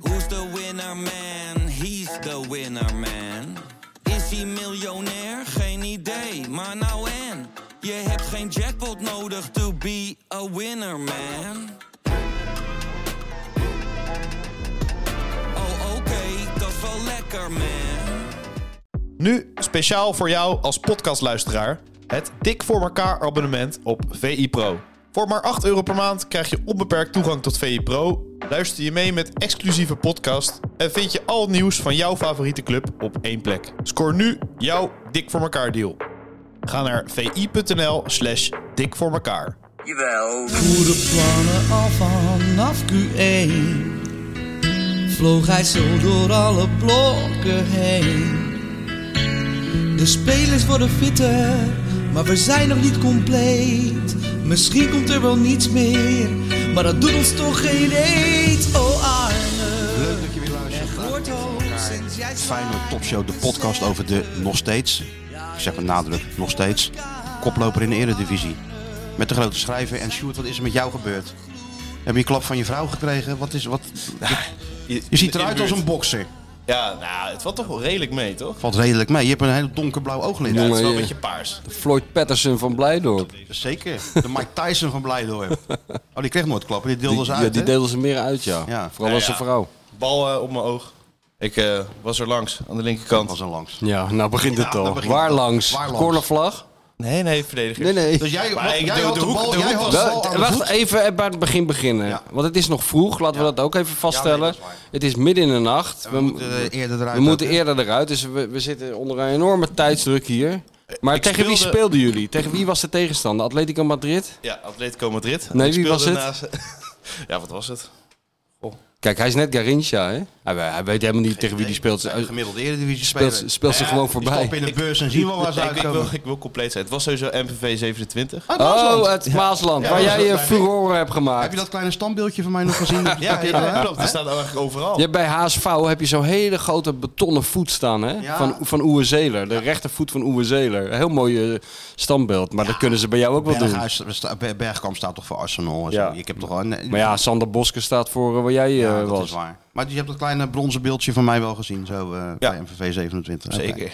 Who's the winner man? He's the winner man. Is hij miljonair? Geen idee, maar nou en. Je hebt geen jackpot nodig to be a winner man. Oh oké, dat is wel lekker man. Nu speciaal voor jou als podcastluisteraar het Dik voor elkaar abonnement op VI Pro. Voor maar 8 euro per maand krijg je onbeperkt toegang tot VI Pro. Luister je mee met exclusieve podcast en vind je al het nieuws van jouw favoriete club op één plek. Scoor nu jouw Dik voor elkaar deal. Ga naar vi.nl slash dik voor elkaar. Jawel. goede plannen al vanaf Q1 Vloog hij zo door alle blokken heen De spelers worden fitter, maar we zijn nog niet compleet Misschien komt er wel niets meer, maar dat doet ons toch geen eet Oh Arne, Leuk dat je weer luistert. echt hoort hoop sinds jij Feyenoord Topshow, de podcast over de nog steeds, ik zeg met nadruk, nog steeds, koploper in de eredivisie. Met de grote schrijver. En Sjoerd, wat is er met jou gebeurd? Heb je een klap van je vrouw gekregen? Wat is, wat... Je ziet eruit als een bokser. Ja, nou, het valt toch wel redelijk mee, toch? Valt redelijk mee. Je hebt een heel donkerblauw ooglid. Ja, het is wel een Nee. beetje paars. Floyd Patterson van Blijdorp. Zeker. De Mike Tyson van Blijdorp. Oh, die kreeg nooit klappen. Die deelde Die, ze ja, uit, die hè? deelden ze meer uit, ja. Ja. Vooral Ja, als ja. een vrouw. Bal eh, op mijn oog. Ik eh, was er langs, aan de Dat was linkerkant. een langs. Ja, nou begint het nou al. begint Waar het al. langs? Waar langs? Cornervlag? Nee, nee, verdediger. Nee, nee. Dus jij, Maar wat- ik jij bedoel, had de de, hoek- bal, de jij hoek had de Wel, bal aan de wacht voet. even eh, bij het begin beginnen. Ja. Want het is nog vroeg, laten we dat ook even vaststellen. dat is waar. het is midden in de nacht. We moeten eh, eerder eruit. we moeten ook, hè? eerder eruit, dus we, we zitten onder een enorme tijdsdruk hier. Maar ik tegen wie speelde- speelden jullie? Tegen wie was de tegenstander? Atletico Madrid? Ja, Atletico Madrid. Nee, Ik wie was speelde het? naast- ja, wat was het? Kijk, hij is net Garincha, hè? Hij, hij weet helemaal niet tegen wie die speelt. Hij speelt, Gemiddeld eredivisie ze- speler. speelt ze gewoon Die voorbij. stappen in de bus en zien we waar ze ik, ik, wil, uitkomen. ik wil compleet zijn. Het was sowieso MVV 27. Oh, het Maasland, Ja, waar dat jij is- je furoren hebt gemaakt. Heb je dat kleine standbeeldje van mij nog gezien? ja, ja, klopt. Er staat eigenlijk overal. Je hebt bij HSV heb je zo'n hele grote betonnen voet staan hè? Ja. van, van Oewe Zeler. De rechtervoet van Oewe Zeler. Heel mooi eh, standbeeld. Maar dat kunnen ze bij jou ook wel doen. Berghuis, sta- Ber- Bergkamp staat toch voor Arsenal? En Ja. zo. Ik heb toch al, nee, Maar ja, Sander Boske staat voor eh, waar jij eh, ja, dat was. is waar. Maar je hebt dat kleine bronzen beeldje van mij wel gezien, zo eh, bij MVV 27. Oké. Zeker.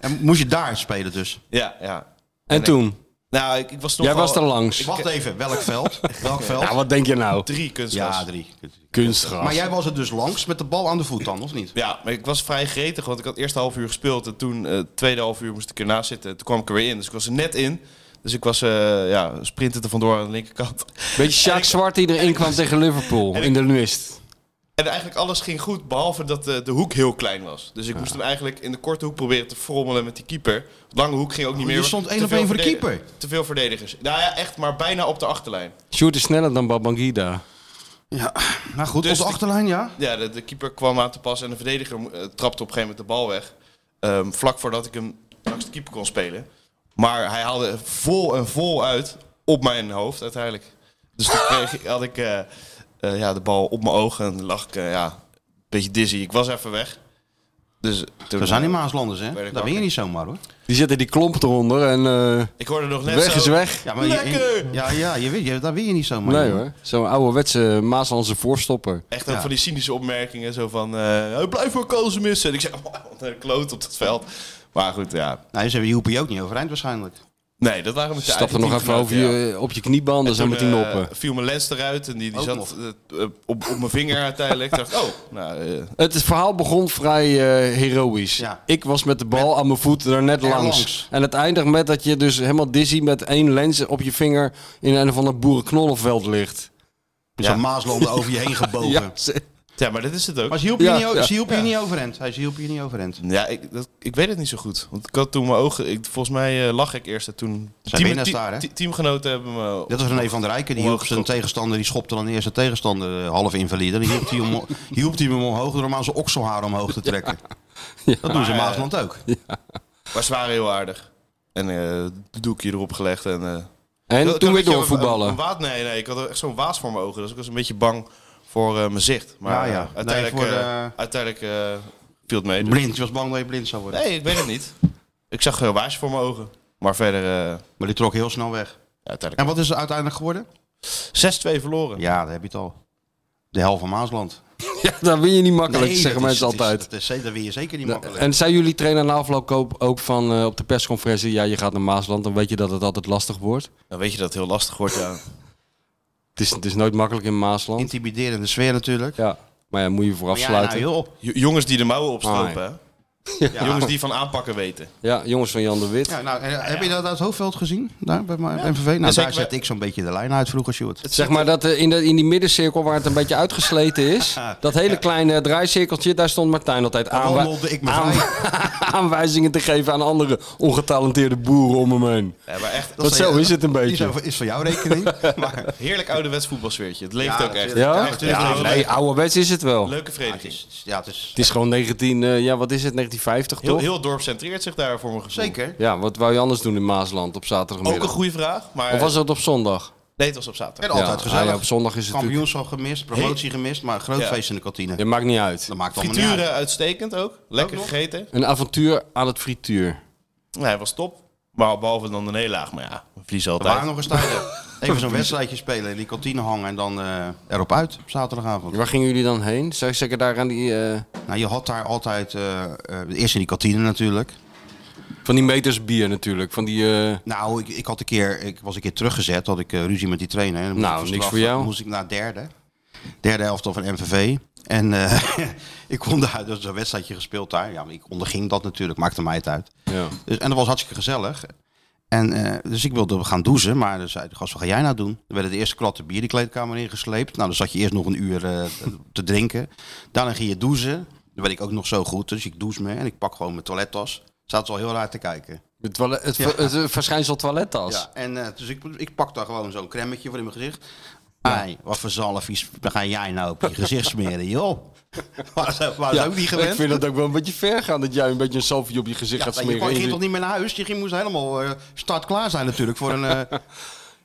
En moest je daar spelen dus? Ja, ja. En toen? Nou, ik, ik was nog Jij wel- was er langs. Wacht even, welk veld? welk veld? Ja, wat denk je nou? Drie kunstgras. Ja, drie. Kunstgras. Maar jij was er dus langs met de bal aan de voet dan, of niet? Ja, maar ik was vrij gretig, want ik had eerst een half uur gespeeld en toen eh tweede half uur moest ik ernaast zitten. Toen kwam ik er weer in, dus ik was er net in. Dus ik was eh ja, sprintend er vandoor aan de linkerkant. Beetje En Sjaak ik- Zwart die erin kwam tegen Liverpool en in de Nuist. En eigenlijk alles ging goed, behalve dat de, de hoek heel klein was. Dus ik Ah. moest hem eigenlijk in de korte hoek proberen te frommelen met die keeper. De lange hoek ging ook niet Oh, meer. je stond Te één op veel één voor de verdedig- keeper. Te veel verdedigers. Nou ja, echt, maar bijna op de achterlijn. Sjoerd is sneller dan Babangida. Ja. Nou goed, Dus op de die- achterlijn, ja. Ja, de, de keeper kwam aan te pas en de verdediger eh, trapte op een gegeven moment de bal weg. Ehm, vlak voordat ik hem langs de keeper kon spelen. Maar hij haalde vol en vol uit op mijn hoofd uiteindelijk. Dus toen kreeg, ik- had ik eh, eh, ja, de bal op mijn ogen en lag ik eh, ja, een beetje dizzy. Ik was even weg. Dus toen, We zijn in eh, Maaslanders, hè? Weet ik Daar ook ben je niet. niet zomaar, hoor. Die zette die klomp eronder en eh, Ik hoorde nog net weg zo- is weg. Ja, maar je- Lekker! ja, ja je, weet- je, daar ben je niet zomaar. Nee joh. hoor, zo'n ouderwetse Maaslandse voorstopper. Echt ook Ja. van die cynische opmerkingen. Zo van, eh blijf voor kozen missen. En ik zeg, wat een kloot op dat veld. Maar goed, ja. Nou, ze hebben Joepie ook niet overeind waarschijnlijk. Nee, dat waren we Stap er nog even over je, eh, op je kniebanden zo Toen, met die eh, noppen. viel mijn lens eruit en die, die Ook zat nog. eh, eh, op, op mijn vinger uiteindelijk. Ik dacht, oh, nou, eh, Het verhaal begon vrij eh, heroïs. Ja. Ik was met de bal aan mijn voet er net Er langs. langs. En het eindigt met dat je dus helemaal dizzy met één lens op je vinger in een of ander boerenknollenveld ligt. Met Zo'n Maaslanden over je heen gebogen. Ja, ze- ja, maar dat is het ook. Maar ze hielp je, Ja, niet, o- ja. ze hielp je niet overend. Hij ze hielp je niet overend. Ja, ik, dat, ik weet het niet zo goed. Want ik had toen mijn ogen, ik, volgens mij eh, lag ik eerst en toen... winnaars daar, hè? te- teamgenoten hebben me... Dit was René van der Rijken. Die Omhoog hielp zijn geschopt. tegenstander. Die schopte dan eerst zijn tegenstander eh, half invalide. Dan hielp hij hem, hielp hij hem omhoog door hem aan zijn okselhaar omhoog te trekken. Dat doen ze in Maar, eh, Maasland ook. Maar ze waren heel aardig. En eh doekje erop gelegd en... eh, Ik had En toen een weer beetje een- doorvoetballen. een waas- nee, nee, ik had echt zo'n waas voor mijn ogen. Dus ik was een beetje bang voor eh, mijn zicht. Maar Ja, ja. eh, Nee, uiteindelijk, voor de- eh, uiteindelijk eh, viel het mee. dus- Blind. Je was bang dat je blind zou worden. Nee, ik weet het niet. Ik zag een waasje voor mijn ogen. Maar verder, eh, Maar die trok heel snel weg. ja, uiteindelijk En wat is er uiteindelijk geworden? 6-2 verloren. Ja, daar heb je het al. de hel van Maasland. Ja, dat win je niet makkelijk, Nee, zeggen dat is- mensen dat is- altijd. Dat, is, dat, wil je zeker niet Ja, makkelijk. En zei jullie trainer na afloop ook- ook van eh, op de persconferentie, ja, je gaat naar Maasland, dan weet je dat het altijd lastig wordt. Dan weet je dat het heel lastig wordt, ja. Het is, het is nooit makkelijk in Maasland. Intimiderende sfeer natuurlijk. Ja, maar ja, moet je voor Maar ja, nou, afsluiten. Ja, joh. Jo- Jongens die de mouwen opstropen, Ah, hè? Jongens die van aanpakken weten. jongens van Jan de Wit. Ja, nou, eh, heb je dat uit Hoofdveld gezien? Daar bij mij- bij MVV? Nou, zeker daar zet bij- ik zo'n beetje de lijn uit vroeger, Sjoerd. zeg maar dat eh, in, de, in die middencirkel waar het een beetje uitgesleten is, dat hele kleine draaicirkeltje, daar stond Martijn altijd aan, Allemaal lolde ik me aanwijzingen te geven aan andere ongetalenteerde boeren om hem heen. Ja, maar echt, Dat zo is het een Die zijn beetje. voor- is voor jouw rekening. maar, heerlijk ouderwets voetbalsfeertje. Het leeft Ja, ook echt. natuurlijk. Ja? Echt, Ja, heel nee, leuk. Ah, Nee, ouderwets is het wel. Leuke het vereniging. is, ja, het is Het is gewoon 19, eh, ja, wat is het, 1950 Heel, toch? heel het dorp centreert zich daar voor mijn gevoel. zeker. Ja, wat wou je anders doen in Maasland op Ook een zaterdagmiddag? goede vraag, maar... of was dat op zondag? Nee, het was op En zaterdag. altijd Ja, gezellig. ah ja, op zondag is het natuurlijk... Kampioenschap gemist, promotie gemist, maar groot Ja. feest in de kantine. Dat maakt niet uit. Dat maakt allemaal niet uit. Frituren uitstekend ook. Lekker nog? gegeten. Een avontuur aan het frituur. Ja, hij was top. Maar behalve dan de nederlaag. Maar ja, we verliezen We altijd. waren nog eens tijden. Even zo'n wedstrijdje spelen, in die kantine hangen en dan eh, erop uit op zaterdagavond. Waar gingen jullie dan heen? Zou ik zeker daar aan die... eh, Nou, je had daar altijd, eh, eh, eerst in die kantine natuurlijk. van die meters bier natuurlijk. Van die... eh, Nou, ik, ik, had een keer, ik was een keer teruggezet, had ik eh, ruzie met die trainer. En dan moest Nou, ik niks verstraffen. voor jou. moest ik naar derde. Derde helft van MVV. En eh, ik kon daar, dus een wedstrijdje gespeeld daar. Ja, maar ik onderging dat natuurlijk, maakte mij het uit. ja. Dus, en dat was hartstikke gezellig. En, eh, dus ik wilde gaan douchen, maar dan zei de gast, wat ga jij nou doen? Er werden de eerste klatten bier die kleedkamer ingesleept. Nou, dan zat je eerst nog een uur eh, te drinken. Daarna ging je douchen. Dan werd ik ook nog zo goed, dus ik douche me en ik pak gewoon mijn toilettas. Zaten ze al heel raar te kijken. De toilet, het, Ja. het, eh, verschijnsel toilettas. Ja, en eh, dus ik, ik pak daar gewoon zo'n cremmetje voor in mijn gezicht. Ai, wat voor zalfjes ga jij nou op je gezicht smeren, joh? Waar ze waar ze Ja, ook niet gewend. ik vind dat ook wel een beetje ver gaan dat jij een beetje een salfje op je Ja, gezicht gaat maar je, smeren. kwam- je ging In- toch niet meer naar huis? Je ging, moest helemaal eh start klaar zijn natuurlijk voor een, eh,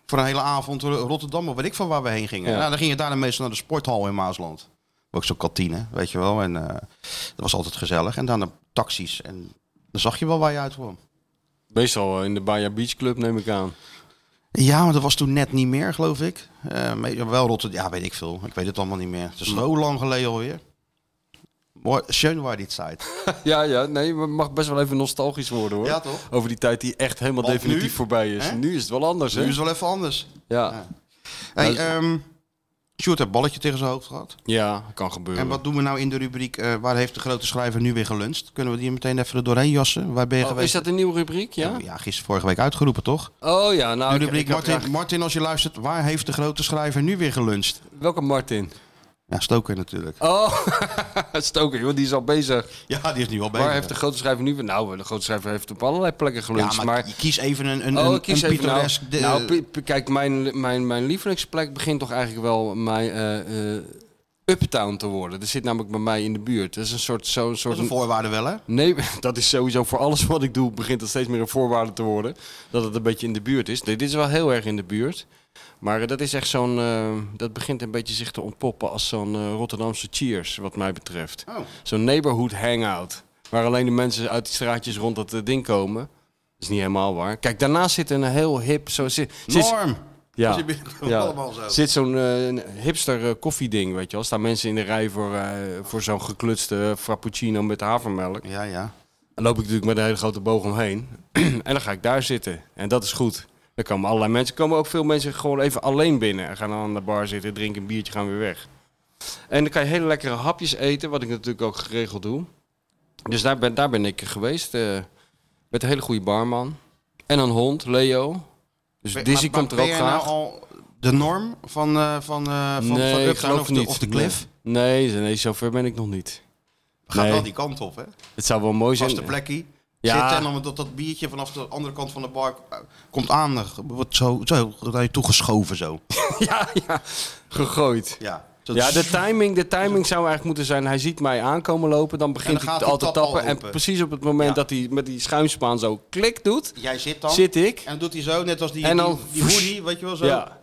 voor een hele avond Ro- Rotterdam of weet ik van waar we heen gingen. Ja. Nou, dan ging je daarna meestal naar de sporthal in Maasland. Ook zo'n kantine, weet je wel. En eh, dat was altijd gezellig. En dan de taxis. En dan zag je wel waar je uitkwam. Meestal eh, in de Baja Beach Club neem ik aan. Ja, maar dat was toen net niet meer, geloof ik. Eh, maar wel Rotterdam, ja, weet ik veel. Ik weet het allemaal niet meer. Het Hm. is zo lang geleden alweer. Mooi, Schön war die Zeit. Ja, ja, nee, we mag best wel even nostalgisch worden hoor. Ja, toch? Over die tijd die echt helemaal Want definitief nu, voorbij is. hè? Nu is het wel anders, Nu hè? is het wel even anders. Ja. Hey, Ja, ehm, Sjoerd heeft balletje tegen zijn hoofd gehad. ja, kan gebeuren. En wat doen we nou in de rubriek eh, waar heeft de grote schrijver nu weer geluncht? Kunnen we die meteen even er doorheen jassen? Waar ben je Oh, geweest? Oh, is dat een nieuwe rubriek? Ja? ja? gisteren vorige week uitgeroepen, toch? Oh ja, nou. de ik- rubriek ik had Martin, graag- Martin, als je luistert, waar heeft de grote schrijver nu weer geluncht? Welke Martin? Ja, Stoker natuurlijk. Oh, Stoker, joh, die is al bezig. Ja, die is nu al bezig. Waar heeft de grote schrijver nu weer? Nou, de grote schrijver heeft op allerlei plekken ja, geluncht. maar, maar, je kies even een, een, Oh, een, ik kies een even nou, pittoresk... de- nou, pi- pi- kijk, mijn, mijn, mijn lievelingsplek begint toch eigenlijk wel mijn eh, eh, Uptown te worden. Dat zit namelijk bij mij in de buurt. Dat is een soort... Zo, dat soort is een voorwaarde wel, hè? Nee, dat is sowieso voor alles wat ik doe, begint dat steeds meer een voorwaarde te worden. Dat het een beetje in de buurt is. Nee, dit is wel heel erg in de buurt. Maar eh, dat is echt zo'n. eh, dat begint een beetje zich te ontpoppen als zo'n eh, Rotterdamse cheers, wat mij betreft. Oh. Zo'n neighborhood hangout. Waar alleen de mensen uit die straatjes rond dat eh, ding komen. Dat is niet helemaal waar. Kijk, daarnaast zit een heel hip. Zo, zit, zit- Norm! ja, Ze binnenkomen ja. allemaal zo. Zit zo'n eh, hipster eh, koffieding, weet je wel. Staan mensen in de rij voor, eh, voor zo'n geklutste frappuccino met havermelk. Ja, ja. Dan loop ik natuurlijk met een hele grote boog omheen. en dan ga ik daar zitten. En dat is goed. Er komen allerlei mensen. Er komen ook veel mensen gewoon even alleen binnen. En gaan dan aan de bar zitten, drinken een biertje, gaan weer weg. En dan kan je hele lekkere hapjes eten, wat ik natuurlijk ook geregeld doe. Dus daar ben, daar ben ik geweest. eh, met een hele goede barman. En een hond, Leo. Dus Ben- Dizzy maar- komt maar er ook ben graag. jij nou al de norm van, eh, van, eh, van, van ik Uptown geloof of de, niet. of de cliff? Nee, nee, nee, zover ben ik nog niet. Gaat Nee. wel die kant op, hè? Het zou wel mooi zijn. Vaste plekkie. Ja. Zit en dan dat, dat biertje vanaf de andere kant van de bar eh, komt aan. eh, Wordt zo, zo naar je toegeschoven zo. Ja, ja. Gegooid. Ja, Ja, de timing, de timing zou eigenlijk moeten zijn. Hij ziet mij aankomen lopen, dan En begint dan gaat hij die al te tap al tappen. En open. precies op het moment Ja. dat hij met die schuimspaan zo klik doet, Jij zit dan. zit ik. En dan doet hij zo, net als die, En dan- die, die hoodie, weet je wel zo. Ja.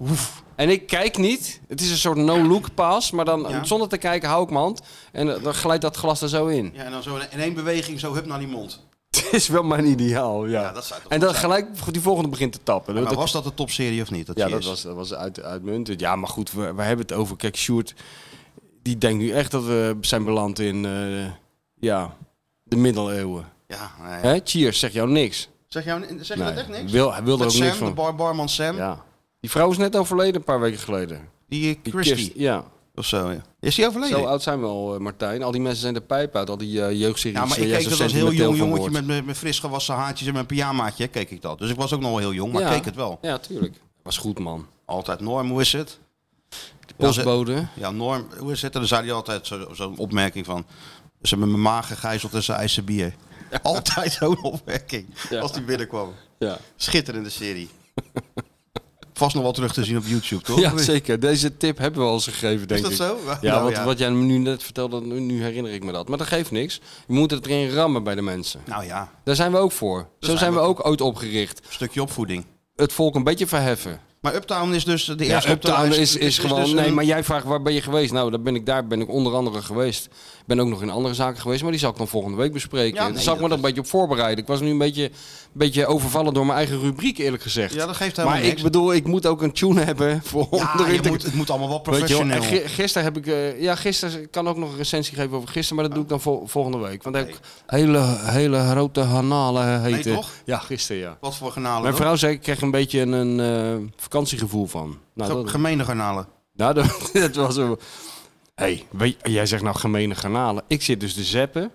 En ik kijk niet. Het is een soort no-look pass, maar dan Ja. zonder te kijken hou ik mijn hand. En eh, dan glijdt dat glas er zo in. Ja, en dan zo in één beweging zo hup naar die mond. Het is wel mijn ideaal, ja. Ja, dat zou toch en dan goed zijn. gelijk die volgende begint te tappen. Maar Dat- was dat de topserie of niet? Dat Ja, die dat is? was, dat was uit, uitmuntend. Ja, maar goed, we, we hebben het over. Kijk, Sjoerd die denkt nu echt dat we zijn beland in eh, ja, de middeleeuwen. Ja, nee. Hè? Cheers, zeg jou niks. Zeg, jou, zeg je dat echt niks? Wil, hij wil er Met ook Sam, niks de van. bar, barman Sam. Ja. Die vrouw is net overleden een paar weken geleden. Die eh, Die Christy Kirst- ja. of zo. Ja. Is die overleden? Zo oud zijn we al, eh, Martijn. Al die mensen zijn de pijp uit. Al die eh, jeugdseries. ja, maar waar ik jij keek zo dat als heel sentimenteel jong van jongetje wordt. met mijn mijn fris gewassen haartjes en mijn pyjamaatje. Keek ik dat. Dus ik was ook nog wel heel jong, maar Ja. keek het wel. Ja, tuurlijk. Was goed, man. Altijd Norm, hoe is het? Ja, ze- Postbode. Ja, Norm, hoe is het? En dan zei hij altijd zo- zo'n opmerking van... Ze hebben mijn maag gegijzeld en ze eisen bier. Altijd zo'n opmerking Ja. als die binnenkwam. Ja. Schitterende serie. Vast nog wel terug te zien op YouTube, toch? ja, zeker. Deze tip hebben we al eens gegeven, denk dat ik. zo? Ja, Nou, wat, ja. wat jij nu net vertelde, nu nu herinner ik me dat. Maar dat geeft niks. Je moet het erin rammen bij de mensen. Nou ja, Daar zijn we ook voor. zo zijn, zijn we we- ook ooit opgericht. stukje opvoeding. Het volk een beetje verheffen. Maar Uptown is dus de Ja, eerste op de Uptown lijst. is, is gewoon... dus nee, een- maar jij vraagt waar ben je geweest? Nou, daar ben ik, daar ben ik onder andere geweest. Ik ben ook nog in andere zaken geweest, maar die zal ik dan volgende week bespreken. Ja, Daar nee, zal ik me dat dan een beetje op voorbereiden. Ik was nu een beetje, een beetje overvallen door mijn eigen rubriek, eerlijk gezegd. Ja, dat geeft helemaal maar ik niks. bedoel, ik moet ook een tune hebben voor ja, onderin je te- moet, het moet allemaal wel Weet je wel, en professioneel. gi- gisteren heb ik, eh, ja, gisteren ik kan ook nog een recensie geven over gisteren, maar dat doe ik dan vol- volgende week. Want daar heb ik hele, hele grote hanalen heten. toch? Ja, gisteren ja. Wat voor garnalen Mijn dan? vrouw zei, ik kreeg een beetje een, eh, vakantiegevoel van. Ge- Nou, dat, Gemene garnalen. nou, dat, dat was een... hey, weet- jij zegt nou gemene kanalen. Ik zit dus te zappen.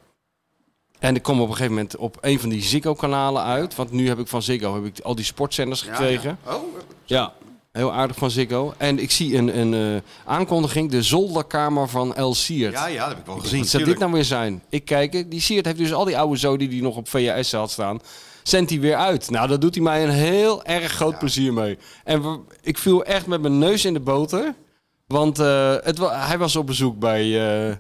En ik kom op een gegeven moment op een van die Ziggo-kanalen uit. Want nu heb ik van Ziggo heb ik al die sportzenders gekregen. Ja, ja. Oh, Ja, heel aardig van Ziggo. En ik zie een, een eh, aankondiging, de zolderkamer van El Siert. ja, ja, dat heb ik wel gezien. Wat zou dit tuurlijk. nou weer zijn? Ik kijk, het, die Siert heeft dus al die oude zoden die hij nog op VHS had staan, zendt hij weer uit. Nou, daar doet hij mij een heel erg groot plezier mee. En we- ik viel echt met mijn neus in de boter, want eh, het, wa- hij was op bezoek bij... eh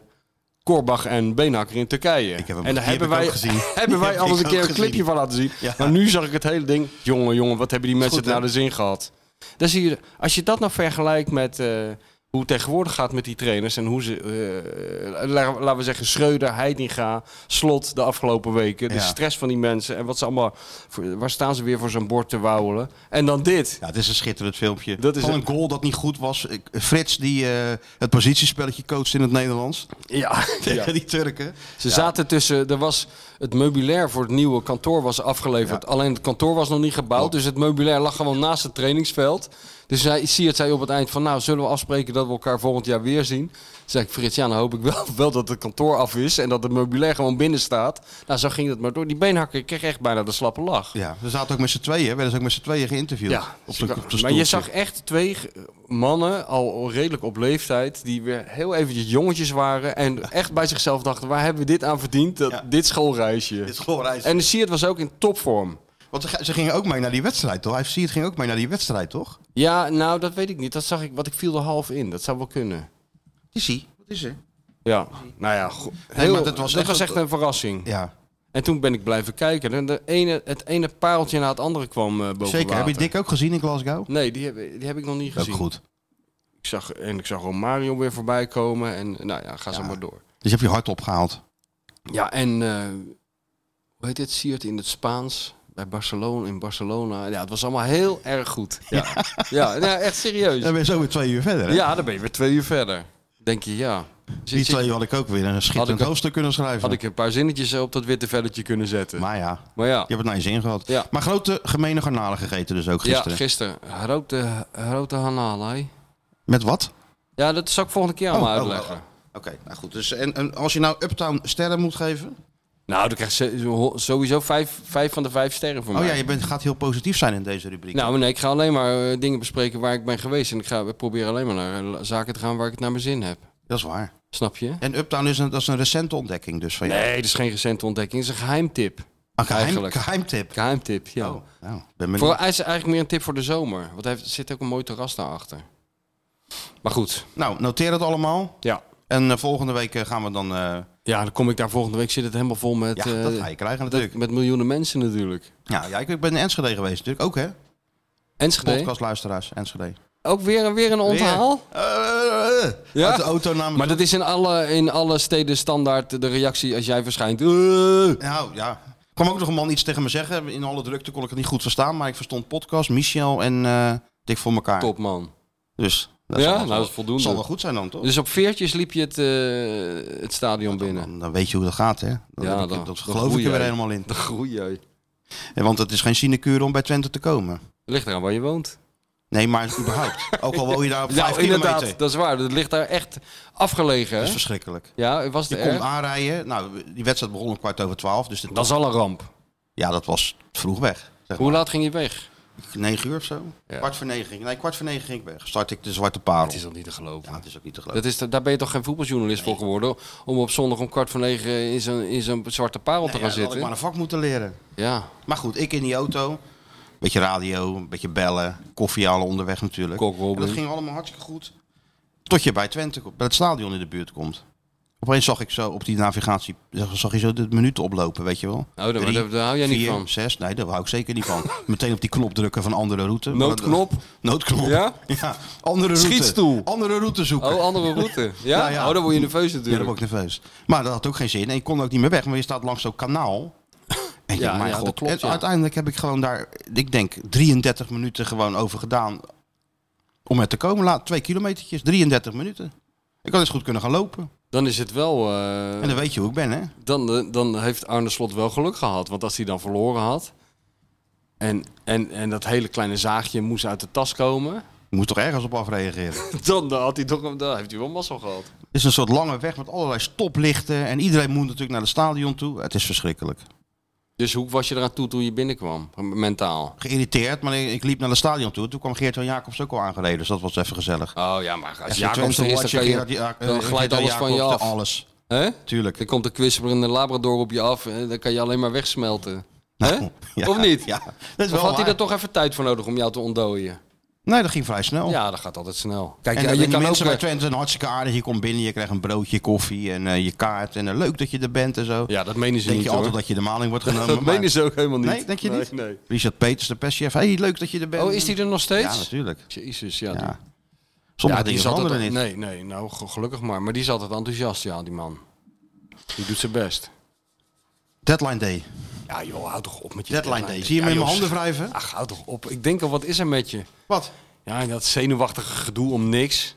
Korbach en Beenhakker in Turkije. heb hem- en die daar heb hebben ik wij, ook gezien. hebben wij Die al heb eens een ik keer ook een clipje gezien. van laten zien. Ja. Maar nu zag ik het hele ding. Jongen, jongen, wat hebben die mensen goed, het hè? naar de zin gehad? Dan zie je, als je dat nou vergelijkt met eh, hoe het tegenwoordig gaat met die trainers en hoe ze, eh, la- laten we zeggen, Schreuder, Heidinga, Slot de afgelopen weken, de Ja. stress van die mensen en wat ze allemaal, voor- waar staan ze weer voor zo'n bord te wauwelen? En dan dit. Ja, het is een schitterend filmpje. Dat is Van het. een goal dat niet goed was. Ik- Frits, die eh, het positiespelletje coacht in het Nederlands. Ja. Tegen die Turken. Ze zaten tussen, er was het meubilair voor het nieuwe kantoor was afgeleverd. Alleen het kantoor was nog niet gebouwd, dus het meubilair lag gewoon naast het trainingsveld. Dus hij, Siert zei op het eind van, nou zullen we afspreken dat we elkaar volgend jaar weer zien? Toen zei ik, Frits, ja dan hoop ik wel, wel dat het kantoor af is en dat het meubilair gewoon binnen staat. Nou zo ging het maar door. Die beenhakker kreeg echt bijna de slappe lach. Ja, ze zaten ook met z'n tweeën. Werden ze ook met z'n tweeën geïnterviewd. Ja, op ze de, kan- op de maar je stoeltje. zag echt twee g- mannen, al redelijk op leeftijd, die weer heel eventjes jongetjes waren en echt bij zichzelf dachten, waar hebben we dit aan verdiend, dat, Ja. dit schoolreisje. Dit schoolreis. En de Siert was ook in topvorm. Want ze, ze gingen ook mee naar die wedstrijd, toch? Hij zie het ging ook mee naar die wedstrijd, toch? Ja, nou, dat weet ik niet. Dat zag ik, want ik viel er half in. Dat zou wel kunnen. Is hij? Wat is er? Ja, nou ja, go- Nee, heel- maar dat, was, echt een- een verrassing. Ja, En toen ben ik blijven kijken. En de ene, het ene pareltje na het andere kwam eh boven zeker. Heb je water. Dick ook gezien in Glasgow? Nee, die heb, die heb ik nog niet Ook gezien. goed. Ik zag, en ik zag Romario weer voorbij komen. En nou ja, ga zo Ja. maar door. Dus je hebt je hart opgehaald. Ja, en eh, hoe heet dit? Siert in het Spaans. Bij Barcelona, in Barcelona. Ja, het was allemaal heel erg goed. Ja, ja. nou, echt serieus. Dan ben je zo weer twee uur verder, hè? Ja, dan ben je weer twee uur verder. Denk je, ja. Zit- Die zit- twee uur had ik ook weer een schitterend ook- hoofdstuk kunnen schrijven. had ik een paar zinnetjes op dat witte velletje kunnen zetten. Maar, Maar ja, ja, je hebt het naar je zin gehad. Ja. Maar grote gemene garnalen gegeten dus ook gisteren. gisteren. Ja, gisteren. Grote, grote hanalai. Met wat? Ja, dat zal ik volgende keer allemaal oh, uitleggen. oh, Oké, nou goed. Dus en, en als je nou Uptown sterren moet geven... Nou, dan krijg je zo- sowieso vijf, vijf van de vijf sterren voor Oh mij. ja, je bent, gaat heel positief zijn in deze rubriek. Nou, maar nee, ik ga alleen maar eh, dingen bespreken waar ik ben geweest. En ik ga proberen alleen maar naar eh, zaken te gaan waar ik het naar mijn zin heb. Dat is waar. Snap je? En Uptown is een, dat is een recente ontdekking dus van jou. Nee, dat is geen recente ontdekking. Dat is een geheimtip. Een geheim, eigenlijk. geheimtip. Geheimtip, ja. Oh, nou, ben benieuwd. Voor, hij is eigenlijk meer een tip voor de zomer. Want hij heeft- er zit ook een mooi terras daarachter. Maar goed, Nou, noteer het allemaal. ja. En eh, volgende week eh, gaan we dan... eh, Ja, dan kom ik daar volgende week. Zit het helemaal vol met, ja, dat eh, ga je krijgen dat- natuurlijk. met miljoenen mensen natuurlijk. Ja, ja, ik ben in Enschede geweest natuurlijk. Ook hè? Enschede. Podcastluisteraars, Enschede. Ook weer, weer een onthaal. Eh, eh, eh. Ja? Uit de auto namen. Maar dat is in alle, in alle steden standaard de reactie als jij verschijnt. Eh. Nou ja. Er kwam ook nog een man iets tegen me zeggen. In alle drukte kon ik het niet goed verstaan. Maar ik verstond podcast, Michel en eh Dik voor elkaar. Top man. Dus Dat Ja, zal- nou, zal- dat is voldoende. Zal wel goed zijn dan, toch? Dus op veertjes liep je het, eh, het stadion binnen. Dan, dan weet je hoe dat gaat, hè? Dan, Ja, heb ik- dan- dat dan geloof groei ik er weer jij. helemaal in. Dan groei je. Ja, Want het is geen sinecure om bij Twente te komen. Ligt eraan waar je woont. Nee, maar überhaupt. Ook al woon je daar op vijf Nou, inderdaad, kilometer. dat is waar. Dat ligt daar echt afgelegen. Dat is Hè? verschrikkelijk. Ja, was Je het komt erg? aanrijden. Nou, die wedstrijd begon om kwart over twaalf. Dus de Dat is al een ramp. Ja, dat was vroeg weg. Zeg Hoe laat ging je weg? maar. Negen uur of zo? Ja. Kwart voor negen. ging- Nee, kwart voor negen ging ik weg. Start ik de Zwarte Parel. Het is al niet te geloven. Ja, het is ook niet te geloven. Dat is, daar ben je toch geen voetbaljournalist voor geworden? Om op zondag om kwart voor negen in zo'n, in zo'n zwarte parel te Nee, gaan ja, dan had ik zitten. maar een vak moeten leren. Ja, Maar goed, ik in die auto. Beetje radio, een beetje bellen. Koffie halen onderweg natuurlijk. Kok Robin. En dat ging allemaal hartstikke goed. Tot je bij Twente, komt- bij het stadion in de buurt komt. Opeens zag ik zo op die navigatie, zag, zag je zo de minuten oplopen, weet je wel. Nou, daar- daar- daar hou jij niet vier, van. zes, nee, daar hou ik zeker niet van. Meteen op die knop drukken van andere route. Noodknop? Noodknop. Ja? Andere route. Schietstoel. Andere route zoeken. oh, andere route. Ja? Nou ja. Oh, dan word je nerveus Ja, dan natuurlijk. word ik nerveus. Maar dat had ook geen zin. En ik kon ook niet meer weg. Maar je staat langs zo'n kanaal. En Ja, ja, mijn ja, dat god. klopt, en ja. uiteindelijk heb ik gewoon daar, ik denk, 33 minuten gewoon over gedaan. Om er te komen. Laat, twee kilometertjes, 33 minuten. Ik had eens goed kunnen gaan lopen. Dan is het wel... eh, En dan weet je hoe ik ben, hè? dan, eh, dan heeft Arne Slot wel geluk gehad. Want als hij dan verloren had... En, en, en dat hele kleine zaagje moest uit de tas komen. Je moet toch ergens op afreageren. Dan had hij toch, dan heeft hij wel mazzel gehad. Het is een soort lange weg met allerlei stoplichten. En iedereen moet natuurlijk naar het stadion toe. Het is verschrikkelijk. Dus hoe was je eraan toe toen je binnenkwam? Mentaal. Geïrriteerd, maar ik, ik liep naar het stadion toe. Toen kwam Geert-Jan Jacobs ook al aangereden. Dus dat was even gezellig. Oh ja, maar als Echt Jacobs Twente er is, dan, watje, kan je- Gerard Ja- eh, dan Gerard glijdt alles van je Jacobs, af. Alles, Hè? tuurlijk. Dan komt de kwisperende labrador op je af en dan kan je alleen maar wegsmelten. Hè? Ja, of niet? Ja, dat is Of wel had hij waar. daar toch even tijd voor nodig om jou te ontdooien? Nee, dat ging vrij snel. Ja, dat gaat altijd snel. Kijk, Oh. En, ja, en je die kan ook... mensen bij eh, Twente zijn hartstikke aardig. Je komt binnen, je krijgt een broodje, koffie en eh, je kaart. En eh, leuk dat je er bent en zo. Ja, dat menen ze denk niet, je altijd hoor. dat je de maling wordt genomen. Dat maar- menen ze ook helemaal niet. Nee, denk je niet? Nee, nee. Richard Peters, de perschef. Hé, hey, leuk dat je er bent. Oh, is die er nog steeds? Ja, natuurlijk. Jezus, ja. die- Ja. ja, Sommige dingen zat veranderen altijd- niet. Nee, nee, nou ge- gelukkig maar. Maar die is altijd enthousiast, ja, die man. Die doet zijn best. Deadline day. Ja joh, hou toch op met je Deadline day. Zie je Ja, me in joh, mijn handen wrijven? Ach, hou toch op. Ik denk al, wat is er met je? Wat? Ja, dat zenuwachtige gedoe om niks.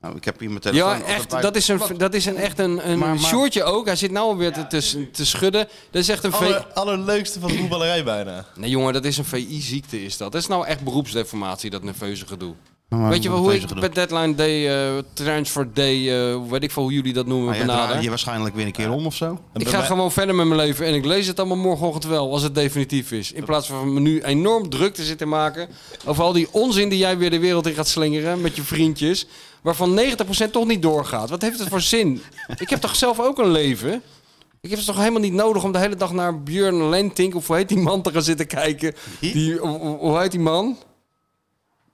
Nou, ik heb hier mijn telefoon. Ja, altijd echt, bij- dat is, een, dat is een, echt een, een Maar- maar- shortje ook. Hij zit nou alweer te- te, te schudden. Dat is echt een VI... Aller, allerleukste van de voetballerij bijna. Nee jongen, dat is een VI-ziekte is dat. Dat is nou echt beroepsdeformatie, dat nerveuze gedoe. Maar Weet je wel hoe nerveuze ik gedoe. per deadline day, eh, transfer day, eh, weet ik veel hoe jullie dat noemen, Maar jij benader? draait Ah, je waarschijnlijk weer een keer om of zo. En Ik bij ga mij- gewoon verder met mijn leven en ik lees het allemaal morgenochtend wel, als het definitief is. In plaats van me nu enorm druk te zitten maken over al die onzin die jij weer de wereld in gaat slingeren met je vriendjes, waarvan 90% toch niet doorgaat. Wat heeft het voor zin? Ik heb toch zelf ook een leven? Ik heb het toch helemaal niet nodig om de hele dag naar Björn Lentink, of hoe heet die man, te gaan zitten kijken. Die, hoe hoe heet die man?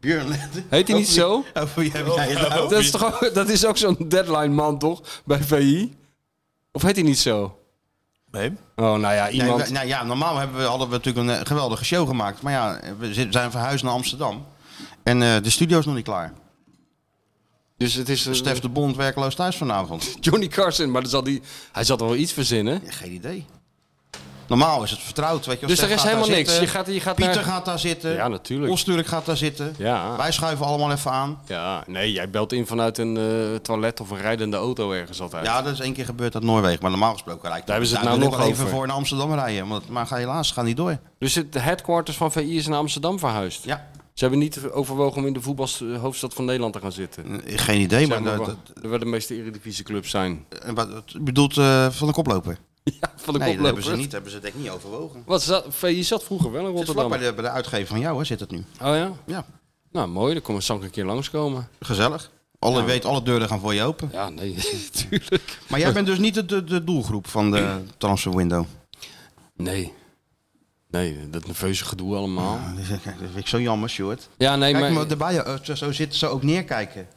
Björn Heet hij niet zo? Oh, wie heb jij het nou? Dat is, toch ook, dat is ook zo'n deadline man, toch? Bij VI? Of heet hij niet zo? Nee. Oh, nou ja, Nee, iemand... we- nou ja, normaal hebben we, hadden we natuurlijk een eh, geweldige show gemaakt. Maar ja, we zi- zijn verhuisd naar Amsterdam. En eh, de studio is nog niet klaar. Dus het is... eh, Stef de Bond werkloos thuis vanavond. Johnny Carson, maar dan zal die, hij zal toch wel iets verzinnen? Ja, geen idee. Normaal is het vertrouwd. Weet je, wel. Dus Stef er is gaat daar helemaal niks. zitten, Je gaat- je gaat Pieter naar- gaat daar zitten. Ja, natuurlijk. Osturk gaat daar zitten. Ja. Wij schuiven allemaal even aan. Ja, nee, jij belt in vanuit een eh, toilet of een rijdende auto ergens altijd. Ja, dat is één keer gebeurd uit Noorwegen. Maar normaal gesproken rijdt Daar hebben ze het wil nou ik nog wel over. even voor naar Amsterdam rijden. Want, maar ga helaas, gaan niet door. Dus het de headquarters van VI is naar Amsterdam verhuisd. Ja, Ze hebben niet overwogen om in de voetbals, hoofdstad van Nederland te gaan zitten. eh, geen idee. Maar Zeg maar, dat, waar- waar de meeste eredivisieclubs zijn. dat- wat- wat- bedoelt eh, van de koploper? Ja, van Nee, de dat hebben koploper. ze niet. Hebben ze denk ik niet overwogen. Wat zat, VI zat vroeger wel in Het is vlak Rotterdam. bij de, bij de uitgever van jou, hè, zit het nu. Oh ja? Ja, Nou, mooi. Dan kom, zal ik een keer langskomen. gezellig. Alle, weet, alle deuren gaan voor je open. Ja, nee, natuurlijk. Maar jij bent dus niet de, de, de doelgroep van de transfer window. Nee. Nee, dat nerveuze gedoe allemaal. Dat vind ik- dat vind ik zo jammer, Stuart. Ja, nee, Kijk maar... maar erbij, eh, zo- zo zitten ze ook neerkijken.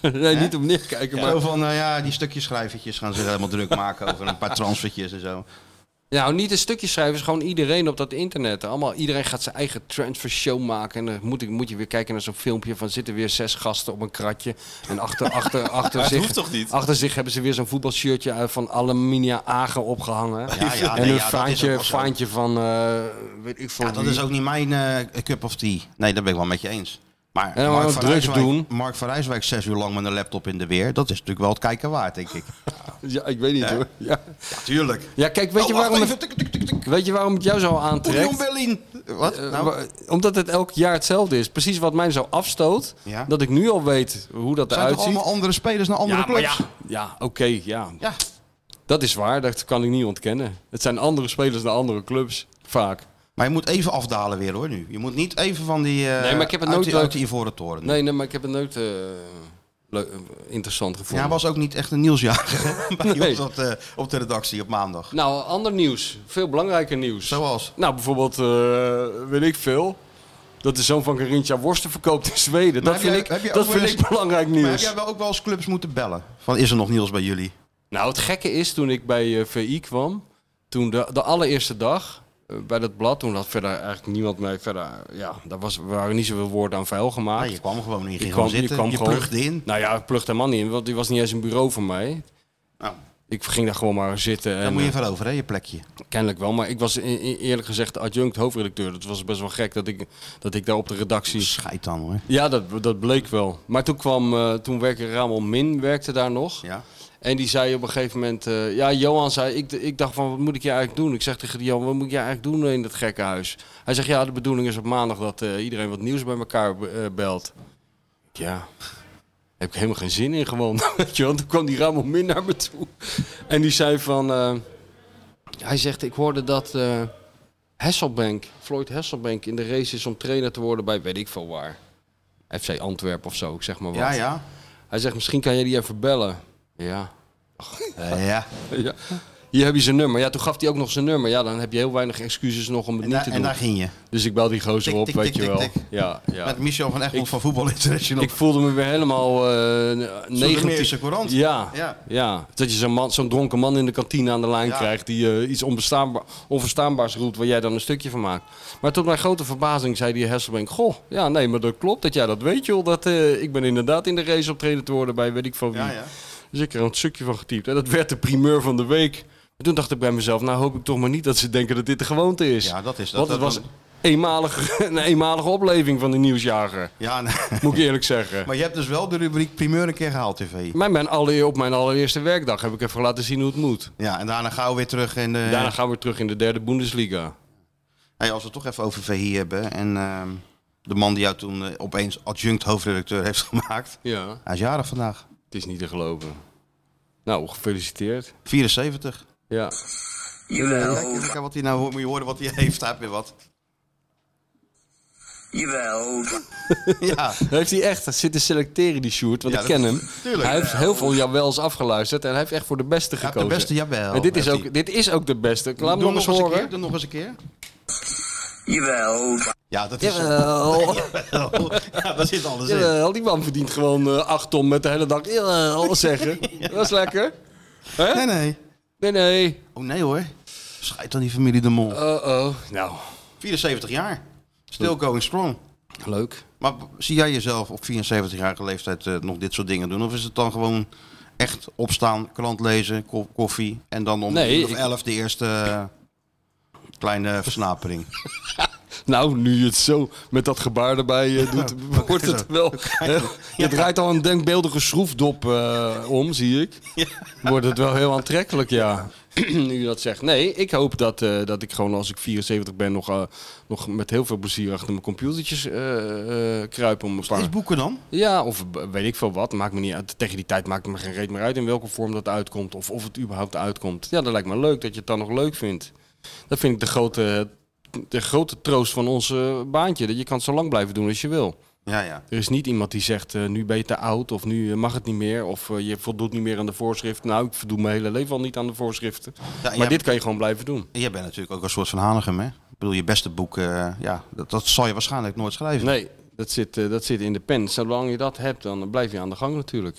nee, niet om neerkijken, maar... Zo van, eh, ja, die stukjes schrijvertjes gaan ze helemaal druk maken over een paar transfertjes en zo. Nou, niet een stukje schrijven, is gewoon iedereen op dat internet. Allemaal, iedereen gaat zijn eigen transfer show maken. En dan moet, ik, moet je weer kijken naar zo'n filmpje van zitten weer zes gasten op een kratje. En achter, achter, achter, het zich, hoeft toch niet? achter zich hebben ze weer zo'n voetbalshirtje eh, van Alaminia Agen opgehangen. Ja, ja, nee, en een ja, dat is ook vaantje, wel zo. vaantje van, eh, weet ik veel Ja, dat wie. is ook niet mijn eh, cup of tea. Nee, dat ben ik wel met je eens. Maar dan Mark, ook van druk Rijswijk, doen. Mark van Rijswijk zes uur lang met een laptop in de weer. Dat is natuurlijk wel het kijken waard, denk ik. Ja, ik weet niet hoor. Ja, Natuurlijk. ja kijk, Nou, weet, je waarom het, weet je waarom het jou zo aantrekt? Berlin. Wat? Eh, Nou, wa- Omdat het elk jaar hetzelfde is. Precies wat mij zo afstoot. Ja. Dat ik nu al weet hoe dat zijn eruit toch ziet. allemaal andere spelers naar andere ja, maar ja, clubs? ja oké, ja. Ja. Dat is waar, dat kan ik niet ontkennen. Het zijn andere spelers naar andere clubs, vaak. Maar je moet even afdalen weer hoor nu. Je moet niet even van die. eh, Nee, maar ik heb uit het nooit die, leuk- uit die ivoren toren. Nee, nee, maar ik heb het nooit eh, leu- eh, interessant Ja, gevonden. hij was ook niet echt een nieuwsjager hè, bij Nee. ons op de, op de redactie op maandag. Nou, ander nieuws. Veel belangrijker nieuws. Zoals. Nou, bijvoorbeeld, eh, weet ik veel. Dat de zoon van Carinthia worsten verkoopt in Zweden. Maar heb dat vind, jij- heb ik, jij dat ook wel vind eens- ik belangrijk Maar heb nieuws. jij wel ook wel eens clubs moeten bellen? Van is er nog nieuws bij jullie? Nou, het gekke is, toen ik bij eh, VI kwam, toen de, de allereerste dag eh, bij dat blad, toen had verder eigenlijk niemand mee. Verder, ja, daar was, waren niet zoveel woorden aan vuil gemaakt. Nee, Ah, je kwam gewoon in, je Ik ging kwam- gewoon zitten, je, kwam gewoon- plugde in. Nou ja, ik plugde helemaal niet in, want die was niet eens een bureau voor mij. Nou, Ik ging daar gewoon maar zitten. daar En, moet je eh, even over hè, je plekje. kennelijk wel, maar ik was e- e- eerlijk gezegd de adjunct hoofdredacteur. Dat was best wel gek dat ik, dat ik daar op de redactie... Scheid dan hoor. Ja, dat, dat bleek wel. Maar toen kwam, eh, toen werkte Ramon Min, werkte daar nog. Ja. En die zei op een gegeven moment... eh, ja, Johan zei... Ik, ik dacht van, wat moet ik je eigenlijk doen? Ik zeg tegen die Johan, wat moet ik je eigenlijk doen in dat gekke huis? Hij zegt, ja, de bedoeling is op maandag dat eh, iedereen wat nieuws bij elkaar be- eh, belt. Ja, heb ik helemaal geen zin in gewoon. Weet je wel. Toen kwam die Ramon Min naar me toe. En die zei van... eh, hij zegt, ik hoorde dat... eh, Hasselbank, Floyd Hasselbank in de race is om trainer te worden bij weet ik veel waar. FC Antwerpen of zo, ik zeg maar wat. Ja, ja. Hij zegt, misschien kan jij die even bellen. Ja. Eh, ja. ja. Hier heb je zijn nummer. Ja, toen gaf hij ook nog zijn nummer. Ja, dan heb je heel weinig excuses nog om het En, niet daar- te en doen. daar ging je. Dus ik bel die gozer Tik, op, tik, weet tik, je tik, wel. tik. Ja, ja. Met Michel van Egmond Ik- van Voetbal International. Ik voelde me weer helemaal eh Soetermeerse 19... courant. Ja, ja. Ja. dat je zo'n man- zo'n dronken man in de kantine aan de lijn Ja. krijgt die eh, iets onbestaanba- onverstaanbaars roept waar jij dan een stukje van maakt. Maar tot mijn grote verbazing zei die Hesselbank, goh, ja nee, maar dat klopt dat jij dat weet joh, dat, eh, ik ben inderdaad in de race optreden te worden bij weet ik van wie. Ja, ja. Dus ik heb er een stukje van getypt en dat werd de primeur van de week. En toen dacht ik bij mezelf, nou hoop ik toch maar niet dat ze denken dat dit de gewoonte is. Ja, dat is dat. Want het dat- was eenmalig, een eenmalige opleving van de nieuwsjager, Ja, nee. moet ik eerlijk zeggen. maar je hebt dus wel de rubriek primeur een keer gehaald, TV. Mijn, mijn alle, op mijn allereerste werkdag heb ik even laten zien hoe het moet. Ja, en daarna gauw weer terug. En, eh, Daarna gaan we terug in de derde Bundesliga. Hey, als we het toch even over VI hebben. En ehm, de man die jou toen eh, opeens adjunct hoofdredacteur heeft gemaakt. Ja. Hij is jarig vandaag. Het is niet te geloven. Nou, gefeliciteerd. 74. Ja. Kijk, eens, kijk wat hij nou hoort. Moet je horen wat hij heeft. Hij heeft weer wat. Jawel. Ja. Heeft hij echt zitten selecteren, die Sjoerd? Want Ja, ik dat- ken hem. tuurlijk. Hij heeft heel veel jawels afgeluisterd en hij heeft echt voor de beste heeft gekozen. de beste jawel, En dit is, heeft ook, hij. dit is ook de beste. Ik Laat Doe me hem nog nog eens eens een keer. horen. Doe hem nog eens een keer. Jawel. Ja, dat is Jawel. Ja, daar zit alles in. Jawel, die man verdient gewoon eh, acht ton met de hele dag. Jawel, zeggen. Dat is lekker. Hè? Nee, nee. Nee, nee. Oh nee hoor. Schijt dan die familie de mol. Uh-oh. Nou, 74 jaar. Still going strong. leuk. Maar b- zie jij jezelf op 74-jarige leeftijd eh, nog dit soort dingen doen? Of is het dan gewoon echt opstaan, krant lezen, ko- koffie en dan om Nee, uur of ik- 11 de eerste eh, kleine versnapering? Nou, nu je het zo met dat gebaar erbij eh, doet, wordt het wel. Je draait al een denkbeeldige schroefdop eh, om, zie ik. Wordt het wel heel aantrekkelijk, ja. nu je dat zegt. Nee, ik hoop dat, eh, dat ik gewoon als ik 74 ben nog, eh, nog met heel veel plezier achter mijn computertjes eh, eh, kruip om een paar. Is boeken dan? Ja, of b- weet ik veel wat. Maakt me niet uit. Tegen die tijd maakt het me geen reet meer uit in welke vorm dat uitkomt. Of of het überhaupt uitkomt. Ja, dat lijkt me leuk dat je het dan nog leuk vindt. Dat vind ik de grote, de grote troost van ons eh, baantje. Dat je kan het zo lang blijven doen als je wil. Ja, ja. Er is niet iemand die zegt, eh, nu ben je te oud. Of nu eh, mag het niet meer. Of eh, je voldoet niet meer aan de voorschriften. Nou, ik voldoe mijn hele leven al niet aan de voorschriften. ja maar jij- dit kan je gewoon blijven doen. Jij bent natuurlijk ook een soort van Hanegem, hè? Ik bedoel, je beste boek, eh, ja, dat, dat zal je waarschijnlijk nooit schrijven. Nee, dat zit, eh, dat zit in de pen. Zolang je dat hebt, dan blijf je aan de gang natuurlijk.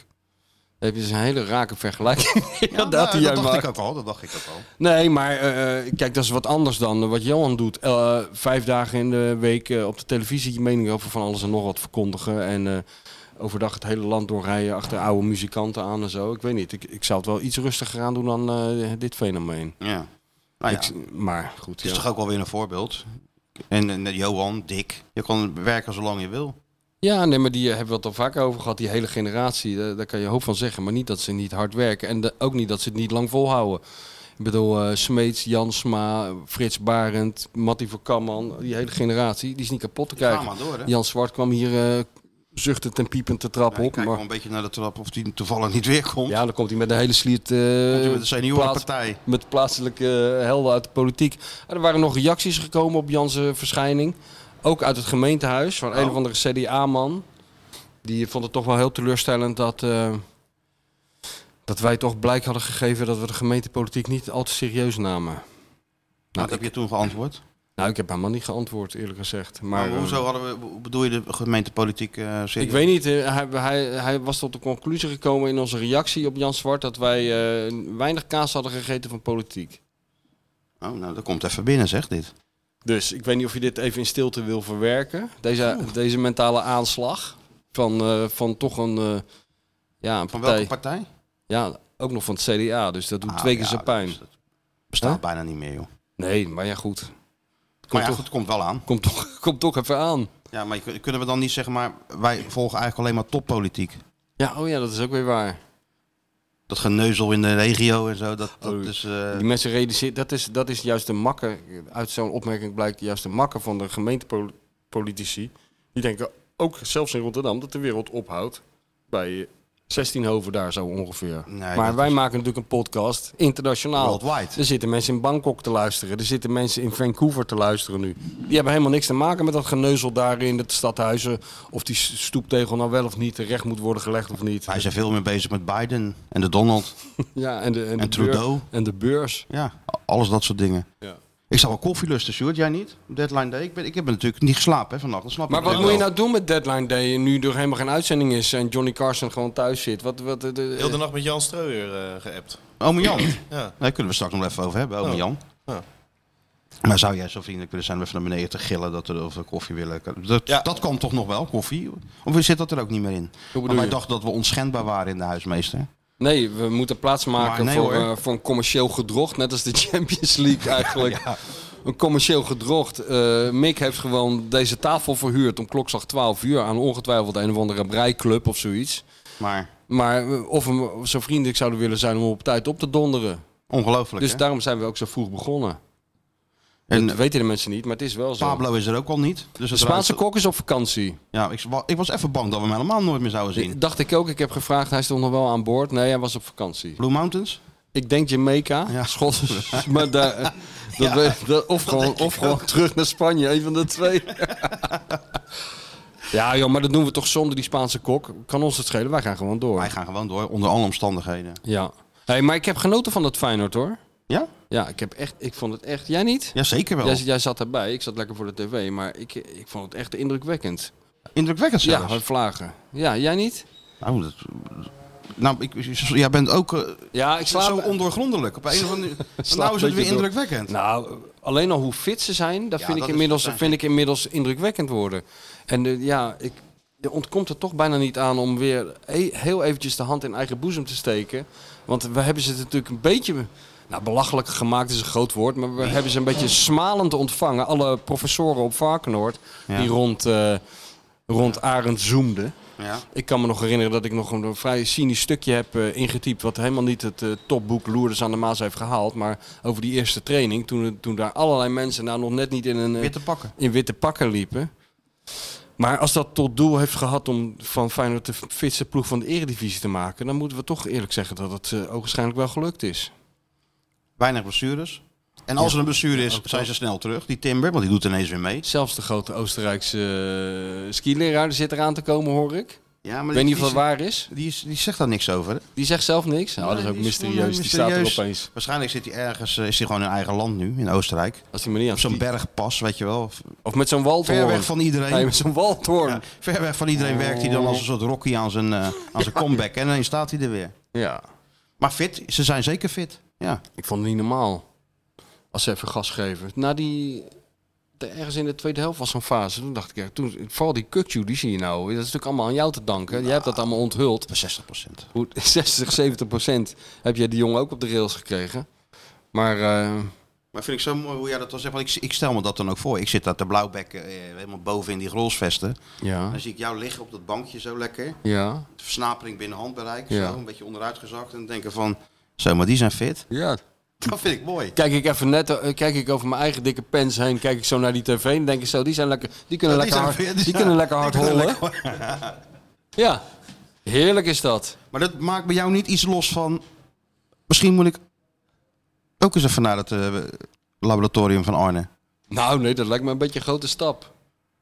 Dan heb je dus een hele rake vergelijking. Ja, inderdaad, nou, die jij dat dacht maakt. ik ook al, dat dacht ik ook al. Nee, maar eh, eh, kijk, dat is wat anders dan eh, wat Johan doet. Eh, vijf dagen in de week eh, op de televisie je mening over van alles en nog wat verkondigen. En eh, overdag het hele land doorrijden achter oude muzikanten aan en zo. Ik weet niet, ik, ik zou het wel iets rustiger aan doen dan eh, dit fenomeen. Ja. Nou ja, Ik- maar goed, het is ja. toch ook wel weer een voorbeeld. En, en Johan, Dick, je kan werken zolang je wil. Ja, nee, maar die eh, hebben we het al vaker over gehad. Die hele generatie, eh, daar, daar kan je hoop van zeggen. Maar niet dat ze niet hard werken. En de- ook niet dat ze het niet lang volhouden. Ik bedoel, eh, Smeets, Jansma, Frits Barend, Mattie van Kamman. Die hele generatie, die is niet kapot te Die gaan krijgen. maar door, hè? Jan Zwart kwam hier eh, zuchtend en piepend de trap Ja, ik op. kijk wel Maar, een beetje naar de trap of die toevallig niet weer komt. ja, dan komt hij met een hele sliert... eh, hij met de seniorenpartij. plaats- met plaatselijke eh, helden uit de politiek. En er waren nog reacties gekomen op Jans eh, verschijning. Ook uit het gemeentehuis van een Oh. of andere CDA-man. Die vond het toch wel heel teleurstellend dat... eh, dat wij toch blijk hadden gegeven dat we de gemeentepolitiek niet al te serieus namen. Wat heb je toen geantwoord? Nou, ik heb helemaal niet geantwoord, eerlijk gezegd. Maar, Maar eh, Nou, hoezo hadden we, hoe bedoel je de gemeentepolitiek eh serieus? ik weet niet, eh, hij, hij, hij was tot de conclusie gekomen in onze reactie op Jan Zwart... dat wij eh, weinig kaas hadden gegeten van politiek. Oh, nou, dat komt even binnen, zeg dit. Dus ik weet niet of je dit even in stilte wil verwerken. Deze, deze mentale aanslag van, eh, van toch een, eh, ja, een Van partij. welke partij? Ja, ook nog van het CDA, dus dat doet Ah, twee keer ja, zijn pijn. dus dat bestaat Huh? bijna niet meer, joh. Nee, maar ja goed. Maar Komt, ja, toch, goed, het komt wel aan. komt, toch, komt toch even aan. Ja, maar je kun- kunnen we dan niet zeggen, maar wij volgen eigenlijk alleen maar toppolitiek. Ja, oh ja, dat is ook weer waar. Dat geneuzel in de regio en zo, dat, dat Oh, is... eh, Die mensen realiseren, dat is, dat is juist de makker. Uit zo'n opmerking blijkt juist de makker van de gemeentepolitici. Die denken ook zelfs in Rotterdam dat de wereld ophoudt bij eh, 16 hoven daar zo ongeveer. Nee, maar dat wij is- maken natuurlijk een podcast internationaal. Worldwide. Er zitten mensen in Bangkok te luisteren. Er zitten mensen in Vancouver te luisteren nu. Die hebben helemaal niks te maken met dat geneuzel daar in het stadhuizen. Of die stoeptegel nou wel of niet terecht moet worden gelegd of niet. Wij zijn veel meer bezig met Biden en de Donald. Ja, en de, en de En Trudeau. beur- en de beurs. Ja, alles dat soort dingen. Ja. Ik zou wel koffie lusten, Sjoerd. Jij niet? Op Deadline Day. Ik, ben, ik heb natuurlijk niet geslapen hè, vannacht. Dat snap Maar ik wat wel. moet je nou doen met Deadline Day nu er helemaal geen uitzending is en Johnny Carson gewoon thuis zit? Wat, wat, eh, eh, Heel de nacht met Jan Streuer eh, geappt. Ome Oh, Jan. Ja. Daar kunnen we straks nog even over hebben, ome Oh. Jan. Ja. Maar zou jij zo vriendelijk willen zijn om even naar beneden te gillen dat we, of we koffie willen? Dat, Ja. dat kan toch nog wel, koffie? Of zit dat er ook niet meer in? Want bedoel wij je? dachten dat we onschendbaar waren in de huismeester. Nee, we moeten plaatsmaken Maar nee, voor, hoor. eh, voor een commercieel gedrocht, net als de Champions League eigenlijk. Een commercieel gedrocht. Eh, Mick heeft gewoon deze tafel verhuurd om klokslag 12 uur aan ongetwijfeld een of andere breiklub of zoiets. Maar Maar eh, of we zo vriendelijk zouden willen zijn om op tijd op te donderen. ongelooflijk, Dus hè? daarom zijn we ook zo vroeg begonnen. En Dat weten de mensen niet, maar het is wel zo. Pablo is er ook al niet. Dus de het Spaanse ruikt- kok is op vakantie. Ja, ik, wa- ik was even bang dat we hem helemaal nooit meer zouden zien. Dacht ik ook. Ik heb gevraagd, hij stond nog wel aan boord. Nee, hij was op vakantie. Blue Mountains? Ik denk Jamaica, Ja. Schot. maar daar, eh, dat we- dat- of gewoon, of gewoon terug naar Spanje, een van de twee. ja, joh, maar dat doen we toch zonder die Spaanse kok. Kan ons het schelen, wij gaan gewoon door. Wij gaan gewoon door, onder alle omstandigheden. Ja. Hey, maar ik heb genoten van dat Feyenoord, hoor. Ja? Ja, ik, heb echt, ik vond het echt... Jij niet? Ja, zeker wel. Jij, jij zat erbij, ik zat lekker voor de tv, maar ik, ik vond het echt indrukwekkend. Indrukwekkend zelfs. Ja, hard vlagen. Ja, jij niet? Nou, dat, nou ik, jij bent ook eh, Ja, Ah, ik slaap... zo ondoorgrondelijk. Op een of andere Slaap Nou is het een beetje weer door. indrukwekkend. Nou, alleen al hoe fit ze zijn, dat, Ja, dat vind, ik is inmiddels, fijn. vind ik inmiddels indrukwekkend worden. En eh, ja, ik, je ontkomt er toch bijna niet aan om weer he- heel eventjes de hand in eigen boezem te steken. Want we hebben ze natuurlijk een beetje... Nou, belachelijk gemaakt is een groot woord, maar we hebben ze een beetje smalend ontvangen. Alle professoren op Varkenoord, Ja. die rond, eh, rond Arend zoemden. ja. Ik kan me nog herinneren dat ik nog een een vrij cynisch stukje heb eh, ingetypt. Wat helemaal niet het eh, topboek Loerders aan de Maas heeft gehaald. Maar over die eerste training. Toen, toen daar allerlei mensen nou nog net niet in, een, eh, Weer te pakken. in witte pakken liepen. Maar als dat tot doel heeft gehad om van Feyenoord de fitste ploeg van de eredivisie te maken. Dan moeten we toch eerlijk zeggen dat het eh ogenschijnlijk wel gelukt is. Weinig blessures. En als er een blessure is, zijn ze snel terug. Die Timber, want die doet ineens weer mee. Zelfs de grote Oostenrijkse eh, skileraar die zit eraan te komen hoor ik. Ja, Ik maar weet die, niet of dat waar is. Die, is- die zegt daar niks over. hè? Die zegt zelf niks. Nou, dat is ook Die eh, mysterieus. Die staat er mysterieus. opeens. Waarschijnlijk zit hij ergens, eh, is hij gewoon in eigen land nu, in Oostenrijk. Als die manier Op zo'n bergpas, weet je wel. Of met zo'n Ver waldhoorn. weg van iedereen. Nee, met zo'n waldhoorn. Ja, Ja. ver weg van iedereen werkt hij dan als een soort Rocky aan zijn, eh, aan zijn comeback. En dan staat hij er weer. Maar fit, ze zijn zeker fit. Ja. Ik vond het niet normaal. Als ze even gas geven. Na die... de- Ergens in de tweede helft was zo'n fase. Toen dacht ik, ja, toen, vooral die kutju, die zie je nou. Dat is natuurlijk allemaal aan jou te danken. Jij hebt dat allemaal onthuld. 60 procent. Hoe- 60, 70 procent heb jij die jongen ook op de rails gekregen. Maar eh, Maar vind ik zo mooi hoe jij dat dan zegt. Want ik, ik stel me dat dan ook voor. Ik zit daar te blauwbekken eh, helemaal boven in die grolsvesten. Ja. Dan zie ik jou liggen op dat bankje zo lekker. Ja. De versnapering binnen handbereik. Ja. Zo, een beetje onderuitgezakt. En denken van, zo, maar die zijn fit. Ja. Dat vind ik mooi. Kijk ik even net, eh, kijk ik over mijn eigen dikke pens heen, kijk ik zo naar die tv en denk ik zo, die zijn lekker, die kunnen Ja, die lekker zijn hard, fit, die ja. kunnen lekker Die hard kunnen hollen. Ja. Heerlijk is dat. Maar dat maakt bij jou niet iets los van... Misschien moet ik ook eens even naar het eh, laboratorium van Arne. Nou, nee, dat lijkt me een beetje een grote stap.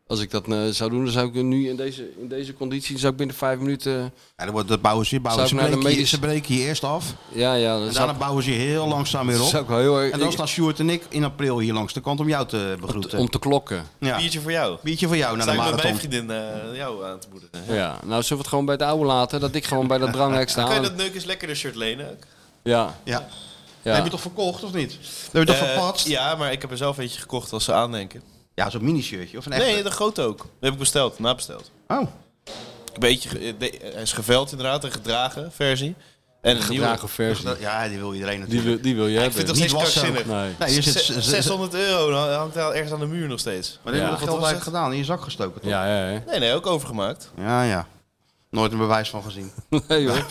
Als ik dat eh, zou doen, dan zou ik nu in deze, in deze conditie zou ik binnen vijf minuten. Ja, dan wordt, dat bouwen ze, bouwen Zou ze, ik naar de breken, je- medische- ze breken je eerst af. Ja, ja, dan En zou, daarna bouwen ze je heel langzaam weer ik- op. zou ik wel heel erg. En dan ik- staan Stuart en ik in april hier langs de kant om jou te begroeten. om te klokken. ja. Biertje voor jou. Biertje voor jou naar Sta de ik met mijn marathon. vriendin eh, jou aan te moedigen. Ja. nou zullen we het gewoon bij het oude laten, dat ik gewoon bij dat dranghek sta. Kan je dat neuk eens lekkerder shirt lenen? ook? Ja, Ja. ja. Heb je toch verkocht of niet? Heb je toch Eh, verpatst? Ja, Ja, maar ik heb er zelf eentje gekocht als ze aandenken. zo'n mini-shirtje of een echte? Nee, de grote ook. Die heb ik besteld, nabesteld. Oh, Een beetje, ge- eh, de- hij is geveld inderdaad, een gedragen versie. En een gedragen versie. dat- ja, die wil iedereen Die natuurlijk. wil, die wil je nieuwe. Ik vind hebben. dat Niet steeds wassen. krankzinnig. Nee. Nee, je zit Zes- z- z- 600 euro nou, hangt daar ergens aan de muur nog steeds. Maar die Ja. hebben dat Wat geld was eigenlijk gedaan, in je zak gestoken toch? Ja. Ja, ja, ja. Nee, nee, ook overgemaakt. ja, Nooit een bewijs van gezien. Nee, hoor.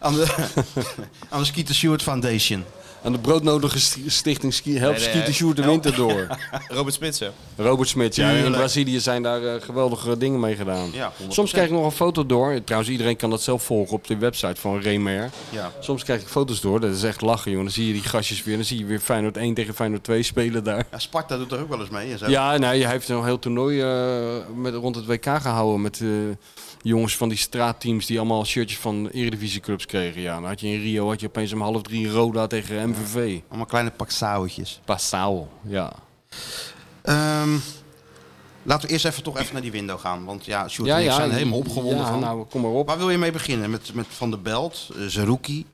aan, de, aan de Skeeter Stewart Foundation. Aan de broodnodige sti- stichting Ski Help Nee, nee, Ski de hè. Sjoerd de Winter door. Robert Smitsen. Robert Smit, ja. In Tuurlijk. Brazilië zijn daar eh, geweldige dingen mee gedaan. Ja, 100%. Soms krijg ik nog een foto door. Trouwens, iedereen kan dat zelf volgen op de website van Remer. Ja. Soms krijg ik foto's door. Dat is echt lachen, jongen. Dan zie je die gastjes weer. Dan zie je weer Feyenoord 1 tegen Feyenoord 2 spelen daar. ja, Sparta doet er ook wel eens mee. En zo. Ja, nou, hij heeft een heel toernooi eh, met, rond het WK gehouden met eh, jongens van die straatteams die allemaal shirtjes van eredivisieclubs kregen. Ja, dan had je in Rio had je opeens om half drie Roda tegen MVV. Allemaal kleine paksauwtjes. Passau, ja. Ehm, laten we eerst even toch even naar die window gaan. Want ja, Sjoerd ja, en ik ja, zijn er helemaal opgewonden Ah, ja, van. nou, kom maar op. Waar wil je mee beginnen? Met, met Van der Belt, eh, Zerouki.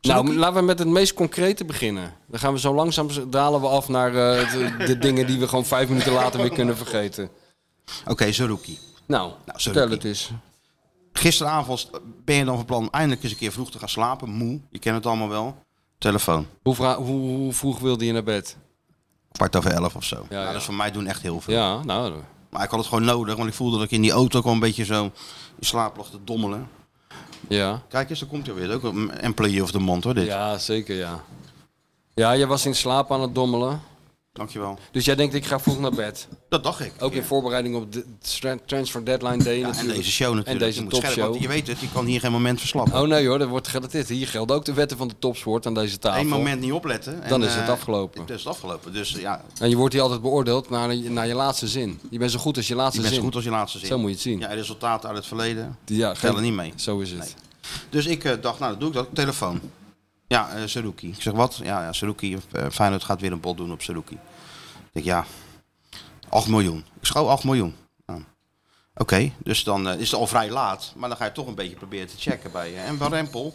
Nou, laten we met het meest concrete beginnen. Dan gaan we zo langzaam dalen we af naar eh, de, de dingen die we gewoon vijf minuten later weer kunnen vergeten. Oké, Zerouki. Nou, sorry, vertel Piet. het eens. Gisteravond ben je dan van plan eindelijk eens een keer vroeg te gaan slapen. Moe, je kent het allemaal wel. Telefoon, Hoe, vra- hoe, hoe vroeg wilde je naar bed? kwart over elf of zo. nou, ja. Dat is voor mij doen echt heel veel. Ja, nou, Maar ik had het gewoon nodig, want ik voelde dat ik in die auto ook al een beetje zo in slaap lag te dommelen. ja. Kijk eens, daar komt hij weer. Ook een employee of the month hoor, dit. Ja, zeker, ja. Ja, jij was in slaap aan het dommelen. Dankjewel. Dus jij denkt, ik ga vroeg naar bed. Dat dacht ik. Ook in voorbereiding op de tra- Transfer Deadline Day Ja, en natuurlijk. deze show natuurlijk. En deze Je moet scherp, topshow. want je weet het, je kan hier geen moment verslappen. Oh nee hoor, dat wordt, dat dit. hier gelden ook de wetten van de topsport aan deze tafel. Eén moment niet opletten. En, Dan is het eh, afgelopen. Het is afgelopen. Dus ja, En je wordt hier altijd beoordeeld naar, naar je laatste zin. Je bent zo goed als je laatste je bent zo zin. goed als je laatste zin. Zo moet je het zien. Ja, resultaten uit het verleden. Ja, tellen geen- niet mee. Zo is het. Dus ik eh, dacht, nou, dat doe ik dat. Telefoon. Ja, eh Saruki. Ik zeg, wat? Ja, ja Saruki. eh, Feyenoord gaat weer een bod doen op Saruki. Ik denk, ja, 8 miljoen. Ik schouw 8 miljoen. Nou, Oké, dus dan eh, is het al vrij laat. Maar dan ga je toch een beetje proberen te checken bij... eh, en Van Rempel,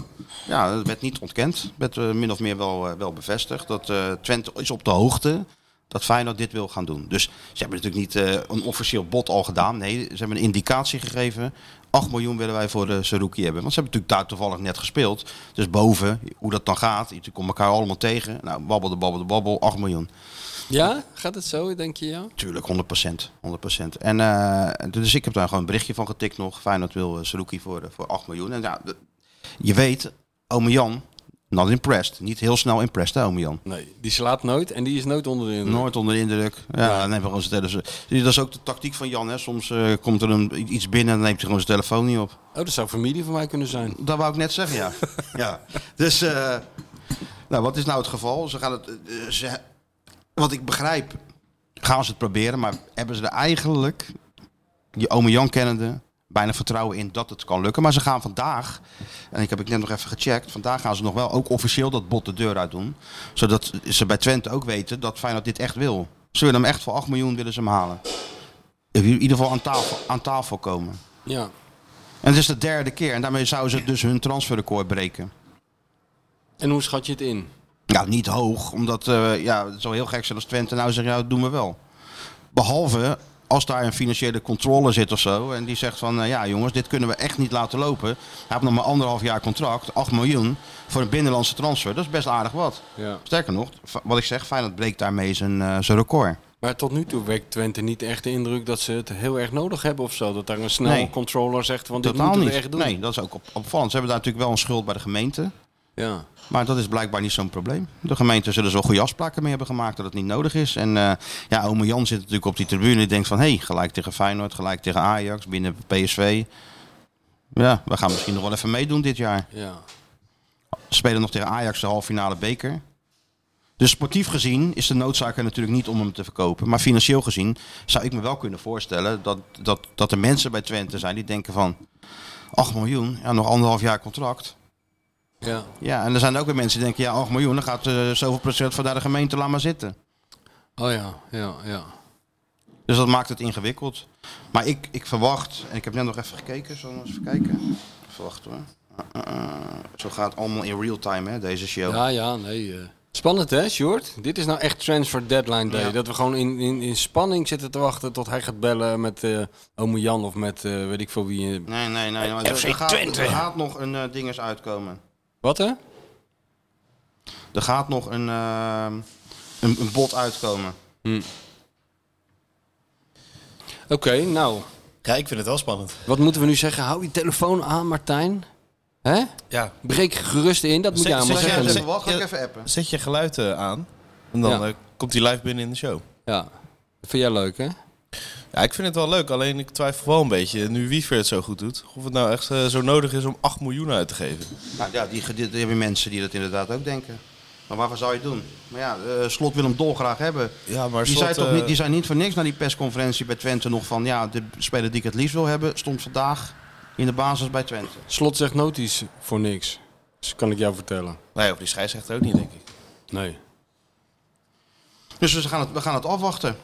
ja, dat werd niet ontkend. Werd eh, min of meer wel, eh, wel bevestigd. Dat eh, Twente is op de hoogte dat Feyenoord dit wil gaan doen. Dus ze hebben natuurlijk niet eh, een officieel bod al gedaan. Nee, ze hebben een indicatie gegeven. 8 miljoen willen wij voor de Saruki hebben. Want ze hebben natuurlijk daar toevallig net gespeeld. Dus boven, hoe dat dan gaat. Je komt elkaar allemaal tegen. Nou, babbel de babbel de babbel, 8 miljoen. Ja? Gaat het zo, denk je ja? Tuurlijk, 100%. 100%. En, eh, dus ik heb daar gewoon een berichtje van getikt nog. Feyenoord wil uh, voor, eh, voor 8 miljoen. En ja, d- je weet, ome Jan, not impressed. Niet heel snel impressed, hè, ome Jan. Nee, die slaapt nooit en die is nooit onder de indruk. Nooit onder de indruk. Ja, dan hebben we gewoon zijn telefoon. Dus dat is ook de tactiek van Jan. Hè. Soms eh, komt er een, iets binnen en dan neemt hij gewoon zijn telefoon niet op. Oh, dat zou familie van mij kunnen zijn. Dat wou ik net zeggen, ja. ja. Dus, eh, nou, wat is nou het geval? Ze gaan het, eh, ze, wat ik begrijp, gaan ze het proberen, maar hebben ze er eigenlijk, je ome Jan kennende, bijna vertrouwen in dat het kan lukken. Maar ze gaan vandaag, en ik heb ik net nog even gecheckt, vandaag gaan ze nog wel ook officieel dat bot de deur uit doen. Zodat ze bij Twente ook weten dat Feyenoord dit echt wil. Ze willen hem echt voor 8 miljoen willen ze hem halen. In ieder geval aan tafel, aan tafel komen. Ja. En het is de derde keer. En daarmee zouden ze dus hun transferrecord breken. En hoe schat je het in? Nou, niet hoog. Omdat eh, ja, het zou heel gek zijn als Twente nou zegt, ja, dat doen we wel. Behalve als daar een financiële controle zit of zo. En die zegt van, eh, ja jongens, dit kunnen we echt niet laten lopen. Hij heeft nog maar anderhalf jaar contract. 8 miljoen voor een binnenlandse transfer. Dat is best aardig wat. Ja. Sterker nog, fa- wat ik zeg, Feyenoord breekt daarmee zijn, eh, zijn record. Maar tot nu toe wekt Twente niet echt de indruk dat ze het heel erg nodig hebben of zo. Dat daar een snel Nee. controller zegt van dit Totaal moeten we niet. echt doen. Nee, dat is ook op, opvallend. Ze hebben daar natuurlijk wel een schuld bij de gemeente. Ja. Maar dat is blijkbaar niet zo'n probleem. De gemeente zullen zo goede afspraken mee hebben gemaakt dat het niet nodig is. En eh, ja, ome Jan zit natuurlijk op die tribune en denkt van... hé, hey, gelijk tegen Feyenoord, gelijk tegen Ajax, binnen PSV. Ja, we gaan misschien nog wel even meedoen dit jaar. ja. We spelen nog tegen Ajax de halve finale beker. Dus sportief gezien is de noodzaak er natuurlijk niet om hem te verkopen. Maar financieel gezien zou ik me wel kunnen voorstellen dat, dat, dat er mensen bij Twente zijn die denken van... 8 miljoen, ja, nog anderhalf jaar contract. Ja. Ja, en er zijn ook weer mensen die denken, ja, 8 miljoen, dan gaat eh, zoveel procent van daar de gemeente laat maar zitten. Oh ja, ja, ja. Dus dat maakt het ingewikkeld. Maar ik, ik verwacht, en ik heb net nog even gekeken, zullen we eens even kijken? Even wachten hoor. Eh, eh, eh, zo gaat het allemaal in real time, hè, deze show. Ja, ja, nee. eh. Spannend hè, Short? Dit is nou echt transfer deadline day. Ja. Dat we gewoon in, in, in spanning zitten te wachten tot hij gaat bellen met eh ome Jan of met eh, weet ik veel wie. eh. Nee, nee, nee. Maar er, er gaat, er gaat nog een eh ding eens uitkomen. Wat hè? Er gaat nog een, eh, een, een bod uitkomen. Oké, nou. Ja, ik vind het wel spannend. Wat moeten we nu zeggen? Hou je telefoon aan, Martijn. Hè? Ja. Breek gerust in, dat moet Zeg- je allemaal zeg jij- Ja, zeggen. zeg- even wat, ga ik even appen. Zet je geluid eh, aan en dan Ja. eh, komt hij live binnen in de show. Ja. Dat vind jij leuk hè? Ja, ik vind het wel leuk, alleen ik twijfel wel een beetje, nu Wiever het zo goed doet, of het nou echt eh, zo nodig is om 8 miljoen uit te geven. Nou ja, die, die, die hebben mensen die dat inderdaad ook denken. Maar waarvoor zou je het doen? Maar ja, eh, Slot wil hem dolgraag hebben. Ja, maar die, Slot, zei toch eh, niet, die zei niet voor niks na die persconferentie bij Twente nog van... ja, de speler die ik het liefst wil hebben stond vandaag in de basis bij Twente. Slot zegt noties voor niks. Dus kan ik jou vertellen. Nee, of die scheidsrechter ook niet, denk ik. Oh, Nee. Dus we gaan het, we gaan het afwachten.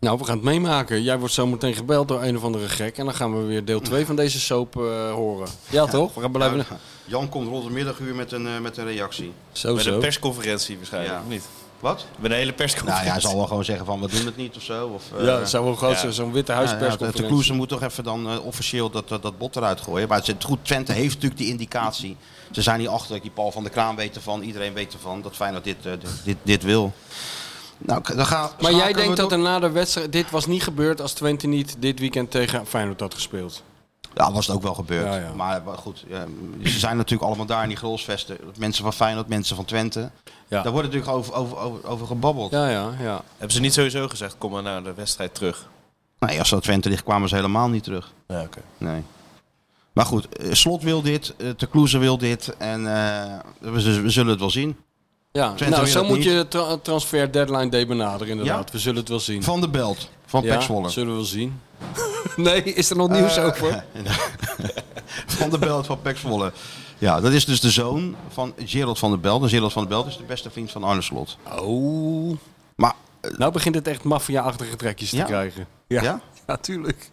Nou, we gaan het meemaken. Jij wordt zometeen gebeld door een of andere gek. En dan gaan we weer deel 2 van deze soap eh, horen. Ja, toch? We gaan blijven. Ja, Jan komt rond de middaguur met een, eh, met een reactie. Zo, Bij de zo. persconferentie waarschijnlijk, Ja. of niet? Wat? Bij de hele Nou persconferentie. ja, hij zal wel gewoon zeggen van we doen het niet of zo. Of, eh, ja, het zou wel groot ja. zijn. Zo'n Witte Ja, ja, de- de Huispersconferentie. Kloeze moet toch even dan eh, officieel dat, dat, dat bot eruit gooien. Maar het zit goed, Twente heeft natuurlijk die indicatie. Ze zijn niet achter, die Paul van der Kraan weet ervan, iedereen weet ervan. Dat Feyenoord dit, eh, dit, dit, dit wil. Nou, k- dan gaan, maar schakelen jij we denkt door- dat er na de wedstrijd... Dit was niet gebeurd als Twente niet dit weekend tegen Feyenoord had gespeeld. Ja, was het ook wel gebeurd. Ja, ja. Maar, maar goed, eh, ze zijn natuurlijk allemaal daar in die grolsvesten. Mensen van Feyenoord, mensen van Twente. Ja. Daar wordt natuurlijk over, over, over, over gebabbeld. Ja, ja, ja. Hebben ze niet sowieso gezegd, kom maar naar de wedstrijd terug? Nee, als ze uit Twente ligt, kwamen ze helemaal niet terug. Ja, oké. Nee. Maar goed, eh, Slot wil dit, eh, Te Kloeze wil dit. En eh, we, z- we zullen het wel zien. ja. Twente Nou, wil zo dat moet niet. je de tra- transfer deadline day benaderen inderdaad. Ja? We zullen het wel zien. Van de Belt, van ja, Pek Zwolle. zullen we wel zien. nee, is er nog nieuws Eh, over? Van de Belt van Pek Zwolle. Ja, dat is dus de zoon van Gerald van der Belt. En Gerald van der Belt is de beste vriend van Arne Slot. Oh. Maar, Nou begint het echt maffia-achtige trekjes Ja. te krijgen. ja? natuurlijk.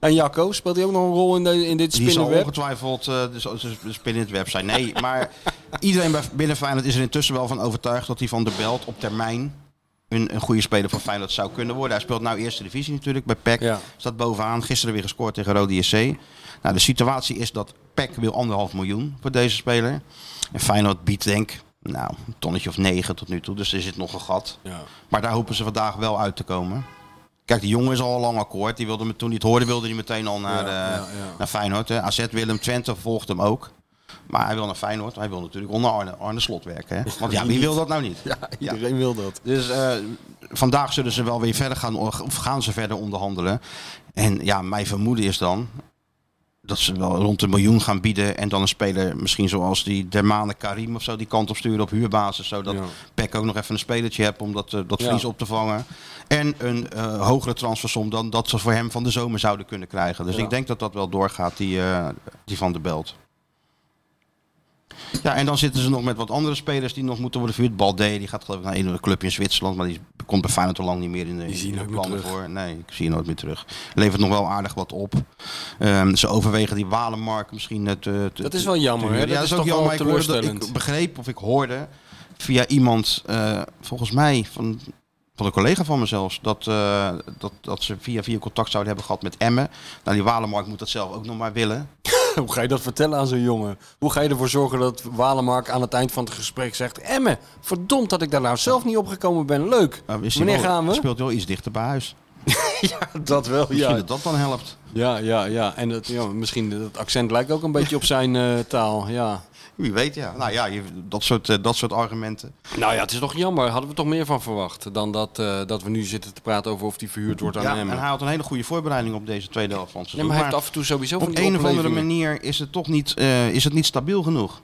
En Jacco, speelt hij ook nog een rol in, de, in dit Die zal spinnenweb? ongetwijfeld eh dus, dus- dus binnen het web zijn. Nee, maar iedereen bij, binnen Feyenoord is er intussen wel van overtuigd... dat hij van der Belt op termijn een, een goede speler voor Feyenoord zou kunnen worden. Hij speelt nou eerste divisie natuurlijk bij PEC. Ja. Staat bovenaan. Gisteren weer gescoord tegen Rode SC. Nou, de situatie is dat PEC wil anderhalf miljoen voor deze speler. En Feyenoord biedt denk ik, nou, een tonnetje of negen tot nu toe. Dus er zit nog een gat. Ja. Maar daar hopen ze vandaag wel uit te komen. Kijk, die jongen is al lang akkoord. Die wilde me, toen hij het hoorde, wilde hij meteen al naar, Ja, eh, ja, ja. naar Feyenoord. Hè. AZ Willem Twente volgt hem ook. Maar hij wil naar Feyenoord. Hij wil natuurlijk onder Arne, Arne Slot werken. Hè. Want ja, wie wil dat nou niet? Iedereen wil dat. Dus eh, vandaag zullen ze wel weer verder gaan, of gaan ze verder onderhandelen. En ja, mijn vermoeden is dan dat ze wel rond een miljoen gaan bieden. En dan een speler misschien zoals die Dermane Karim of zo die kant op sturen op huurbasis. Zodat Ja. PEC ook nog even een spelertje hebt om dat, eh, dat Ja. verlies op te vangen. En een eh, hogere transfersom dan dat ze voor hem van de zomer zouden kunnen krijgen. Dus Ja. ik denk dat dat wel doorgaat, die, eh, die van de Belt. Ja, en dan zitten ze nog met wat andere spelers die nog moeten worden verhuurd. Balde, die gaat geloof ik naar een of ander clubje in Zwitserland, maar die komt bij Feyenoord al lang niet meer in de, Die zie je in de nooit meer plannen terug. voor. Nee, ik zie je nooit meer terug. Levert nog wel aardig wat op. Ehm, ze overwegen die Walenmark misschien eh, het. Dat is wel jammer, hè? Ja, Dat dat, is is, toch ook wel jammer. Ik, hoorde dat, teleurstellend. ik begreep of ik hoorde via iemand, eh, volgens mij van Van een collega van me zelfs. Dat, eh, dat, dat ze via via contact zouden hebben gehad met Emmen. Nou, die Walemark moet dat zelf ook nog maar willen. Hoe ga je dat vertellen aan zo'n jongen? Hoe ga je ervoor zorgen dat Walemark aan het eind van het gesprek zegt... Emme, verdomd dat ik daar nou zelf niet opgekomen ben. Leuk. Maar is die Wanneer wel- gaan we? Speelt wel iets dichter bij huis. Dat wel, Misschien dat dat dan helpt. Ja, ja, ja. En dat, ja, misschien dat accent lijkt ook een beetje op zijn eh, taal. Ja. Wie weet, ja. Nou ja, je, dat, soort, eh, dat soort argumenten. Nou ja, het is toch jammer. Hadden we toch meer van verwacht dan dat, eh, dat we nu zitten te praten over of die verhuurd wordt aan Ja, en hem. hij had een hele goede voorbereiding op deze tweede helft van het Nee, seizoen. maar hij heeft af en toe sowieso van op die een of andere oplevingen. manier is het toch niet, eh, is het niet stabiel genoeg.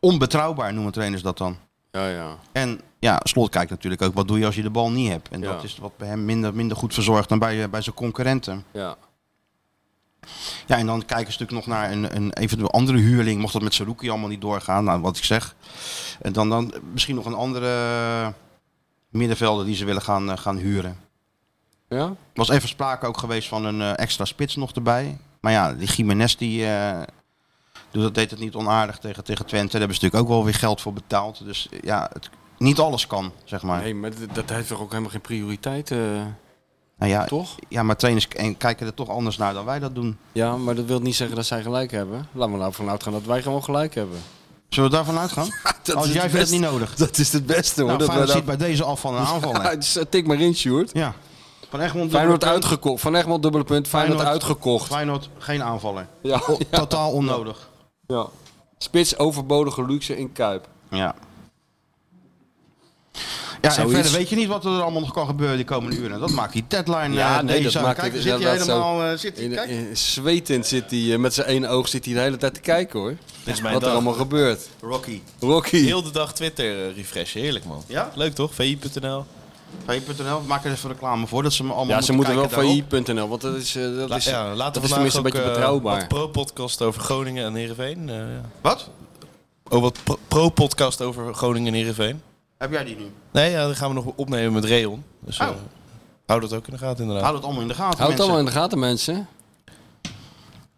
Onbetrouwbaar noemen trainers dat dan. Ja, ja. En ja, Slot kijkt natuurlijk ook, wat doe je als je de bal niet hebt? En Ja. dat is wat bij hem minder, minder goed verzorgd dan bij, eh, bij zijn concurrenten. ja. Ja, en dan kijken ze natuurlijk nog naar een, een eventueel andere huurling. Mocht dat met Saruki allemaal niet doorgaan, nou wat ik zeg. En dan, dan misschien nog een andere middenvelder die ze willen gaan, eh, gaan huren. Ja? Er was even sprake ook geweest van een eh, extra spits nog erbij. Maar ja, die Jiménez die, eh, doet dat, deed het niet onaardig tegen, tegen Twente. Daar hebben ze natuurlijk ook wel weer geld voor betaald. Dus eh, ja, het, niet alles kan, zeg maar. Nee, maar dat- dat heeft toch ook helemaal geen prioriteit, eh, nou ja, toch? ja, maar trainers k- en kijken er toch anders naar dan wij dat doen. Ja, maar dat wil niet zeggen dat zij gelijk hebben. Laten we nou vanuit gaan dat wij gewoon gelijk hebben. Zullen we daarvan uitgaan? Als jij vindt het niet nodig. Dat is het beste hoor. Nou, dat wij Feyenoord daar- ziet bij deze af van een aanval. hè. Ja, dus, eh, tik maar in, Sjoerd. Ja. Van Egmond, Feyenoord dubbele punt. uitgekocht. Van Egmond dubbele punt. Feyenoord, Feyenoord- Oh. uitgekocht. Feyenoord, geen aanvaller. Ja, O, Totaal onnodig. ja. Spits overbodige luxe in Kuip. Ja. Ja, en Zoiets. verder weet je niet wat er allemaal nog kan gebeuren de komende uren. Dat maakt die deadline. Ja, eh, nee, dat deze. maakt Kijk, het zit hij inderdaad zo. helemaal... eh, zit hij, In, kijk. in, zwetend zit hij eh, met zijn ene oog zit hij de hele tijd te kijken hoor. Dit is mijn Wat er dag. allemaal gebeurt. Rocky. Rocky. Heel de dag Twitter eh, refreshen. Heerlijk, man. Ja? Leuk, toch? VI.nl. V.nl, maak er even reclame voor dat ze me allemaal ja, ze moeten wel kijken daarop. VI.nl, want dat is, eh, dat La, is, ja, laten dat we vandaag is tenminste ook een beetje eh, betrouwbaar. wat pro-podcast over Groningen en Heerenveen. eh, ja. Wat? Oh, wat pro- pro-podcast over Groningen en Heerenveen. Heb jij die nu? Nee, ja, dat gaan we nog opnemen met Reon. Dus eh, Oh. hou dat ook in de gaten, inderdaad. Houd het allemaal in de gaten, Houd het mensen. allemaal in de gaten mensen.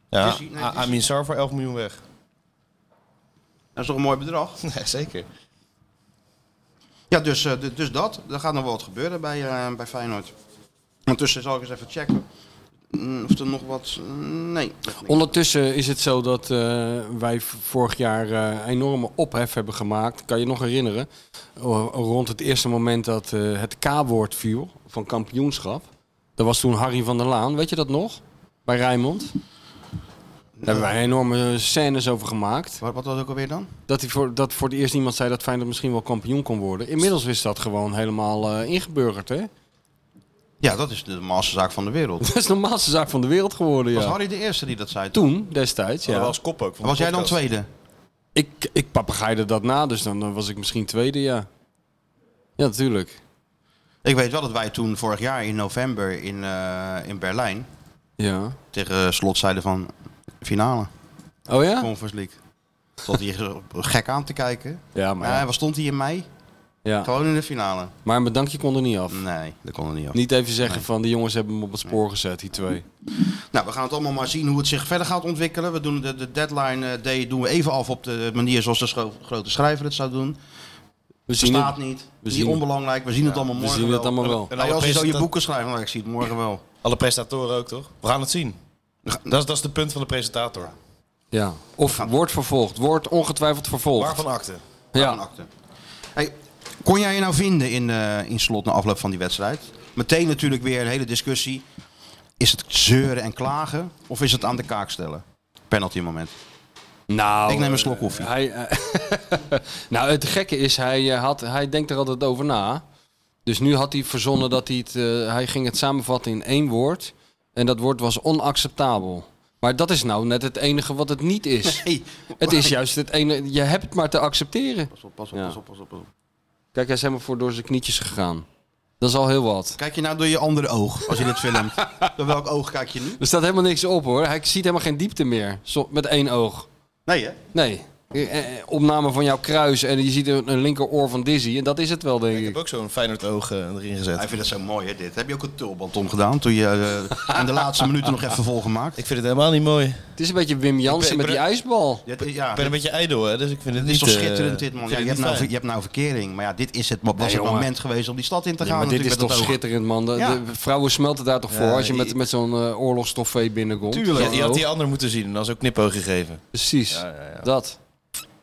Ja, het is- dus nee, het A- is- Amin Sar voor 11 miljoen weg. Dat is toch een mooi bedrag? Nee, zeker. Ja, dus, eh, d- dus dat. Er gaat nog wel wat gebeuren bij, eh, bij Feyenoord. Ondertussen zal ik eens even checken mm, of er nog wat... Nee. dat niet. Ondertussen is het zo dat eh, wij v- vorig jaar eh, enorme ophef hebben gemaakt. Kan je nog herinneren? O- Rond het eerste moment dat eh, het K-woord viel van kampioenschap. Dat was toen Harry van der Laan, weet je dat nog? Bij Rijnmond. Daar hebben wij enorme scènes over gemaakt. Wat, wat was ook alweer dan? Dat, hij voor, dat voor het eerst iemand zei dat Feyenoord misschien wel kampioen kon worden. Inmiddels is dat gewoon helemaal eh, ingeburgerd, hè? Ja, dat is de normaalste zaak van de wereld. Dat is de normaalste zaak van de wereld geworden, Was ja. Harry de eerste die dat zei? Toen, destijds, Ja. ja. was kop ook. Van de Was jij dan podcast. tweede? Ik, ik papegaaide dat na, dus dan eh, was ik misschien tweede, ja. Ja, natuurlijk. Ik weet wel dat wij toen vorig jaar in november in, eh, in Berlijn Ja. tegen slot zeiden van finale Oh ja? Conference League. Zat hier gek aan te kijken. Ja, maar, Maar ja. waar stond hij in mei? Ja. Gewoon in de finale. maar mijn dankje kon er niet af. Nee, dat kon er niet af. Niet even zeggen van, die jongens hebben hem op het spoor gezet, die twee. Nou, we gaan het allemaal maar zien hoe het zich verder gaat ontwikkelen. We doen de, de deadline eh, day doen we even af op de manier zoals de scho- grote schrijver het zou doen. We zien Bestaat het, niet. Niet zien het. onbelangrijk. We zien het allemaal we morgen zien wel. het allemaal wel. En Nou, alle, als je zo je presenta- boeken schrijft, nou, ik zie het morgen wel. alle presentatoren ook, toch? We gaan het zien. Dat is, dat is de punt van de presentator. Ja. Of wordt vervolgd. Wordt ongetwijfeld vervolgd. Waarvan akte? Aan Ja. akte. Hey, kon jij je nou vinden in, eh, in slot na afloop van die wedstrijd? Meteen natuurlijk weer een hele discussie. Is het zeuren en klagen of is het aan de kaak stellen? Penalty moment. Nou, Ik neem een slok eh, koffie. Hij, eh, nou, het gekke is, hij, eh, had, hij denkt er altijd over na. Dus nu had hij verzonnen dat hij het... eh, hij ging het samenvatten in één woord. En dat woord was onacceptabel. Maar dat is nou net het enige wat het niet is. Hey, Het is juist het ene... Je hebt het maar te accepteren. pas op, pas op, Ja. pas op, pas op, pas op. Kijk, hij is helemaal voor door zijn knietjes gegaan. Dat is al heel wat. Kijk je nou door je andere oog als je dit filmt? door welk oog kijk je nu? Er staat helemaal niks op, hoor. Hij ziet helemaal geen diepte meer. Zo- Met één oog. Nee hè? Nee. eh, eh, opname van jouw kruis en je ziet een, een linkeroor van Dizzy. En dat is het wel, denk Ik ik. heb ook zo'n Feyenoord oog eh, erin gezet. Hij vindt het zo mooi, hè, dit. Heb je ook een tulband om gedaan toen je eh, in de laatste minuten nog even volgemaakt? Ik vind het helemaal niet mooi. Het is een beetje Wim Jansen ben- met die ben- ijsbal. Dit- ja, Ik ben een dit beetje ijdel, hè, dus ik vind het is niet... toch eh, schitterend dit, man. ik Ja, vind je, het hebt niet nou, fijn. je hebt nou verkering, maar ja, dit is het, was Nee, het jongen. moment geweest om die stad in te gaan. maar dit is natuurlijk, toch met dat oog. schitterend, man. De, Ja. de vrouwen smelten daar toch voor als je met, met zo'n eh oorlogstoffee binnenkomt. Tuurlijk. Je, je had die ander moeten zien en dan is ook knipoog gegeven. Precies, dat.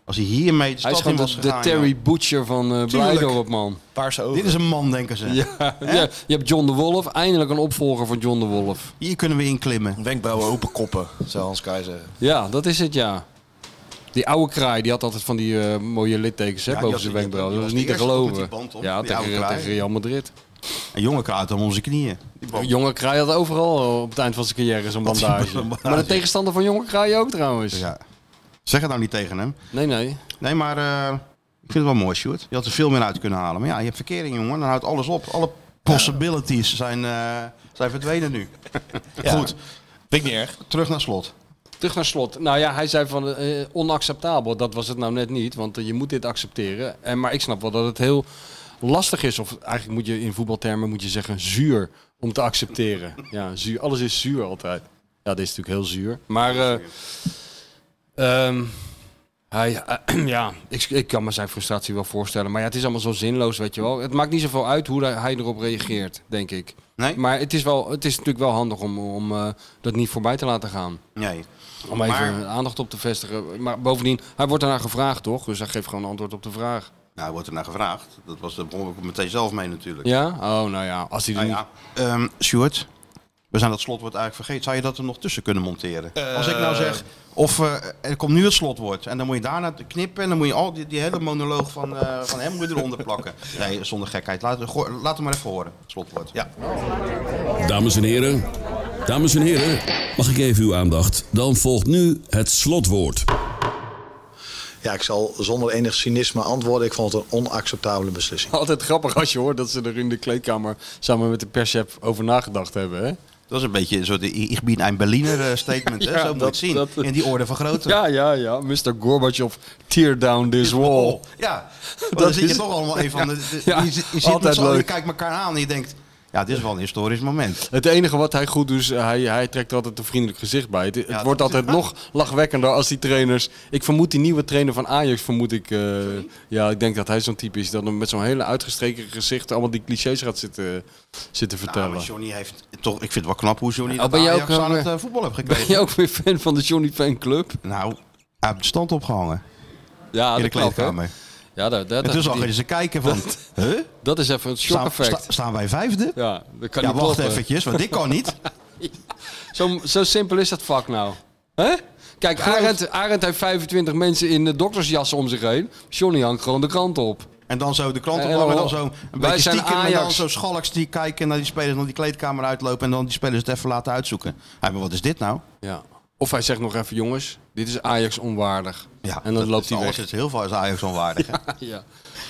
Als hij hiermee de Hij stad is in gewoon was de, de gegaan, Terry joh. Butcher van eh Blijdorp, man. Paarse ogen. Dit is een man, denken ze. Ja, je, je hebt John de Wolf, eindelijk een opvolger van John de Wolf. Hier kunnen we inklimmen. Wenkbrauwen open koppen, zou Hans Kai zeggen. Ja, dat is het, ja. Die oude kraai, die had altijd van die eh, mooie littekens hè, Ja, die boven had- die- zijn wenkbrauw. die Dat is was niet de te eerste met die geloven. band op, ja, die oude tegen, kraai. tegen Real Madrid. Een jonge kraait om onze knieën. Een Jonge kraai had overal op het eind van zijn carrière zo'n die bandage. bandage. Maar de tegenstander van Jonge kraai ook trouwens. Ja. Zeg het nou niet tegen hem. Nee, nee. Nee, maar eh, ik vind het wel mooi, Sjoerd. Je had er veel meer uit kunnen halen. Maar ja, je hebt verkering, jongen. Dan houdt alles op. Alle possibilities zijn, eh, zijn verdwenen nu. Goed, Vind ik niet erg. terug naar slot. Terug naar slot. Nou ja, hij zei van eh, onacceptabel. Dat was het nou net niet, want eh, je moet dit accepteren. En, maar ik snap wel dat het heel lastig is. Of eigenlijk moet je in voetbaltermen moet je zeggen zuur om te accepteren. ja, zuur. Alles is zuur altijd. Ja, dit is natuurlijk heel zuur. Maar eh, ehm, hij, eh, ja, ik, ik kan me zijn frustratie wel voorstellen. Maar ja, het is allemaal zo zinloos, weet je wel. Het maakt niet zoveel uit hoe hij- hij erop reageert, denk ik. Nee? Maar het is, wel, het is natuurlijk wel handig om, om eh, dat niet voorbij te laten gaan. Nee. Om even Maar- aandacht op te vestigen. Maar bovendien, hij wordt daarna gevraagd, toch? Dus hij geeft gewoon een antwoord op de vraag. Nou, hij wordt er naar gevraagd. Dat was de begon ik meteen zelf mee natuurlijk. Ja? Oh, nou ja. Als hij er Nou ja, ehm, Sjoerd, we zijn dat slotwoord eigenlijk vergeten. Zou je dat er nog tussen kunnen monteren? Eh, Als ik nou zeg, of eh, er komt nu het slotwoord. En dan moet je daarna knippen en dan moet je al die, die hele monoloog van, eh, van hem moet je eronder plakken. Nee, zonder gekheid. Laat, gooi- laat hem maar even horen, het slotwoord. Ja. Dames en heren, dames en heren, mag ik even uw aandacht? Dan volgt nu het slotwoord. Ja, ik zal zonder enig cynisme antwoorden. Ik vond het een onacceptabele beslissing. niet... Altijd grappig als je hoort dat ze er in de kleedkamer samen met de perschef over nagedacht hebben, hè? Dat is een beetje een soort I- Ik bin ein Berliner eh, statement. hè? Ja, Zo moet je dat- het zien. dat- In die orde van grootte. Ja, ja, ja. Mr. Gorbachev, tear down this wall. Oh, Ja, want Dat dan zit je is- toch allemaal even van. de- Ja, je, zit- je, zit altijd met z'n allen, je leuk. kijkt elkaar aan en je denkt. Ja, dit is wel een historisch moment. Het enige wat hij goed doet, is eh, hij, hij trekt er altijd een vriendelijk gezicht bij. Het, het dat wordt is- altijd nog lachwekkender als die trainers... Ik vermoed die nieuwe trainer van Ajax, vermoed ik... eh, ja, ik denk dat hij zo'n type is. Dat hem met zo'n hele uitgestreken gezicht allemaal die clichés gaat zitten, eh, zitten Nou, vertellen. maar Johnny heeft toch, ik vind het wel knap hoe Johnny Oh, dat ben je Ajax ook, aan eh, het eh, voetbal heeft ben gekregen. je ook weer fan van de Johnny Fan Club? Nou, hij heeft de stand opgehangen Ja, in de Ah, dat klopt, hè? kleedkamer. Ja, dat, dat, En toen dat, zag je ze kijken van, huh? dat is even het shock Staan, effect. sta- staan wij vijfde? Ja, Ja, dat kan niet wacht kloppen. eventjes, want dit kan niet. Zo, zo simpel is dat vak nou. hè? Kijk, Arend, Arend heeft 25 mensen in eh, doktersjassen om zich heen. Johnny hangt gewoon de krant op. En dan zo de krant En ophangen, en dan allemaal- zo een Wij beetje zijn stiekem. En dan Ajax. zo schalks die kijken naar die spelers, dan die kleedkamer uitlopen. En dan die spelers het even laten uitzoeken. Hij, maar wat is dit nou? Ja. Of hij zegt nog even, jongens, dit is Ajax onwaardig. Ja, en dan loopt hij weg. Alles is heel veel is Ajax onwaardig. hè? Ja.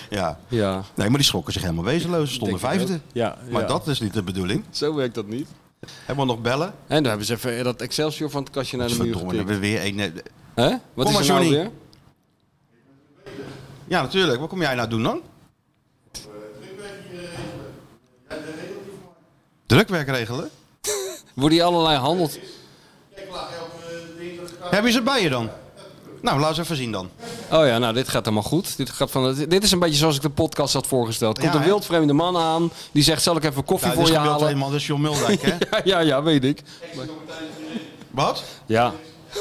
ja. Ja. Nee, maar die schrokken zich helemaal wezenloos. Ze stonden Denk ik vijfde. ook. Ja, maar ja. dat is niet de bedoeling. Zo werkt dat niet. Helemaal nog bellen. En dan hebben ze even dat Excelsior van het kastje naar de muur Verdomme, dan hebben getikt. we weer één. Hè? Wat Kom is er maar, nou Johnny. weer? Ja, natuurlijk. Wat kom jij nou doen dan? Drukwerk regelen? Wordt hier allerlei handeld? Heb je ze bij je dan? Nou, laat ze even zien dan. Oh ja, nou dit gaat helemaal goed. Dit, gaat van, dit is een beetje zoals ik de podcast had voorgesteld. Komt Ja, een hè? wildvreemde man aan, die zegt zal ik even koffie Nou, dit voor is je gebeeld halen? eenmaal, dat is John Muldijk, hè? Ja, ja, ja, weet ik. Wat? Ja.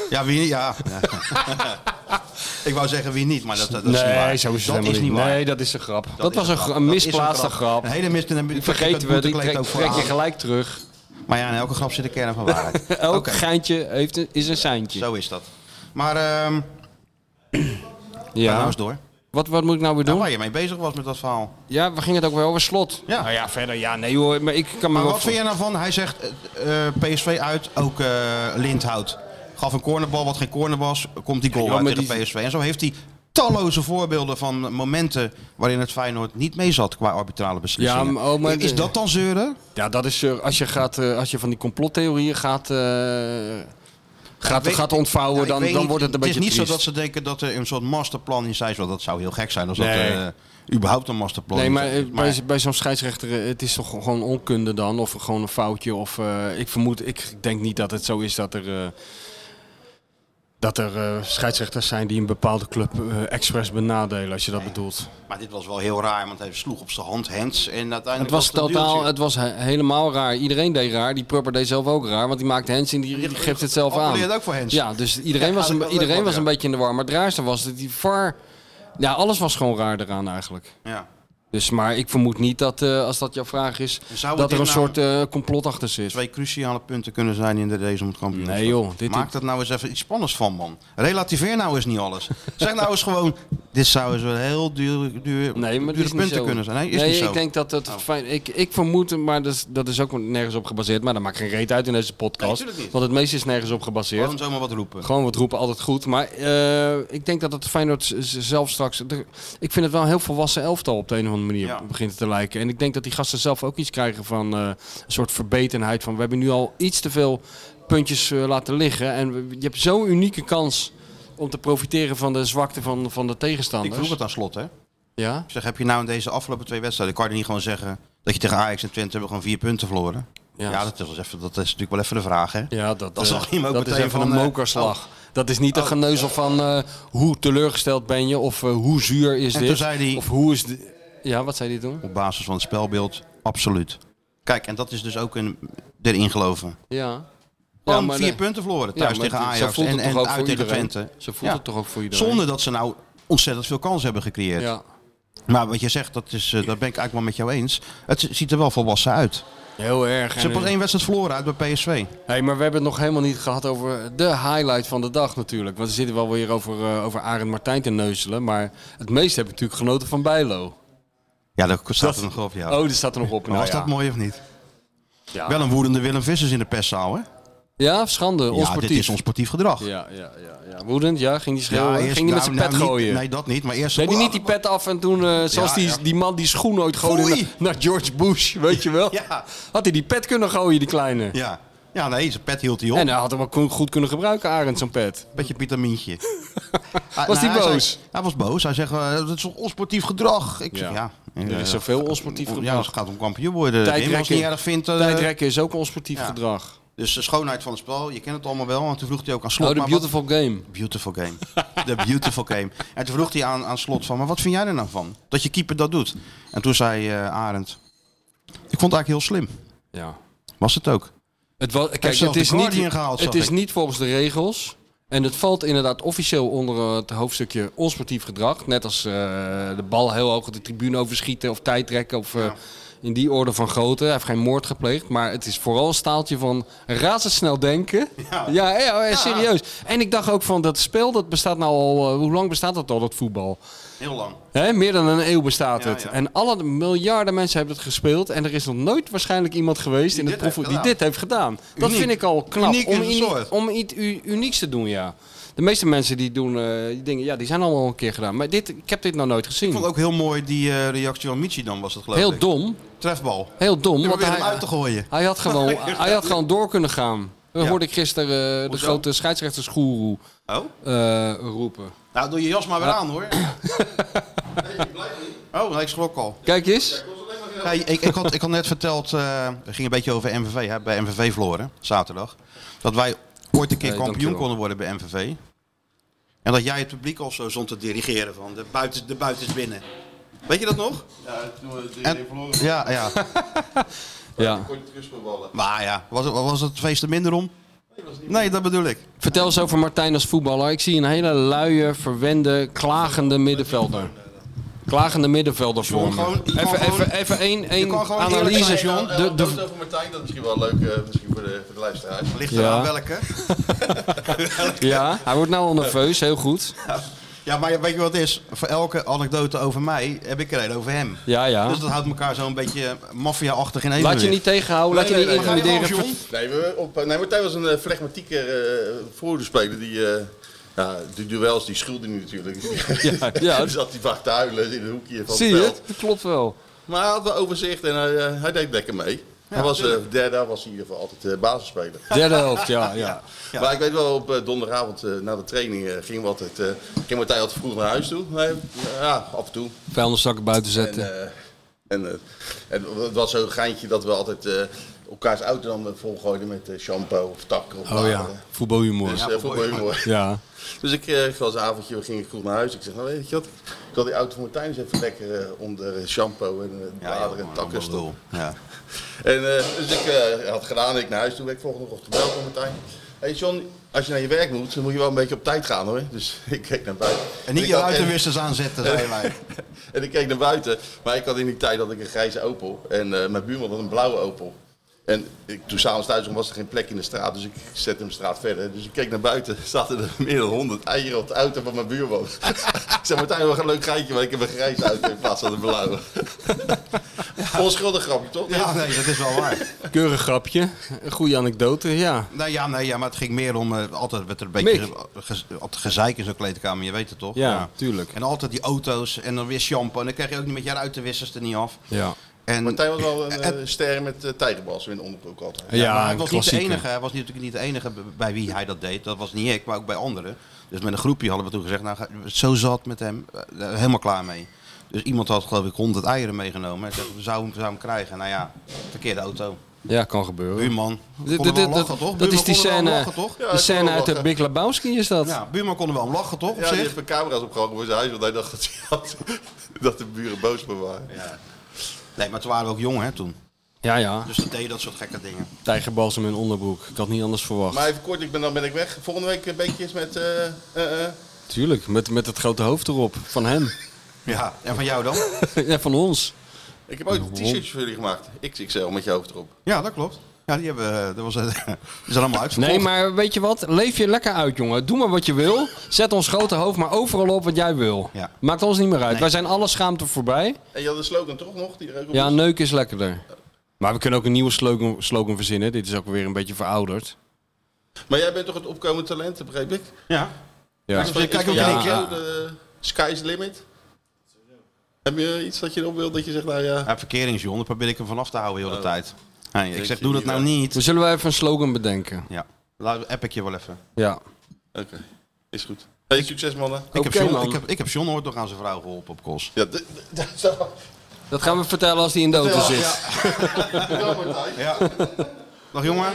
Ja, wie niet? Ja. Ja. Ik wou zeggen wie niet, maar dat, dat, dat is niet waar. Nee, zo dat is het helemaal is niet niet. waar. Nee, dat is een grap. Dat, is was een, gra- een Dat is misplaatste grap. Een hele mis... Die vergeten we, die trek, trek je gelijk terug. Maar ja, in elke grap zit de kern van waarheid. Elk Oké. geintje heeft een, is een seintje. Zo is dat. Maar, ehm ja. nou Ja. eens door. Wat, wat moet ik nou weer Nou, doen? waar je mee bezig was met dat verhaal. Ja, we gingen het ook wel over slot. Ja. Nou ja, verder. Ja, nee hoor. Maar ik kan me Maar wel wat vind jij nou van? Hij zegt eh, eh, PSV uit, ook eh, Lindhout. Gaf een cornerbal, wat geen corner was, komt die goal Ja, uit maar tegen die- PSV. En zo heeft hij talloze voorbeelden van momenten waarin het Feyenoord niet mee zat qua arbitrale beslissingen. Ja, maar- oh, maar- Is dat dan zeuren? Ja, dat is eh, als je, gaat, eh, als je van die complottheorieën gaat, eh, gaat, weet- gaat ontvouwen, Ja, ik dan, weet dan niet. wordt het een beetje Het is niet triest. zo dat ze denken dat er een soort masterplan in zijn. Want dat zou heel gek zijn als Nee. dat eh, überhaupt een masterplan Nee, is. maar, eh, bij, z- bij zo'n scheidsrechter, eh, het is toch gewoon onkunde dan? Of gewoon een foutje? Of eh, ik vermoed, ik denk niet dat het zo is dat er. eh, dat er eh, scheidsrechters zijn die een bepaalde club eh, expres benadelen, als je dat bedoelt. Maar dit was wel heel raar, want hij sloeg op zijn hand hands en uiteindelijk Het was een totaal, duwtje. het was he- helemaal raar. Iedereen deed raar. Die prupper deed zelf ook raar, want die maakt Hens en die, die geeft het zelf aan. Appelleert ook voor Hens. Ja, dus iedereen Ja, was dat een, is wel iedereen leuk, was een ja. beetje in de war. Maar het raarste was dat die VAR... Ja, alles was gewoon raar eraan eigenlijk. Ja. Dus, maar ik vermoed niet dat, eh, als dat jouw vraag is, Zou dat dit er een nou- soort eh, complot achter zit. Twee cruciale punten kunnen zijn in de race om het kampioenschap. Nee, joh, dit- Maak dat nou eens even iets spannends van, man. Relativeer nou eens niet alles. Zeg nou eens gewoon, dit zou eens wel heel duur, duur, Nee, maar het dure is niet punten zo. kunnen zijn. Nee, is niet zo. Oh. ik denk dat het fijn... Ik, ik vermoed, maar dat is, dat is ook nergens op gebaseerd. Maar dat maakt geen reet uit in deze Nee, podcast. tuurlijk niet. Oh, want het meeste is nergens op gebaseerd. Gewoon zomaar wat roepen. Gewoon wat roepen, altijd goed. Maar eh, ik denk dat het Feyenoord z- z- zelf straks... er- Ik vind het wel een heel volwassen elftal op de een of andere manier Ja. begint het te lijken. En ik denk dat die gasten zelf ook iets krijgen van eh, een soort verbetenheid. Van we hebben nu al iets te veel puntjes eh, laten liggen. En we- je hebt zo'n unieke kans om te profiteren van de zwakte van, van de Ik tegenstanders. vroeg het aan slot, hè. Ja? Ik zeg, heb je nou in deze afgelopen twee wedstrijden, kan je niet gewoon zeggen dat je tegen Ajax en Twente hebben gewoon vier punten verloren? Ja. Ja, dat, is wel even, dat is natuurlijk wel even de vraag, hè. Ja, dat, Dat eh, zag je hem ook dat is meteen even van, een eh, Oh. mokerslag. Dat is niet een geneuzel van eh, hoe teleurgesteld ben je of eh, hoe zuur is En dit. toen zei hij- Of hoe is... di- Ja, wat zei hij toen? Op basis van het spelbeeld, absoluut. Kijk, en dat is dus ook een, erin geloven. Ja. Gewoon maar vier de- punten verloren Ja, thuis maar tegen het- Ajax Zo voelt het en, toch en ook uit voor tegen iedereen. Twente. Zo voelt Ja. het toch ook voor iedereen. Zonder dat ze nou ontzettend veel kansen hebben gecreëerd. Ja. Maar wat je zegt, dat, is, eh, dat ben ik eigenlijk wel met jou eens. Het ziet er wel volwassen uit. Ze Heel erg. En, hebben pas één wedstrijd verloren uit bij PSV. hey, maar we hebben het nog helemaal niet gehad over de highlight van de dag natuurlijk. Want we zitten wel weer over, eh, over Arend Martijn te neuzelen. Maar het meest heb ik natuurlijk genoten van Bijlo. Ja, dat staat er nog op. Ja. Oh, die staat er nog op. Maar Nou was dat ja. mooi of niet? Ja. Wel een woedende Willem Vissers in de perszaal, hè? Ja, schande. ja, Onsportief. dit is ons sportief gedrag. Ja, ja, ja, ja. Woedend, ja. Ging die schreeuwen? eerst- ging die nou, met zijn nou, pet niet- gooien? Nee, dat niet. Maar eerst... Deed hij niet die pet af en toen, eh, zoals Ja, die, ja. die man die schoen ooit gooide Foei! naar, naar George Bush, weet je wel? Ja. Had hij die pet kunnen gooien, die kleine? Ja. ja, nee, zijn pet hield hij op. En eh, hij had hem ook ko- goed kunnen gebruiken, Arend, zo'n pet. Beetje vitamintje. was Was hij boos? hij was boos. Hij zegt, eh, dat is toch onsportief gedrag. Ik zeg, ja. Ja. Er is zoveel onsportief Ja, gedrag. als het gaat om kampioen worden. Tijdrekken. Als je niet erg vindt. eh, Tijdrekken is ook onsportief ja. gedrag. Dus de schoonheid van het spel, je kent het allemaal wel. En toen vroeg hij ook aan Slot. Oh, de maar beautiful game. Wat, beautiful game. The beautiful game. En toen vroeg hij aan, aan Slot van, maar wat vind jij er nou van? Dat je keeper dat doet. En toen zei eh, Arend, ik vond het eigenlijk heel slim. Ja. Was het ook. Het was, kijk, zelfs het is, de Guardian niet, gehaald, het zag is ik. niet volgens de regels. En het valt inderdaad officieel onder eh, het hoofdstukje onsportief gedrag. Net als eh, de bal heel hoog op de tribune overschieten of tijdrekken. Of eh, in die orde van grootte. Hij heeft geen moord gepleegd. Maar het is vooral een staaltje van razendsnel denken. Ja, ja, ja, serieus. En ik dacht ook van dat spel, dat bestaat nou al... eh, hoe lang bestaat dat al, dat voetbal? Heel lang. Hè, meer dan een eeuw bestaat Ja, het. ja. En alle miljarden mensen hebben het gespeeld. En er is nog nooit waarschijnlijk iemand geweest in het dit heeft proefvoetbal gedaan. die dit heeft gedaan. Dat Uniek. vind ik al knap. Uniek om, in zijn soort. om iets u- unieks te doen, ja. De meeste mensen die doen eh, die dingen, ja, die zijn allemaal een keer gedaan. Maar dit, ik heb dit nog nooit gezien. Ik vond ook heel mooi die eh, reactie van Michi dan was het geloof heel ik. dom. Trefbal. Heel dom. Je Want probeert hij, hem uit te gooien. hij, had gewoon, hij had gewoon door kunnen gaan. Dat Ja. hoorde ik gisteren eh, de Hoezo? grote scheidsrechtersgoeroe Oh? eh, roepen. Nou, doe je jas maar weer aan hoor. Oh, nee, ik schrok al. Kijk eens. Ja, ik, ik, had, ik had net verteld, eh het ging een beetje over MVV, hè, bij MVV verloren, zaterdag. Dat wij ooit een keer kampioen Nee, dankjewel. konden worden bij MVV. En dat jij het publiek al zo zond te dirigeren van de buiten, de buiten is binnen. Weet je dat nog? Ja, toen we verloren. Ja, ja. Ja. Maar ja, was het, was het feest er minder om? Nee, dat bedoel ik. Vertel eens over Martijn als voetballer. Ik zie een hele luie, verwende, klagende middenvelder. Klagende middenvelder voor me. gewoon- je kan Even, gewoon- even, even één, één kan gewoon eerlijk analyse, zijn, John. eh, De, de, over Martijn, dat is misschien wel leuk eh, misschien voor, de, voor de luisteraars. Ligt Ja. er aan welke? ja, hij wordt nou al nerveus, heel goed. Ja, maar weet je wat het is? Voor elke anekdote over mij heb ik er een over hem. Ja, ja. Dus dat houdt elkaar zo'n beetje maffia-achtig in evenwicht. Laat je niet tegenhouden, laat je Nee, nee, niet nee. intimideren. John? Nee, we, op, nee, Martijn was een eh, flegmatieke eh voordeelspeler die... eh, ja, de duels die schulde nu natuurlijk. Ja, ja. dus zat hij vaak te huilen in een hoekje van Zie het je? veld. Dat klopt wel. Maar hij had wel overzicht en hij, eh, hij deed lekker mee. Hij was eh, derde, was hij in ieder geval altijd eh, basisspeler. Derde helft, ja. ja. Maar ik weet wel, op eh, donderdagavond eh, na de training eh, ging, wat het, eh ging Martijn altijd vroeg naar huis toe. Hij- ja, af en toe. Vuilniszakken buiten En, zetten. eh, en, eh, en het was zo'n geintje dat we altijd eh, elkaars auto dan volgooiden met eh, shampoo of tak. Of oh ja, bladen. voetbalhumor. Dus, Ja. eh, vond ik wel heel mooi. ja. Dus ik eh, was een avondje, we gingen vroeg naar huis. Ik zeg, nou weet je wat, ik had die auto van Martijn eens even lekker eh, onder shampoo en eh, bladeren en takken stoppen. Ja. En eh, dus ik eh, had gedaan, ik naar huis toe, ben ik volgende ochtend gebeld van Martijn. Hé hey John, als je naar je werk moet, dan moet je wel een beetje op tijd gaan hoor. Dus ik keek naar buiten. Dus En niet ik je had echt- ruitenwissers aanzetten, zei wij. en ik keek naar buiten, maar ik had in die tijd had ik een grijze Opel en eh, mijn buurman had een blauwe Opel. En ik, toen s'avonds thuis kwam, was er geen plek in de straat, dus ik zette hem de straat verder. Dus ik keek naar buiten, zaten er meer dan honderd eieren op de auto van mijn buurman. ik zei, Martijn, wat een leuk geitje, maar ik heb een grijze auto in plaats van een blauwe. Onschuldig grapje, toch? Ja, nee, dat is wel waar. Keurig grapje. Een goede anekdote, ja. Nee, ja, nee, ja, maar het ging meer om, eh, altijd werd er een beetje Mick. ge- ge- op het gezeik in zo'n kleedkamer, je weet het toch? Ja, tuurlijk. En altijd die auto's en dan weer shampoo en dan kreeg je ook niet met je ruitenwissers er niet af. Ja, En, Martijn was wel een eh, ster met uh, tijgerbals in de onderbroek altijd. Ja, maar ja hij een was niet de klassieker. enige. Hij was natuurlijk niet de enige b- bij wie hij dat deed. Dat was niet ik, maar ook bij anderen. Dus met een groepje hadden we toen gezegd, nou, ga- zo zat met hem, eh, eh, helemaal klaar mee. Dus iemand had geloof ik 100 eieren meegenomen. Hij zei, we zouden hem, zouden hem krijgen. Nou ja, verkeerde auto. Ja, kan gebeuren. Buurman. Konden Dit- we dit- wel dat- lachen, toch? Dat Buurman is die konden we wel scène, lachen, toch? Ja, die ik kon scène wel uit de lachen. Big Lebowski is dat. Ja, buurman konden we wel lachen, toch? Op Ja, die zich. heeft mijn camera's opgehangen voor zijn huis, want hij dacht dat, hij had, dat de buren boos me waren. Nee, maar toen waren we ook jong hè, toen. Ja, ja. Dus dan deed je dat soort gekke dingen. Tijgerbalsem in onderbroek. Ik had niet anders verwacht. Maar even kort, ik ben, dan ben ik weg. Volgende week een beetje eens met... eh, eh, eh. Tuurlijk, met, met het grote hoofd erop. Van hem. Ja, en van jou dan? ja, van ons. Ik heb ook een t-shirtje voor jullie gemaakt. XXL met je hoofd erop. ja, dat klopt. Ja, die hebben, eh, dat was, eh, die zijn allemaal uitverkocht. Nee, maar weet je wat? Leef je lekker uit, jongen. Doe maar wat je wil. Zet ons grote hoofd maar overal op wat jij wil. Ja. Maakt ons niet meer uit. Nee. Wij zijn alle schaamte voorbij. En je had een slogan toch nog? Die er ook op Ja, is? neuk is lekkerder. Maar we kunnen ook een nieuwe slogan, slogan verzinnen. Dit is ook weer een beetje verouderd. Maar jij bent toch het opkomend talent, begreep ik? Ja. Ja. Dus je kijkt ook ja, in één keer. ja. de sky's the limit. Heb je iets dat je op wilt dat je zegt, nou ja... Ja, verkeringsjongen, daar probeer ik hem vanaf te houden heel de Oh. tijd. Hey, ik Denk zeg, je doe dat niet nou wel. niet. We zullen wel even een slogan bedenken. Ja, laat, app ik je wel even. Ja. Oké, is goed. Hey, succes mannen. Ik, Oké, heb John, man. ik, heb, ik heb John ooit nog aan zijn vrouw geholpen op Kos. Ja, d- d- dat zou... Dat gaan we vertellen als hij in de auto zit. Ja, Martijn. Ja. Dag jongen.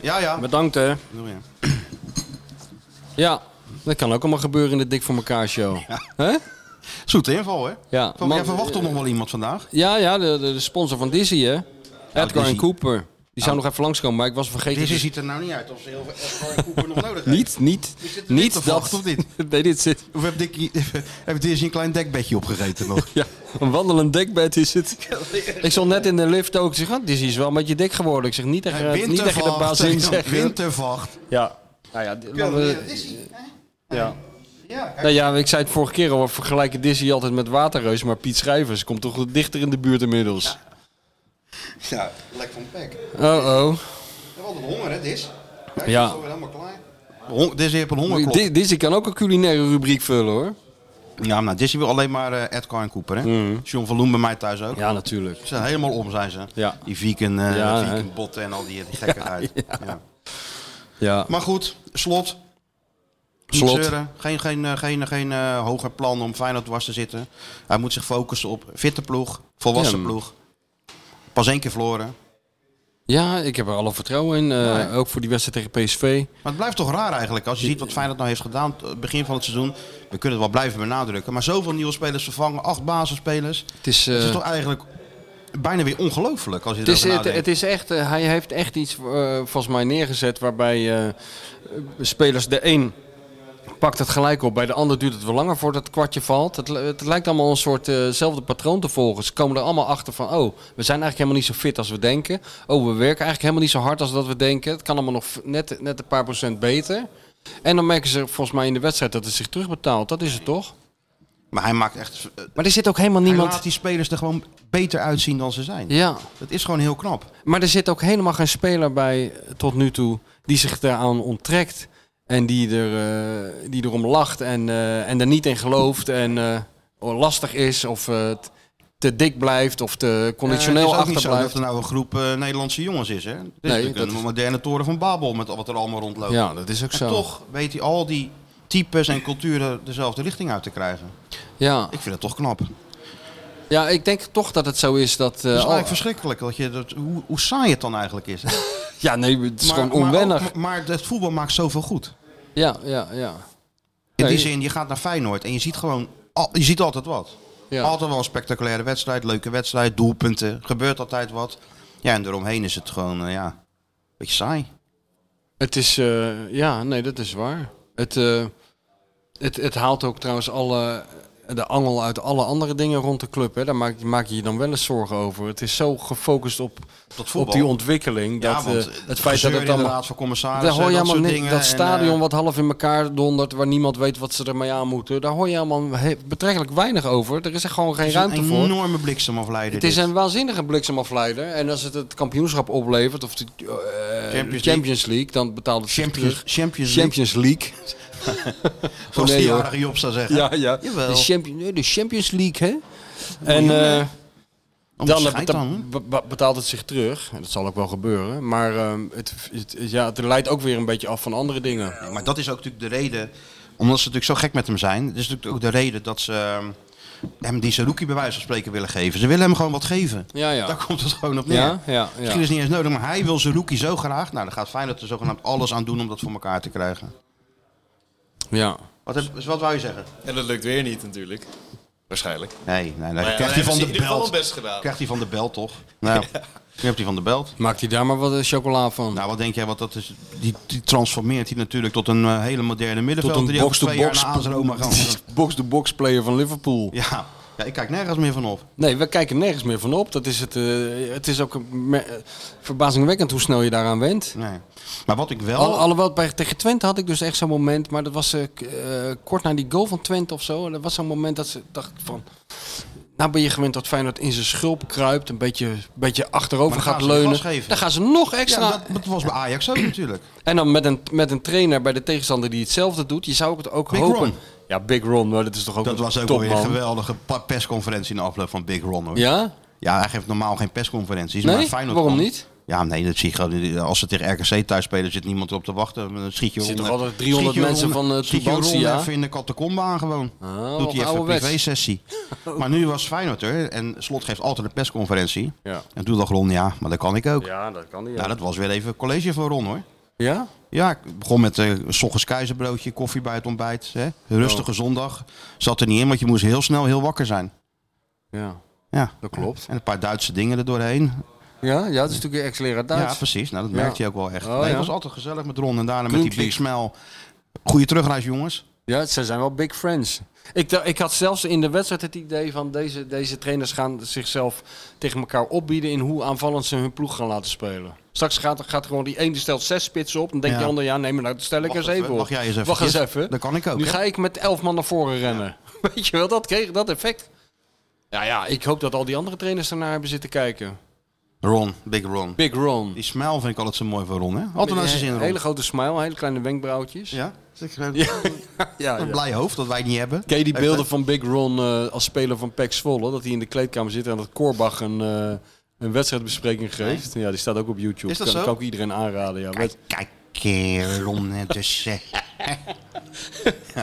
Ja, ja. Bedankt, hè. Doe je. Ja, dat kan ook allemaal gebeuren in de Dik voor elkaar show. Hè? Zoete inval, hè? Ja, Van, man- eh, jij verwacht toch nog wel iemand vandaag? Ja, ja, de, de de sponsor van Dizzy, hè? Edgar en Dizzy. Cooper. Die zou nog even langskomen, maar ik was vergeten. Deze dat- ziet er nou niet uit of ze heel veel Cooper nog nodig heeft. dus- Niet, niet, zit er niet te dat... wachten, of niet? nee, dit zit... Of heb Dickie, heeft Dizzy een klein dekbedje opgegeten nog? Ja, een wandelend dekbed is het. ik stond net in de lift ook. Ik zeg, ah, Dizzy is wel een beetje dik geworden. Ik zeg, niet tegen, niet tegen de baas in tegen- zeggen. Wintervacht. Ja. Nou ja, dit- laten we- ja. Ja, Nou ja, ik zei het vorige keer al, we vergelijken Dizzy altijd met Waterreus, maar Piet Schrijvers komt toch dichter in de buurt inmiddels. ja lek van pek. Oh oh. We hadden honger, hè, Dis? ik Ja. zit alweer helemaal klaar. Hon Dis heeft een hongerklop. Di- Dizzy kan ook een culinaire rubriek vullen hoor. Ja, maar nou, Disney wil alleen maar eh, Edgar en Cooper, hè? John van Loen bij mij thuis ook. Mm. Ja, natuurlijk. Ze zijn helemaal om, zijn ze. Ja. Die vegan, eh Ja, hè. vegan botten en al die, die gekkigheid. Ja, Ja. Maar goed, slot. Niet Slot. zeuren. Geen, geen, eh, geen, geen eh, hoger plan om Feyenoord dwars te zitten. Hij moet zich focussen op fitte ploeg, volwassen Ja, maar- ploeg. Pas één keer verloren. Ja, ik heb er alle vertrouwen in. eh, Ja. Ook voor die wedstrijd tegen PSV. Maar het blijft toch raar eigenlijk als je ziet wat Feyenoord nou heeft gedaan t- begin van het seizoen. We kunnen het wel blijven benadrukken. Maar zoveel nieuwe spelers vervangen, acht basisspelers. Het is, eh, Het is toch eigenlijk bijna weer ongelooflijk als je het, is, erover het, nadenkt. het is echt, eh, hij heeft echt iets eh, volgens mij neergezet waarbij eh, spelers de een pakt het gelijk op, bij de ander duurt het wel langer voordat het kwartje valt. Het, li- het lijkt allemaal een soort eh, zelfde patroon te volgen. Ze komen er allemaal achter van, oh, we zijn eigenlijk helemaal niet zo fit als we denken. Oh, we werken eigenlijk helemaal niet zo hard als dat we denken. Het kan allemaal nog v- net, net een paar procent beter. En dan merken ze volgens mij in de wedstrijd dat het zich terugbetaalt. Dat is het toch? Maar hij maakt echt... eh, Maar er zit ook helemaal Hij niemand... laat die spelers er gewoon beter uitzien dan ze zijn. Ja, Dat is gewoon heel knap. maar er zit ook helemaal geen speler bij eh, tot nu toe die zich daaraan onttrekt. En die, er, eh, die erom lacht en, eh, en er niet in gelooft en eh, lastig is. Of, eh, t- te dik blijft of te het conditioneel Eh, is ook niet zo dat achterblijft. er nou een groep eh, Nederlandse jongens is. Hè? Het is Nee, natuurlijk een dat is- moderne toren van Babel met wat er allemaal rondloopt. Ja, dat is ook en zo. toch weet hij al die types en culturen dezelfde richting uit te krijgen. Ja. Ik vind dat toch knap. ja, ik denk toch dat het zo is dat... eh, Het is al- Dus eigenlijk verschrikkelijk dat je dat, hoe, hoe saai het dan eigenlijk is. Het ja, nee, het is gewoon onwennig. Maar, maar het voetbal maakt zoveel goed. ja, ja, ja. In Nee. die zin, je gaat naar Feyenoord en je ziet gewoon, al- je ziet altijd wat. Ja. Altijd wel een spectaculaire wedstrijd, leuke wedstrijd, doelpunten, gebeurt altijd wat. Ja, en eromheen is het gewoon, eh, ja, een beetje saai. Het is, eh, ja, nee, dat is waar. Het, eh, het, het haalt ook trouwens alle, de angel uit alle andere dingen rond de club. Hè. Daar maak, maak je je dan wel eens zorgen over. Het is zo gefocust op, op voetbal. die ontwikkeling. Dat, ja, want eh, het feit dat het dan allemaal... raad van commissarissen, Daar hoor je dat helemaal soort niks. dingen. Dat en, stadion eh, wat half in elkaar dondert, waar niemand weet wat ze ermee aan moeten. Daar hoor je helemaal he- betrekkelijk weinig over. Er is er gewoon geen het is een ruimte voor. enorme bliksemafleider. Het is dit. een waanzinnige bliksemafleider. En als het het kampioenschap oplevert, of de eh, Champions, League, dan betaalt het zich Champions, terug. Champions League, Champions League. zoals nee, die hoor. jarige Job zou zeggen. Ja, ja. Jawel. De, Champion, nee, de Champions League, hè? En eh, Allemaal dan, Oh, scheid beta- aan, hè? be- be- betaalt het zich terug. En dat zal ook wel gebeuren. Maar ehm, het, het, ja, het leidt ook weer een beetje af van andere dingen. Nee, maar dat is ook natuurlijk de reden, omdat ze natuurlijk zo gek met hem zijn. Dat is natuurlijk ook de reden dat ze ehm, hem die Saruki bij wijze van spreken willen geven. Ze willen hem gewoon wat geven. Ja, ja. Daar komt het gewoon op neer. Ja, ja, ja. Misschien is het niet eens nodig, maar hij wil Saruki zo graag. Nou, dan gaat Feyenoord er zogenaamd alles aan doen om dat voor elkaar te krijgen. ja. Wat, heb, dus wat wou je zeggen? En dat lukt weer niet natuurlijk. Waarschijnlijk. Nee, nee, nee. Maar ja, dan krijgt hij hebben van ze de in ieder geval belt. wel best gedaan. Krijgt hij van de belt, toch? Nou, nu hebt hij van de belt. Maakt hij daar maar wat eh, chocola van? Nou, wat denk jij? Want dat is, die, die transformeert hij natuurlijk tot een eh, hele moderne middenvelder. Tot een die over twee jaar box-to-box naar Aansroma gaat. box-to-box player van Liverpool. Ja. ja, ik kijk nergens meer van op. Nee, we kijken nergens meer van op. Dat is het, eh, het is ook een me- eh, verbazingwekkend hoe snel je daaraan went. Nee. Maar wat ik wel... Al, alhoewel bij, tegen Twente had ik dus echt zo'n moment, maar dat was eh, k- eh, kort na die goal van Twente of zo. En Dat was zo'n moment dat ze dacht van, nou ben je gewend dat Feyenoord in zijn schulp kruipt, een beetje, beetje achterover Maar dan gaat gaan ze leunen. gas geven. Dan gaan ze nog ja, extra. dat, dat was bij Ajax ook natuurlijk. En dan met een, met een trainer bij de tegenstander die hetzelfde doet. Je zou het ook Big hopen. Ron. Ja, Big Ron, maar dat is toch ook Dat een was ook topman. weer een geweldige pa- persconferentie in de afloop van Big Ron. Hoor. Ja? Ja, hij geeft normaal geen persconferenties. Nee? Maar Feyenoord Waarom kan- niet? Ja, nee, dat zie je gewoon. Als ze tegen RKC thuis spelen, zit niemand erop te wachten. Dan schiet je Er zitten Ron- toch altijd 300 schiet je mensen Ron- van, eh, Schiet je Ron Tubantia? even in de catacombe aan gewoon. wat Doet hij even een ouderwets. privé-sessie. maar nu was Feyenoord er. En Slot geeft altijd een persconferentie. Ja. En toen dacht Ron, ja, maar dat kan ik ook. Ja, dat kan niet. Nou, dat was weer even college voor Ron, hoor. Ja? Ja, ik begon met eh, s ochtends keizerbroodje, koffie bij het ontbijt. Hè? Rustige Oh. zondag. Zat er niet in, want je moest heel snel heel wakker zijn. Ja. Ja. Dat klopt. En een paar Duitse dingen er doorheen. Ja, ja, dat is natuurlijk ex-leraar Ja, Duits. precies. Nou, dat Ja. merkte je ook wel echt. Oh, nee, ja. Het was altijd gezellig met Ron en daarna met die Klinkt big smile. Goeie terugreis, jongens. Ja, ze zijn wel big friends. Ik, da- ik had zelfs in de wedstrijd het idee van deze, deze trainers gaan zichzelf tegen elkaar opbieden in hoe aanvallend ze hun ploeg gaan laten spelen. Straks gaat, gaat gewoon die ene stelt zes spitsen op. Dan denkt Ja. die ander, ja, nee, maar nou, dat stel ik Wacht eens even, even op. wacht jij eens even, Wacht eens Kip. even. Dat kan ik ook, Nu hè? ga ik met elf man naar voren rennen. Weet je wel, dat kreeg dat effect. Ja, ja, ik hoop dat al die andere trainers ernaar hebben zitten kijken. Ron, big Ron. Big Ron. Die smile vind ik altijd zo mooi voor Ron, hè? Altijd als ze zin in Ron. Hele grote smile, hele kleine wenkbrauwtjes. Ja? ja. ja, Een ja. blij hoofd dat wij het niet hebben. Ken je die Heeft beelden van Big Ron eh, als speler van Pek Zwolle? Dat hij in de kleedkamer zit en dat Korbach een, eh, een wedstrijdbespreking geeft. Ja, die staat ook op YouTube. Is dat kan, zo? kan ik iedereen aanraden. Ja. Wed- Kijk, eh, Ron het dus. eh.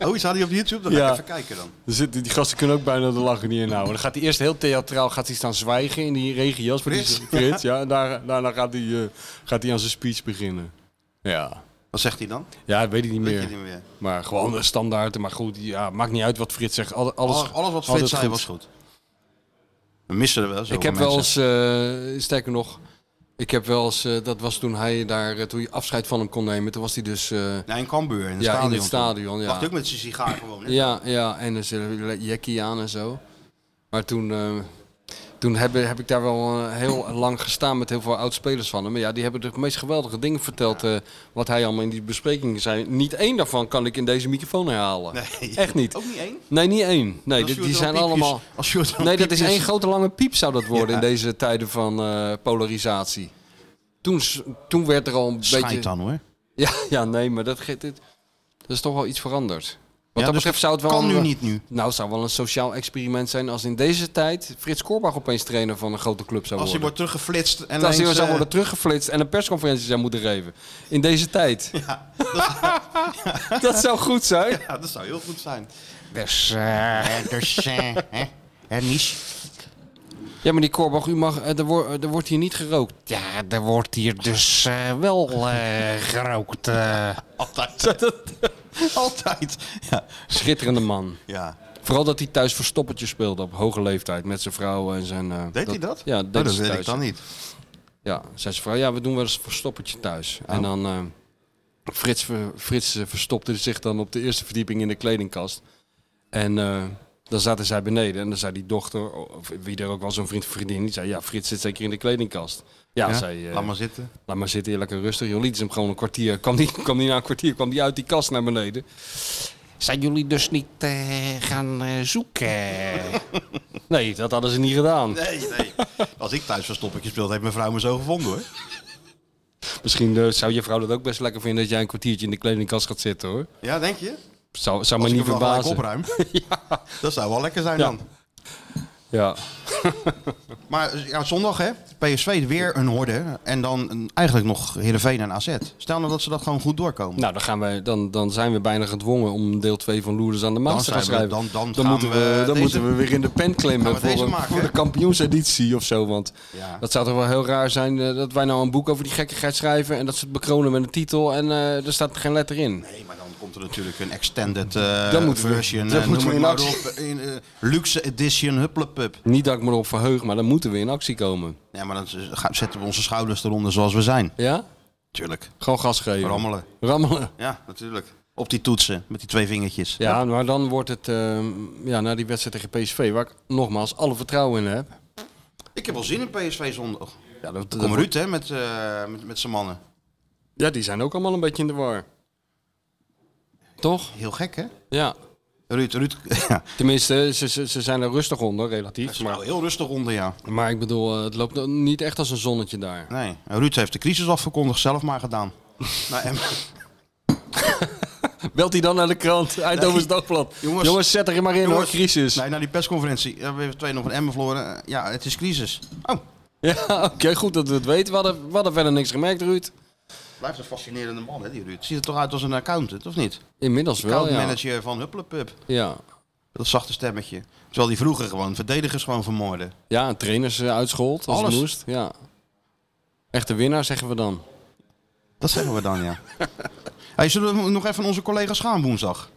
oh, is hij op YouTube? Dan ga Ja. ik even kijken dan. er zitten- die gasten kunnen ook bijna de lachen niet inhouden. Dan gaat hij eerst heel theatraal gaat hij staan zwijgen in die regenjas. van die- Frits, ja. En daar- daarna gaat hij, eh, gaat hij aan zijn speech beginnen. Ja, Wat zegt hij dan? ja dat weet ik niet Weet je meer. het niet meer. Maar gewoon de standaarden. Maar goed, ja, maakt niet uit wat Frits zegt. Al- Alles, Alles, alles wat altijd Frits zei was goed. We missen er wel zo Ik heb wel eens, eh, sterker nog, ik heb wel eens, eh, dat was toen hij daar, eh, toen je afscheid van hem kon nemen, toen was hij dus, eh, Nee, in Cambuur, in het Ja, in stadion. het stadion, toch? ja. Wacht ook met zijn sigaar gewoon. hè? ja, ja, en dus jackie aan en zo. Maar toen, eh, toen heb, heb ik daar wel eh, heel lang gestaan met heel veel oud-spelers van hem. Maar ja, die hebben de meest geweldige dingen verteld, eh, wat hij allemaal in die besprekingen zei. Niet één daarvan kan ik in deze microfoon herhalen. Nee. Echt niet. Ook niet één? Nee, niet één. Nee, Als Sjoerd die, die dan zijn piepjes- allemaal... als Sjoerd dan Nee, dat is piepjes- één grote lange piep zou dat worden Ja. in deze tijden van eh, polarisatie. Toen, s- toen werd er al een Schijt beetje... dan hoor. Ja, ja, nee, maar dat, ge- dit, dat is toch wel iets veranderd. Wat Ja, dat dus betreft zou het wel... kan nu een- niet nu. Nou, het zou wel een sociaal experiment zijn als in deze tijd Frits Korbach opeens trainer van een grote club zou Als hij worden. wordt teruggeflitst en als hij ineens, zou eh, worden teruggeflitst en een persconferentie zou moeten geven. In deze tijd. dat zou goed zijn. Ja, dat zou heel goed zijn. Dus, Dus, eh, hè? Hernies. Ja, maar die Korbach, u mag, eh, er, wo- eh, er wordt hier niet gerookt. Ja, er wordt hier dus eh, wel eh, gerookt. eh. Altijd. Altijd. Ja. Schitterende man. ja. Vooral dat hij thuis verstoppertje speelde op hoge leeftijd met zijn vrouw en zijn... eh, Deed hij dat? Ja, Oh, deed dat ze weet thuis. ik dan niet. Ja, zei zijn vrouw, ja, we doen wel eens verstoppertje thuis. Oh. En dan... eh, Frits, ver- Frits eh, verstopte zich dan op de eerste verdieping in de kledingkast. En eh, dan zaten zij beneden. En dan zei die dochter, of wie er ook was, zo'n vriend of vriendin... die zei, ja, Frits zit zeker in de kledingkast. Ja, Ja? zei... eh, Laat maar zitten. Laat maar zitten, hier lekker rustig. Joh, liet ze hem gewoon een kwartier. Kwam die, kwam die na een kwartier kwam die uit die kast naar beneden. Zijn jullie dus niet gaan eh, zoeken? nee, dat hadden ze niet gedaan. Nee, nee. Als ik thuis verstoppertje speelde, heeft mijn vrouw me zo gevonden hoor. Misschien eh, zou je vrouw dat ook best lekker vinden dat jij een kwartiertje in de kledingkast gaat zitten hoor. Ja, denk je? Zou, zou Als me ik niet hem dan gelijk verbazen. opruim. Dat zou wel lekker zijn Ja. dan. Ja. Maar ja, zondag hè, PSV weer een horde. En dan een- eigenlijk nog Heerenveen en AZ. Stel nou dat ze dat gewoon goed doorkomen. Nou, dan, gaan wij, dan, dan zijn we bijna gedwongen om deel 2 van Loerders aan de Maas te zijn gaan we- schrijven. dan- dan gaan moeten, we, we dan deze- moeten we weer in de pen Gaan klimmen we voor, deze een- maken, voor de hè? kampioenseditie of zo. Want Ja. dat zou toch wel heel raar zijn eh, dat wij nou een boek over die gekkigheid schrijven... en dat ze het bekronen met een titel en eh, er staat geen letter in. Nee, maar dan komt er natuurlijk een extended eh, Dan moeten we- version. dan eh, moeten noem we het in maar op, in, eh, luxe edition, hupplepup. Niet dat ik me erop verheug, maar dan moeten we in actie komen. Ja, maar dan z- ga- zetten we onze schouders eronder zoals we zijn. Ja? Tuurlijk. Gewoon gas geven. Rammelen. Rammelen. Ja, natuurlijk. Op die toetsen, met die twee vingertjes. Ja, maar dan wordt het eh, ja, na die wedstrijd tegen PSV... waar ik nogmaals alle vertrouwen in heb... Ik heb wel zin in PSV zondag. Ja, dat, dat Kom wordt- Ruud, hè, met, eh, met, met zijn mannen. ja, die zijn ook allemaal een beetje in de war. Toch? Heel gek, hè? Ja. Ruud, Ruud. Ja, Tenminste, ze, ze, ze zijn er rustig onder, relatief. maar Maar, heel rustig onder, ja. maar ik bedoel, eh, het loopt nog niet echt als een zonnetje daar. Nee, Ruud heeft de crisis afgekondigd, zelf maar gedaan. nou, en, Belt hij dan naar de krant, Eindhoven's Nee. Dagblad. Jongens, Jongens. zet er maar in hoor, Jongens. crisis. Nee, naar die persconferentie. Ja, we hebben twee nog van Emmen verloren. Eh, Ja, het is crisis. Oh, Ja, oké, goed dat we het weten. We hadden, we hadden verder niks gemerkt, Ruud. blijft een fascinerende man, hè, die Ruud. Ziet er toch uit als een accountant, of niet? Inmiddels wel, Account ja. manager van Hupplepup. Ja, Dat zachte stemmetje. Terwijl die vroeger gewoon verdedigers gewoon vermoorden. ja en trainers eh, uitschold als Alles. het moest. Ja. Echte winnaar, zeggen we dan. Dat zeggen we dan, ja. hey, zullen we nog even onze collega's gaan woensdag?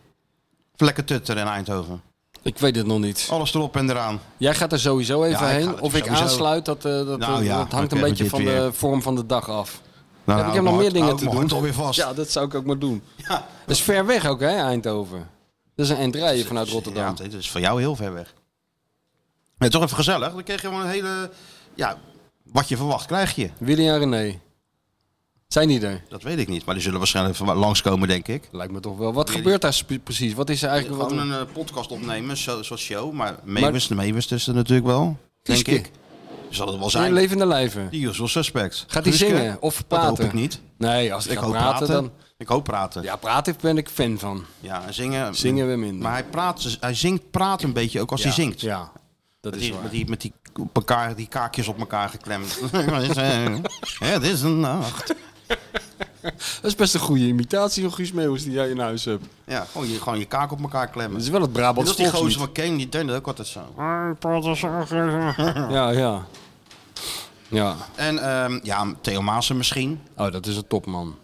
Vlekken Tutter in Eindhoven. Ik weet het nog niet. Alles erop en eraan. Jij gaat er sowieso even Ja, ik ga heen. er Of ik sowieso- aansluit, dat, eh, dat, Nou ja, dat hangt oké, een beetje dit van de weer. vorm van de dag af. Nou, heb ik heb nog meer dingen te doen. toch weer vast. Ja, dat zou ik ook maar doen. Dat is ver weg ook, hè, Eindhoven. Dat is een eind rijden vanuit Ja, Rotterdam. het is voor jou heel ver weg. Ja, toch even gezellig. Dan kreeg je gewoon een hele... Ja, wat je verwacht krijg je. Willy en René. Zijn die er? Dat weet ik niet. Maar die zullen waarschijnlijk even langskomen, denk ik. Lijkt me toch wel. Wat gebeurt daar spe- precies? Wat is er eigenlijk? Wat Gewoon een eh, podcast opnemen, zo- zoals show. Maar Mewis, de Mewis is er natuurlijk wel. Kieske. Denk ik. Zal het wel in zijn. levende lijven. Die usual suspect. Gaat hij Guuske? zingen of Dat praten? hoop ik niet. Nee, als ik Ik gaat hoop praten, praten. dan... Ik hoop praten. Ja, Ja, praten ben ik fan van. en zingen. Zingen we minder. Maar hij, praat, hij zingt, praat een beetje ook als hij zingt. Ja, dat Met is die, waar. met die, met die, op elkaar, die kaakjes op elkaar geklemd. eh, Het is een nacht. Dat is best een goede imitatie van Guus Meeuwis die jij in huis hebt. Ja, gewoon je, gewoon je kaak op elkaar klemmen. Dat is wel het En Brabants dat is die volkslied. gozer van Kane, die deed dat ook altijd zo. Ja, ja. Ja. En ehm, ja, Theo Maassen misschien. Oh, dat is een topman.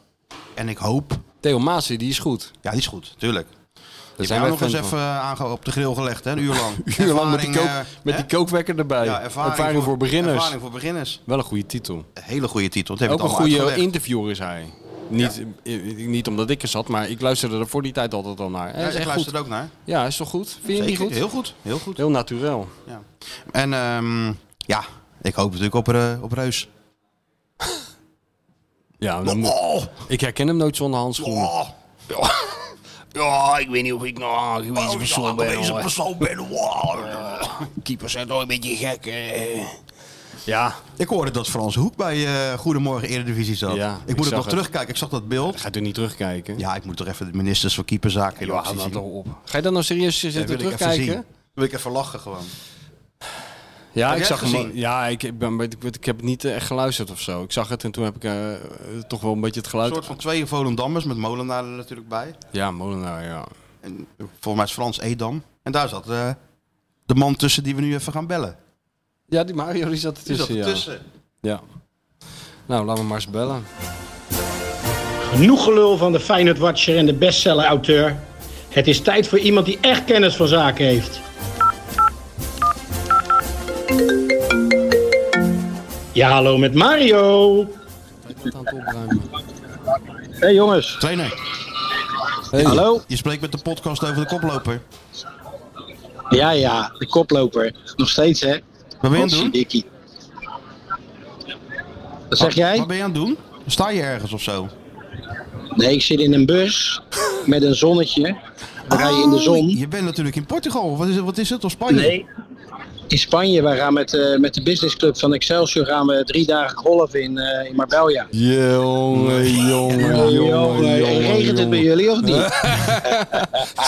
En ik hoop... Theo Maassen, die is goed. Ja, die is goed, tuurlijk. Daar Die zijn we nog eens fan even eh, van. aange- op de grill gelegd, hè? Een uur lang. Een uur lang met, die, Ervaring, kook, eh, met hè? die kookwekker erbij. Ja, ervaring, ervaring, voor, beginners. Ervaring voor beginners. Wel een goede titel. Een hele goede titel. Dat Ook een goede goede interviewer is hij. Niet, eh, eh, niet omdat ik er zat, maar ik luisterde er voor die tijd altijd al naar. Hij Ja, is ik echt luister goed. er ook naar. Ja, is toch goed? Vind je die Zeker. goed? Heel goed. Heel goed. Heel natuurlijk. Ja. En ehm, ja, ik hoop natuurlijk op, eh, op Reus. Ja, dan moet- Oh, ik herken hem nooit zonder handschoenen. oh. Ja, ik weet niet of ik nou geweest Oh, persoon ben. deze hoor. persoon ben. Wow. Keepers zijn toch een beetje gek. eh. Ja, Ik hoorde dat Frans Hoek bij eh, Goedemorgen Eredivisie zat. Ja, ik ik moet het zag nog het. terugkijken. Ik zag dat beeld. ga je toch niet terugkijken? Ja, ik moet toch even de ministers van Keeperzaken in joh, actie hou dat zien. toch op. Ga je dan nou serieus Dat zitten wil ik even zien. terugkijken? Wil ik even lachen gewoon. Ja, Heb ik jij zag het hem. gezien? Ja, ik, ik ben, ik, weet- ik heb het niet eh, echt geluisterd of zo. Ik zag het en toen heb ik eh, eh, toch wel een beetje het Een geluid. soort van twee Volendammers met Molenaar er natuurlijk bij. Ja, Molenaar, ja. En volgens mij is Frans Edam. En daar zat eh, de man tussen die we nu even gaan bellen. Ja, die Mario die zat Die ertussen. zat ja. ertussen. Ja. Nou, laten we maar eens bellen. Genoeg gelul van de Feyenoord Watcher en de bestseller auteur. Het is tijd voor iemand die echt kennis van zaken heeft. Ja, hallo met Mario. Wat aan het opruimen. Hey jongens. Trainer, Hey. Hallo. je spreekt met de podcast over de koploper. Ja, ja, de koploper. Nog steeds, hè? Wat ben je aan het doen? Dikkie. Wat zeg jij? Wat ben je aan het doen? Sta je ergens of zo? Nee, ik zit in een bus met een zonnetje. We rijden in de Oh, zon. Je bent natuurlijk in Portugal. Wat is het? Wat is het? Of Spanje? Nee. In Spanje, wij gaan met, eh, met de businessclub van Excelsior gaan we drie dagen golven in, eh, in Marbella. Jongen, jongen, jongen, eh, regent het bij jullie of niet?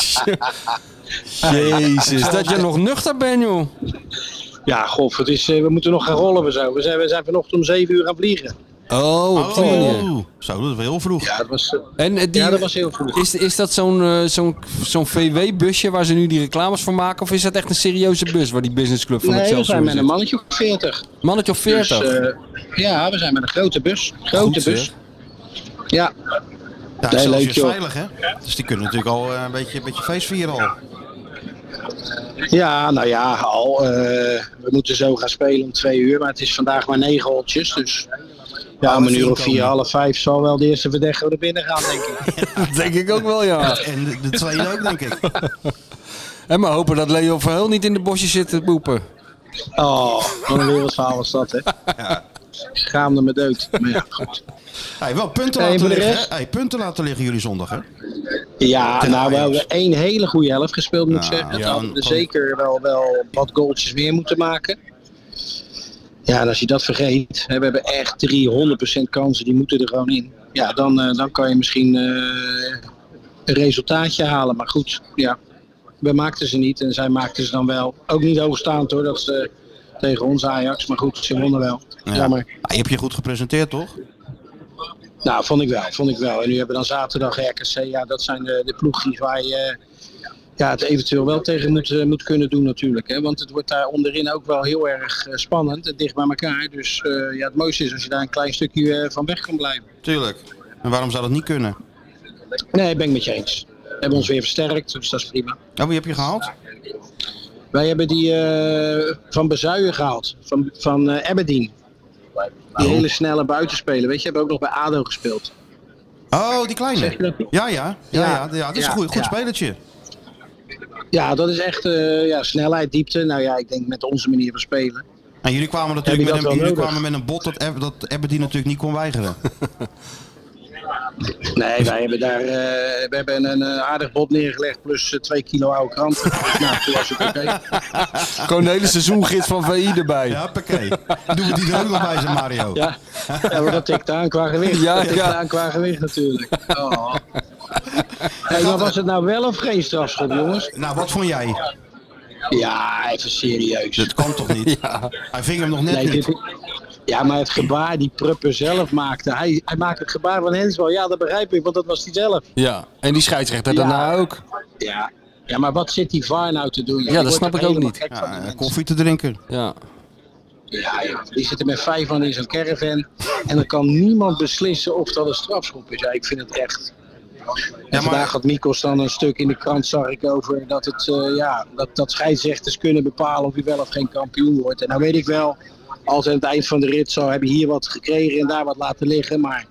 Jezus, dat je nog nuchter bent, joh. Ja, gof, het is, eh, we moeten nog gaan rollen we zo. We zijn, we zijn vanochtend om 7 uur aan vliegen. Oh, op die manier. Oh, zo, dat is wel heel vroeg. Ja, dat was, eh, En eh, die, ja, dat was heel vroeg. is, is dat zo'n eh, zo'n zo'n VW-busje waar ze nu die reclames voor maken? Of is dat echt een serieuze bus waar die businessclub van Nee, we Excelsior zijn met zit? een mannetje op 40. Mannetje of 40? Dus, eh, ja, we zijn met een grote bus. Grote Goed, bus. Ja, Ja, Nee, Excelsior leuk, is joh. veilig, hè? Dus die kunnen natuurlijk al eh, een beetje, een beetje feest vieren al. ja, nou ja, al. eh, we moeten zo gaan spelen om twee uur, maar het is vandaag maar negen holtjes. Dus ja, om een uur of vier, half vijf zal wel de eerste verdediger er binnen gaan, denk ik. Dat denk ik ook wel, ja. En de, de tweede ook, denk ik. En maar hopen dat Leo Verheul niet in de bosjes zit te boepen. Oh, wat een wereldverhaal was dat, hè? Schaamde me dood. Maar ja, goed. Hey, wel punten Hey, laten voor de liggen. rest? hè? Hey, punten laten liggen jullie zondag, hè? Ja, Tegen nou, we Ajax. hebben één hele goede helft gespeeld, moet ik Nou, zeggen. En ja, we hadden er dan- zeker wel, wel wat goaltjes meer moeten maken. Ja, en als je dat vergeet, hè, we hebben echt 300% kansen, die moeten er gewoon in. Ja, dan, eh, dan kan je misschien eh, een resultaatje halen. Maar goed, ja, we maakten ze niet en zij maakten ze dan wel. Ook niet hoogstaand hoor, dat ze tegen ons Ajax. Maar goed, ze wonnen wel. Ja. Jammer. Ah, je hebt je goed gepresenteerd, toch? Nou, vond ik wel, vond ik wel. En nu hebben we dan zaterdag RKC. Ja, dat zijn de, de ploegjes waar je eh, ja, het eventueel wel tegen moet, eh, moet kunnen doen natuurlijk. Hè? Want het wordt daar onderin ook wel heel erg eh, spannend en dicht bij elkaar. Dus eh, ja, het mooiste is als je daar een klein stukje eh, van weg kan blijven. Tuurlijk. En waarom zou dat niet kunnen? Nee, ben ik met je eens. We hebben ons weer versterkt, dus dat is prima. Oh, wie heb je gehaald? Wij hebben die eh, van Bezuijen gehaald, van, van eh, Aberdeen. Die hele snelle buitenspeler, weet je, hebben ook nog bij ADO gespeeld. Oh, die kleine. Zeg je dat? Ja, ja. Ja, ja. Ja. ja, dat is Ja, een goed, goed ja. spelertje. Ja, dat is echt eh, ja, snelheid, diepte. Nou ja, ik denk met onze manier van spelen. En jullie kwamen Heb natuurlijk je met dat een, wel jullie nodig? kwamen met een bot dat, Ab- dat Aberdeen natuurlijk niet kon weigeren. Nee, wij hebben daar eh, we hebben een eh, aardig bot neergelegd plus eh, twee kilo oude kranten. Dus nou, toen was het oké. Gewoon de hele seizoengids van VI erbij. Ja, pakket. Doen we die er ook nog bij zijn, Mario? Ja. ja, maar dat tikt aan qua gewicht. Ja, dat tikt ja. aan qua gewicht natuurlijk. Oh. Hey, maar was het nou wel of geen strafschop, jongens? Nou, wat vond jij? Ja, even serieus. Dat kan toch niet? Hij ving hem nog net Nee, niet. dit, ja, maar het gebaar die Prupper zelf maakte. Hij, hij maakte het gebaar van Hensbal. Ja, dat begrijp ik, want dat was hij zelf. Ja, en die scheidsrechter Ja. daarna ook. Ja. ja, maar wat zit die VAR nou te doen? Ja, joh? Je dat wordt snap er ik ook helemaal niet. gek van, die Ja, mensen. koffie te drinken. Ja. Ja, joh. die zitten met vijf man in zo'n caravan. En dan kan niemand beslissen of dat een strafschop is. Ja, ik vind het echt. En maar- vandaag had Mikos dan een stuk in de krant, zag ik, over dat, het, eh, ja, dat, dat scheidsrechters kunnen bepalen of je wel of geen kampioen wordt. En nou weet ik wel, als aan het eind van de rit zo heb je hier wat gekregen en daar wat laten liggen. Maar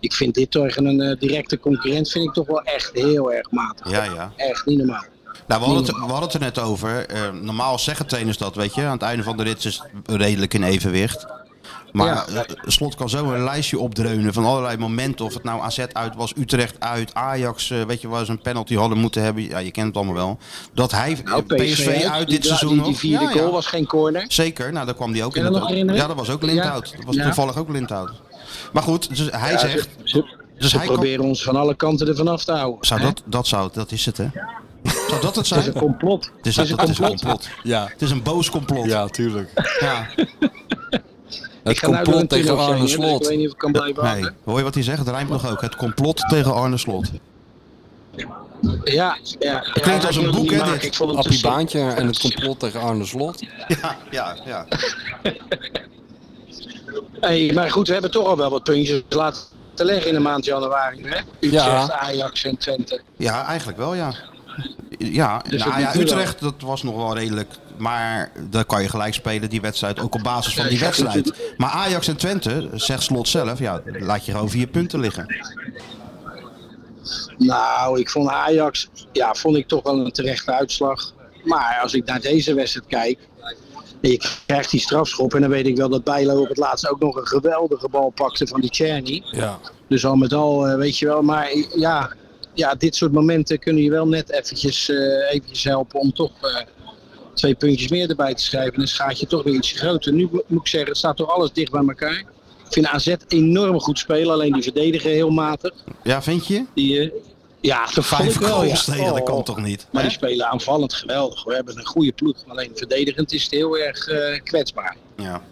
ik vind dit tegen een eh, directe concurrent vind ik toch wel echt heel erg matig. Ja, ja. Echt niet normaal. Nou, we hadden, het, we hadden het er net over. Eh, normaal zeggen trainers dat, weet je. Aan het einde van de rit is het redelijk in evenwicht. Maar eh, Slot kan zo een lijstje opdreunen van allerlei momenten. Of het nou AZ uit was, Utrecht uit, Ajax, eh, weet je waar ze een penalty hadden moeten hebben. Ja, je kent het allemaal wel. Dat hij, Nou, PSV, uit, die- dit seizoen Die, die nog. vierde Ja, ja. goal was geen corner. Zeker, nou daar kwam die ook Kun in. je dat het nog oog. herinneren? Ja, dat was ook Lindhout. Ja. Dat was Ja. toevallig ook Lindhout. Maar goed, dus hij Ja, ze- zegt... Ze, Dus ze hij kan- proberen ons van alle kanten ervan af te houden. Zou hè? dat, dat, zou, dat is het, hè? Zou dat het Het zijn? is een complot. Het is, het is een complot. Ja. Het is een boos complot. Ja, tuurlijk. Ja. Ik ga nou door een tunnel zijn, hè, dus ik weet niet of ik kan blijven Nee, hangen. hoor je wat hij zegt? Het rijmt nog ook. Het complot tegen Arne Slot. Ja, ja. Het klinkt als een boek, hè, dit? Ik vond het Appie te simpel. Baantje en het complot tegen Arne Slot. Ja, ja, ja. Hey, maar goed, we hebben toch al wel wat puntjes laten leggen in de maand januari. Hè? Utrecht, Ja. Ajax en Twente. Ja, eigenlijk wel, ja. Ja, Dus nou dat ja, moet wel. Utrecht, dat was nog wel redelijk. Maar daar kan je gelijk spelen, die wedstrijd. Ook op basis van die Ja, ja, wedstrijd. Maar Ajax en Twente, zegt Slot zelf, ja, laat je gewoon vier punten liggen. Nou, ik vond Ajax, ja, vond ik toch wel een terechte uitslag. Maar als ik naar deze wedstrijd kijk, ik krijg die strafschop en dan weet ik wel dat Bijlo op het laatst ook nog een geweldige bal pakte van die Czerny. Ja. Dus al met al, eh, weet je wel, maar ja, ja, dit soort momenten kunnen je wel net eventjes, eh, eventjes helpen om toch eh, twee puntjes meer erbij te schrijven. Dan schaat je toch weer iets groter. Nu mo- moet ik zeggen, het staat toch alles dicht bij elkaar. Ik vind AZ enorm goed spelen, alleen die verdedigen heel matig. Ja, vind je? Die, eh, ja, dat vond Vijf ik wel. Ja. goals tegen, dat Oh. kan toch niet? Maar die spelen aanvallend geweldig. We hebben een goede ploeg. Alleen verdedigend is het heel erg eh, kwetsbaar. Ja.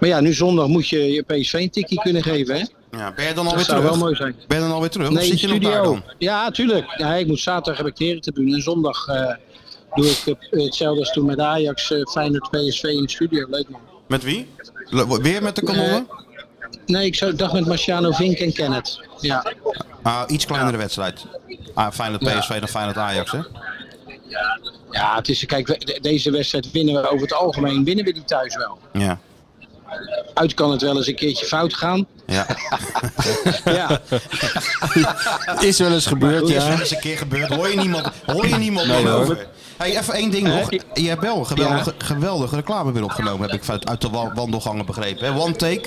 Maar ja, nu zondag moet je je PSV een tikkie kunnen geven. Hè? ja. Ben je dan Dat alweer zou wel terug? mooi zijn. Ben je dan alweer terug? of in zit je nog daar dan? Ja, tuurlijk. Ja, ik moet zaterdag heb ik de herentribune. En zondag eh, doe ik eh, hetzelfde als toen met Ajax, eh Feyenoord, PSV in de studio. Leuk man. Met wie? Le- Weer met de kanonnen? Nee, ik zou dag met Marciano Vink en Kenneth. Ja, Ah, iets kleinere wedstrijd. Ah, Feyenoord PSV dan Feyenoord Ajax, hè? ja het is, kijk, we- de- deze wedstrijd winnen we over het algemeen. Winnen we die thuis wel. Ja. Uit kan het wel eens een keertje fout gaan. Ja. Ja, Is wel eens gebeurd, Het is wel ja. eens een keer gebeurd. Hoor je niemand, hoor je niemand Nee, meer hoor. over? Hey, even één ding nog. Je hebt wel geweldige, geweldige reclame weer opgenomen, heb ik uit, uit de wa- wandelgangen begrepen. Hè? One take.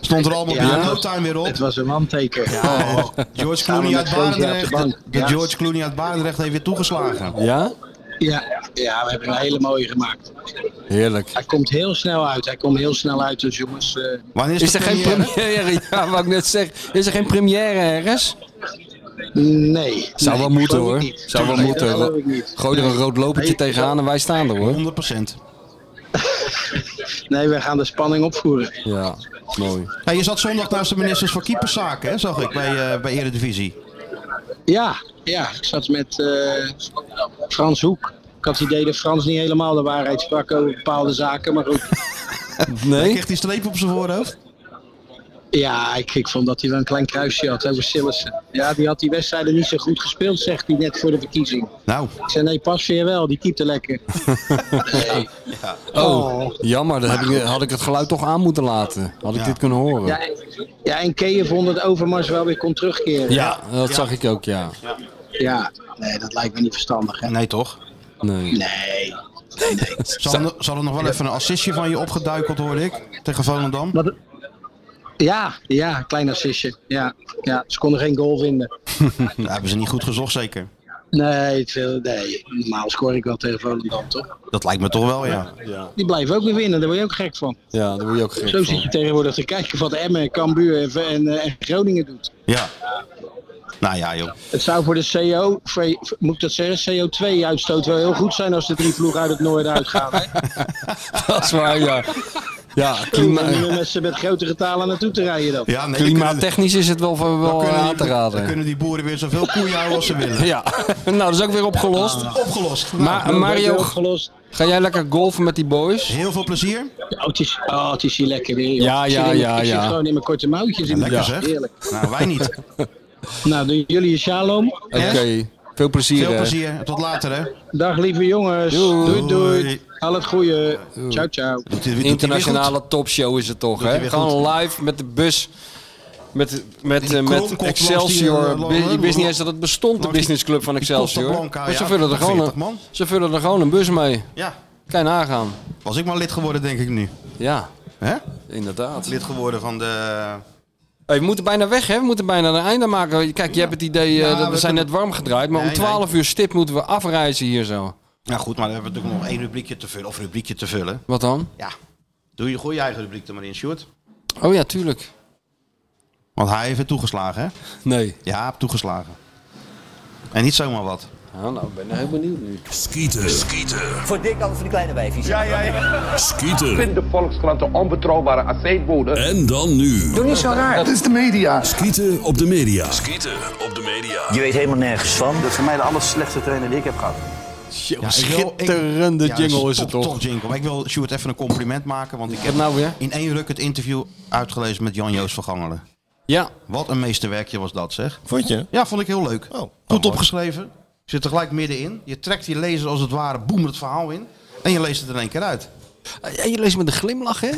Stond er allemaal Ja. binnen no time weer op. het was een wanteken. Ja, oh, George Samen Clooney met uit Feyenoord op de Barendrecht. bank. De Ja. George Clooney uit Barendrecht heeft weer toegeslagen. Ja? Ja, ja, we hebben een hele mooie gemaakt. Heerlijk. Hij komt heel snel uit. Hij komt heel snel uit, dus jongens. eh, Wanneer is, Is de er geen première? première? Ja, wat ik net zeg. Is er geen première, RS? nee. Zou Nee, wel moeten geloof ik hoor. niet. Zou wel Nee, moeten. dat geloof ik niet. Gooi er een rood lopertje Nee. tegenaan en wij staan er hoor. 100 procent. Nee, we gaan de spanning opvoeren. Ja, mooi. je zat zondag naast de ministers voor keeperszaken, hè, zag ik, bij, eh bij Eredivisie. Ja, ja. Ik zat met eh, Frans Hoek. Ik had het idee dat Frans niet helemaal de waarheid sprak over bepaalde zaken, maar goed. Hij Nee? kreeg die streep op zijn voorhoofd. Ja, ik, ik vond dat hij wel een klein kruisje had over Sillissen. Ja, die had die wedstrijden niet zo goed gespeeld, zegt hij net voor de verkiezing. Nou, Ik zei, nee, pas weer wel, die keepte lekker. Nee. Oh, jammer. Dan heb ik, had ik het geluid toch aan moeten laten. Had ik Ja. dit kunnen horen. Ja, Ja, en, ja, en Keeën vond dat Overmars wel weer kon terugkeren. dat zag ik ook, ja. Ja, nee, dat lijkt me niet verstandig. Hè? nee toch? Nee. Nee. Zal, er- zal er nog wel even een assistje van je opgeduikeld, hoorde ik, tegen Volendam? Wat, ja, ja, klein assistje. Ja, ja, ze konden geen goal vinden. Nou, hebben ze niet goed gezocht, zeker. Nee, veel, nee, normaal scoor ik wel tegen Volendam, toch? Dat lijkt me toch wel, ja. Die blijven ook weer winnen, daar word je ook gek van. Ja, daar word je ook gek Zo van. zit je tegenwoordig te kijken wat Emmen, Cambuur en, V- en, eh, en Groningen doet. Ja. Nou ja, joh. Het zou voor de CO, voor- voor- moet ik dat zeggen, CO2-uitstoot wel heel goed zijn als de drie ploegen uit het noorden uitgaan. Hè? Dat is waar, ja. Ja, Om klima er met, z'n- met grotere talen naartoe te rijden dan. Ja, nee, dan kunnen- klimaattechnisch is het wel, dan wel kunnen aan te die- Dan raden. kunnen die boeren weer zoveel koeien houden als ze willen. Ja, nou dat is ook weer opgelost. Opgelost. Nou, Maar Wordt Mario, opgelost. ga jij lekker golfen met die boys? heel veel plezier. Oh, het is, oh, het is hier lekker weer. joh. Ja, Ik zit ja, in mijn- ja, Ik ja. zit gewoon in mijn korte mouwtjes. in Lekker mijn- zeg. Heerlijk. Nou, wij niet. Nou, doen jullie je shalom. Oké, veel plezier. Veel hè. plezier. Tot later, hè. Dag lieve jongens. Doei. Doei doei. Doei. Al het goede. Ciao ciao. Doet hij- doet hij weer goed? Internationale topshow is het toch, hij hè? weer Gewoon goed. live met de bus. Met, met, Die eh, kronkels met die, eh, Excelsior. la- Bu- Ik wist niet eens dat het bestond, de langs die- businessclub van die Excelsior. Costa Blanca, Maar ze ja, vullen er van gewoon 40 een- man. ze vullen er gewoon een bus mee. Ja. Kan je nagaan. Was ik maar lid geworden, denk ik nu. Ja. Hè? Inderdaad. Lid geworden van de... Hey, we moeten bijna weg, hè? We moeten bijna een einde maken. Kijk, je hebt het idee, eh, Ja, dat we, we zijn kunnen- net warm gedraaid, maar om Nee, nee. 12 uur stipt moeten we afreizen hier zo. Nou goed, maar dan hebben we natuurlijk nog één rubriekje te vullen. Of rubriekje te vullen. Wat dan? Ja. Doe je, gooi je eigen rubriek er maar in, Sjoerd. Oh ja, tuurlijk. Want hij heeft het toegeslagen, hè? Nee. Ja, hij heeft toegeslagen. En niet zomaar wat. Ja, nou, ik ben heel benieuwd nu. Skieten. Skieten. Voor dik altijd voor de kleine wijfjes. Ja, ja, ja. Skieten. Vindt de Volkskrant de onbetrouwbare aceetbode. En dan nu. Doe niet zo raar. Dat is de media. Skieten op de media. Skieten op de media. Je weet helemaal nergens van. Dat is voor mij de aller slechtste trainer die ik heb gehad. Ja, ik wil- ik- schitterende Ja, jingle dat is het top, toch? top jingle. Maar ik wil Sjoerd even een compliment maken. Want ik heb nou weer? in één ruk het interview uitgelezen met Jan-Joos van Gangelen. Ja. Wat een meesterwerkje was dat, zeg. Vond je? Ja, vond ik heel leuk. Oh, Goed mooi. opgeschreven. Zit er gelijk middenin. Je trekt die lezer als het ware, boem het verhaal in. En je leest het in één keer uit. En Eh, je leest met een glimlach, hè?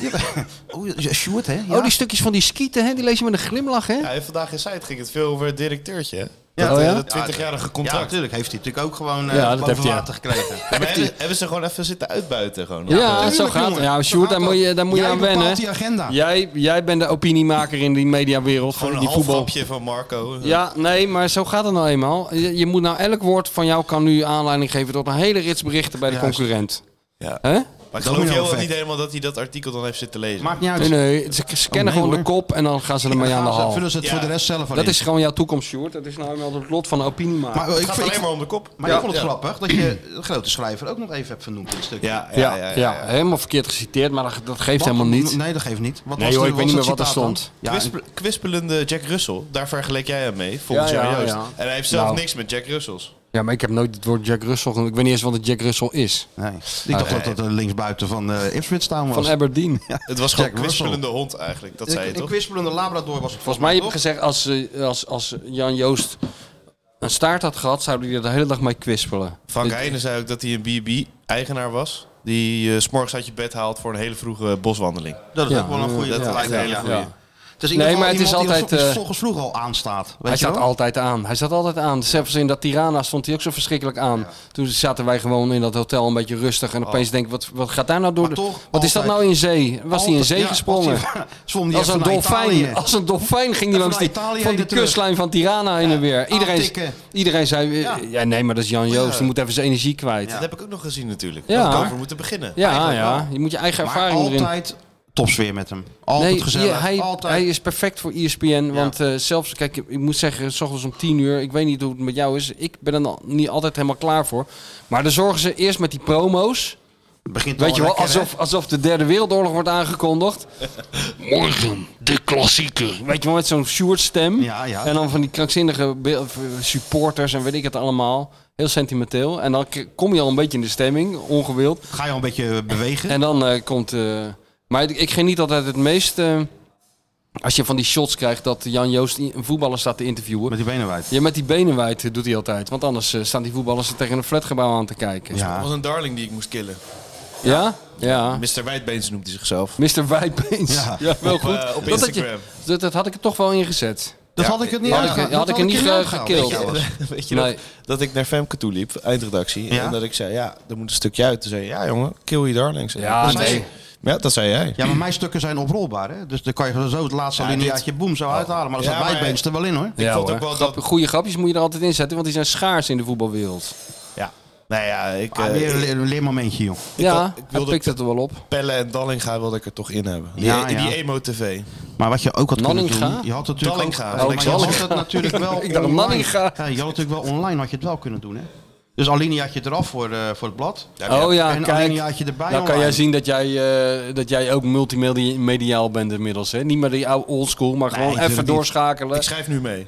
Oh, Sjoerd, hè? Oh, die stukjes van die skieten, hè? Die lees je met een glimlach, hè? Ja, en vandaag in Zuid ging het veel over het directeurtje. hè? Ja. dat, Oh, ja? eh, dat 20-jarige Ja, contract. natuurlijk. Heeft hij natuurlijk ook gewoon eh Ja, dat boven heeft hij, ja. water gekregen. Maar hebben, hebben ze gewoon even zitten uitbuiten? Gewoon, Ja, zo gaat het. Ja, Sjoerd, daar moet je, daar moet je Jij aan wennen. bepaalt die agenda. Jij, jij bent de opiniemaker in die mediawereld. Gewoon Gewoon een die voetbal. halfgrapje van Marco. Ja, nee, maar zo gaat het nou eenmaal. Je, je moet nou elk woord van jou kan nu aanleiding geven tot een hele rits berichten bij de Juist. concurrent. Ja. Hè? Maar ik Domino geloof heel effect. niet helemaal dat hij dat artikel dan heeft zitten lezen. Maakt niet uit. Nee, nee, ze ze kennen nee, gewoon de hoor. kop en dan gaan ze ermee aan de Gaan ze- haal. Vullen ze het Ja. voor de rest zelf al Dat in. is gewoon jouw toekomst, Sjoerd. Dat is nou eenmaal het lot van de opiniemaker. Maar, eh, Het ik, gaat vind- alleen maar om de kop. maar Ja. ik vond het Ja. grappig dat je de grote schrijver ook nog even hebt vernoemd in het stukje. Ja, ja, ja, ja, ja, ja. helemaal verkeerd geciteerd, maar dat, dat geeft Wat- helemaal niet. Nee, dat geeft niet. Wat Nee, was joh, de- ik weet was niet het meer wat er citaat dan? stond. Ja, Kwispe- kwispelende Jack Russell, daar vergelijk jij hem mee, volgens Ja, jou ja, Joost. ja. En hij heeft zelf Nou. niks met Jack Russells. Ja, maar ik heb nooit het woord Jack Russell genoemd. Ik weet niet eens wat het Jack Russell is. nee. Ik dacht dat dat eh, linksbuiten van eh Ipswich Town was. Van Aberdeen. Het was gewoon Jack kwispelende hond eigenlijk, dat zei je Een- Een toch? kwispelende Labrador was het Volgens mij heb je gezegd, als, eh, als, als Jan Joost een staart had gehad, zou hij er de hele dag mee kwispelen. Frank Dit- Heijnen zei ook dat hij een B&B-eigenaar was. Die eh, s s'morgens uit je bed haalt voor een hele vroege boswandeling. Dat is Ja. ook wel een goede. Dat dat lijkt me een hele ja. goeie. Ja. Het is in ieder Nee, maar geval het is iemand die er altijd, eh, volgens vroeg al aanstaat. Weet Hij je staat wel? altijd aan. Hij staat altijd aan. Zelfs in dat Tirana stond hij ook zo verschrikkelijk aan. Toen zaten wij gewoon in dat hotel een beetje rustig. En opeens denk ik, wat, wat gaat daar nou door? Oh. Maar de- toch wat is dat altijd- nou in zee? Was hij in Altijd- zee ja, gesprongen? als hij- zwom die Als even een, naar Italië. dolfijn, als een dolfijn ging hij Even langs naar die, Italië van en die weer terug. kustlijn van Tirana heen en weer. Iedereen, aantikken. iedereen zei, eh, ja. Ja. nee, maar dat is Jan Joost. Die moet even zijn energie kwijt. Dat heb ik ook nog gezien natuurlijk. Ja. Ja. Dat we over moeten beginnen. Ja, ja, wel. je moet je eigen Maar ervaring erin. altijd topsfeer met hem. Altijd gezellig. hier, hij, altijd. hij is perfect voor ESPN. Want eh, zelfs, kijk, ik moet zeggen, s ochtends om 10 uur. Ik weet niet hoe het met jou is. Ik ben er nog niet altijd helemaal klaar voor. Maar dan zorgen ze eerst met die promo's. begint Weet je wel, lekker, hè? alsof, alsof de derde wereldoorlog wordt aangekondigd. Morgen, de klassieker. Weet je wel, met zo'n Sjoerd stem. Ja, ja. En dan van die krankzinnige be- eh, supporters en weet ik het allemaal. Heel sentimenteel. En dan k- kom je al een beetje in de stemming, ongewild. Ga je al een beetje bewegen. En dan eh, komt. eh, maar ik, ik geniet altijd het meest. eh, als je van die shots krijgt dat Jan Joost i- een voetballer staat te interviewen. met die benen wijd. Ja, met die benen wijd eh, doet hij altijd. Want anders eh, staan die voetballers er tegen een flatgebouw aan te kijken. Ja. Dat was een darling die ik moest killen. Ja? Ja. Mr. Wijdbeens noemt hij zichzelf. Mr. Wijdbeens. Ja. Ja. wel Op, goed. eh, op Dat had je- Instagram. dat, dat had ik er toch wel ingezet. Dat Ja, had ik het niet had ik- uitgehaald. had Dat ik er niet, eh, uitgehaald. gekild. Weet je wel. Weet je Nee. nog, dat ik naar Femke toe liep, eindredactie. Ja? En dat ik zei, ja, er moet een stukje uit. Toen zei je, ja jongen, kill je darlings. Ja, dat nee. Zei, ja, dat zei jij. Ja, maar mijn stukken zijn oprolbaar. Hè? Dus dan kan je zo het laatste Ja, lineaatje boem zo uithalen. Maar dat Ja, zat maar- wijdbeens er wel in hoor. Ik vond ook wel dat... Goede grapjes moet je er altijd in zetten, want die zijn schaars in de voetbalwereld. Ja. Nou ja, ik... Ah, eh, weer een le- een leermomentje joh. ja, had- ik hij wilde- pikt het er wel op. Pelle en Dallinga wilde ik er toch in hebben. Die, Ja, in die ja. emo-tv. Maar wat je ook had kunnen Nanninga? doen, je had het natuurlijk Dallinga. ook, Oh, maar je had Dallinga. het natuurlijk wel Ik dacht online. Nanninga. Ja, je had natuurlijk wel online had je het wel kunnen doen, hè? Dus Alineaatje eraf voor, eh, voor het blad. Oh ja, en kijk. Alineaatje erbij. Dan kan online. jij zien dat jij, eh, dat jij ook multimediaal bent inmiddels. Hè? Niet meer die oude oldschool, maar gewoon natuurlijk even niet. doorschakelen. Ik schrijf nu mee.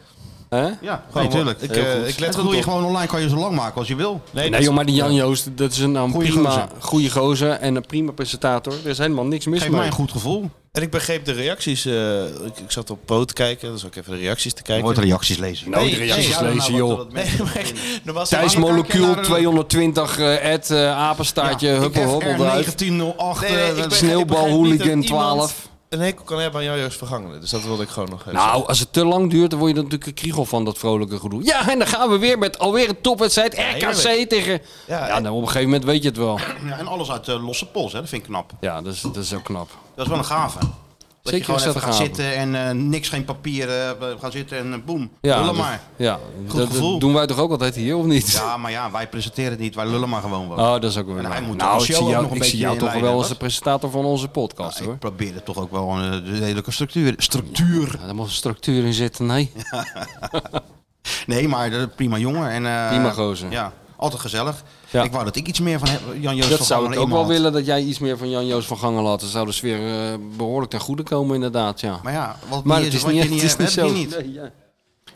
Hè? Ja, Gewoon, natuurlijk. Ik, Heel eh, goed. ik En let dat goed doe je op. gewoon online, kan je zo lang maken als je wil. Nee, Nee, dat- joh, maar die Jan Joost, dat is een, een Goeie prima, gozer. goede gozer en een prima presentator. Er is helemaal niks mis Geef mee. mij een goed gevoel. En ik begreep de reacties. eh, ik, ik zat op poot te kijken, dus ook even de reacties te kijken. Nooit reacties lezen. Nooit reacties Nou, nou, lezen, joh. Nee, maar normaal is- Thijs Maar dan kijk je Molecuul naar eh, de- 220, eh Ed, eh, apenstaartje, huppel, huppel, duif. 1908. Nee, nee, eh, ik begreep- ik Sneeuwbal begreep niet eh, dat Hooligan iemand 12. Een hekel kan hebben aan Joost Vergangenen. Dus dat wilde ik gewoon nog even zeggen. Nou, als het te lang duurt, dan word je er natuurlijk een kriegel van, dat vrolijke gedoe. Ja, en dan gaan we weer met alweer een topwedstrijd. RKC heerlijk. tegen... Ja, Ja, nou, op een gegeven moment weet je het wel. Ja, en alles uit eh, losse pols, hè? dat vind ik knap. Ja, dat is, dat is ook knap. Dat is wel een gave. Dat Zeker je gewoon even gaat zaterdagavond. zitten en eh, niks, geen papier. eh, we gaan zitten en eh, boem. Ja, lullen dus- dat- maar. ja. Goed Dat- dat gevoel. doen wij toch ook altijd hier, of niet? Ja, maar ja, wij presenteren het niet. Wij lullen maar gewoon wat. Oh, dat is ook wel. En hij moet nou, de ik show zie ook jou, nog een ik zie beetje jou toch inleiden, wel als dat- Nou, de presentator van onze podcast, hoor. Ik probeer er toch ook wel eh, de hele structuur. Structuur. Ja, daar moet een structuur in zitten, nee. nee, maar eh, prima jongen. En, eh, Prima gozer. Ja, altijd gezellig. Ik wou dat ik iets meer van heb- Jan Joost dat van zou Gammelen ik ook in me wel had. willen, dat jij iets meer van Jan-Joos van Gangen laat. Dan zou de sfeer eh, behoorlijk ten goede komen, inderdaad, ja. Maar ja, wat Maar bier het is, is wat niet- je niet het is hebt, heb je niet niet. zo.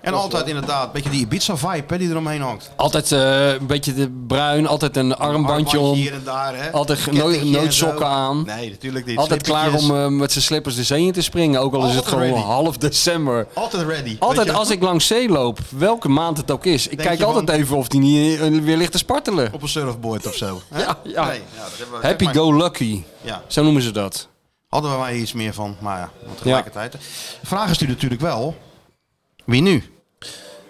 En altijd inderdaad, een beetje die Ibiza-vibe hè, die eromheen hangt. Altijd eh, een beetje de bruin, altijd een armbandje om. hier en daar, hè. Altijd ge- Kettingje nooit, en nooit zo. sokken aan. Nee, natuurlijk niet. Altijd klaar om Slippertjes. eh, met zijn slippers de zee in te springen, ook al is het Altijd gewoon ready. half december. Altijd ready. Weet eh, Altijd je als wel? ik langs zee loop, welke maand het ook is, ik Denk kijk je altijd even of die niet eh, weer ligt te spartelen. Op een surfboard of zo. hè? Ja, ja. Nee, ja, dat hebben we- Happy maar- go lucky. Ja. Zo noemen ze dat. Hadden we maar iets meer van, maar ja, want tegelijkertijd. De vraag is nu natuurlijk wel, wie nu?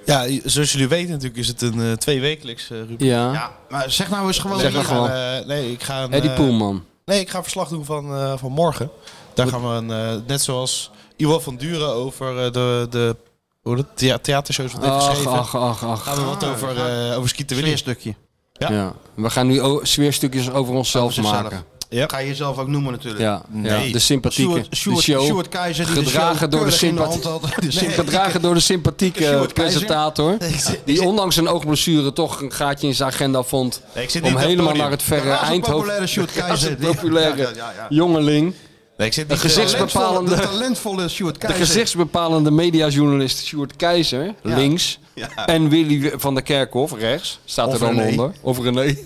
Ja, zoals jullie weten natuurlijk is het een eh, tweewekelijks eh rubriek. Ja. maar zeg nou eens gewoon... Zeg maar maar gewoon. nee, ik ga een, Eddie eh, Poelman. Nee, ik ga verslag doen van, eh, van morgen. Daar gaan we, een, eh, net zoals Iwan van Duren over eh, de, de hoe dat, thea- theatershows wat heeft Ach, geschreven. ach, ach, ach. Gaan we wat over, eh over Skieten Willy. stukje. Ja. We gaan nu o- sfeerstukjes over onszelf zichzelf. maken. Ga je jezelf ook noemen natuurlijk. Ja, ja, de sympathieke. Sjoerd, Sjoerd, de show. Sjoerd Keizer die gedragen, de show door de keurig in de sympathie- hand had. De Nee, sympathieke- gedragen door de sympathieke Sjoerd Keizer. presentator. Die ondanks een oogblessure toch een gaatje in zijn agenda vond. ik zit niet om op het helemaal podium. naar het verre Dat was een Eindhoven. populaire Sjoerd Dat was Keizer. een Die- populaire Ja, ja, ja, ja. jongeling. ik zit de niet, eh, gezichtsbepalende, De talentvolle Sjoerd de Keizer. gezichtsbepalende mediajournalist Sjoerd Keizer, links. Ja. En Willy van der Kerkhof, rechts. Staat Of er dan René. onder. Of René.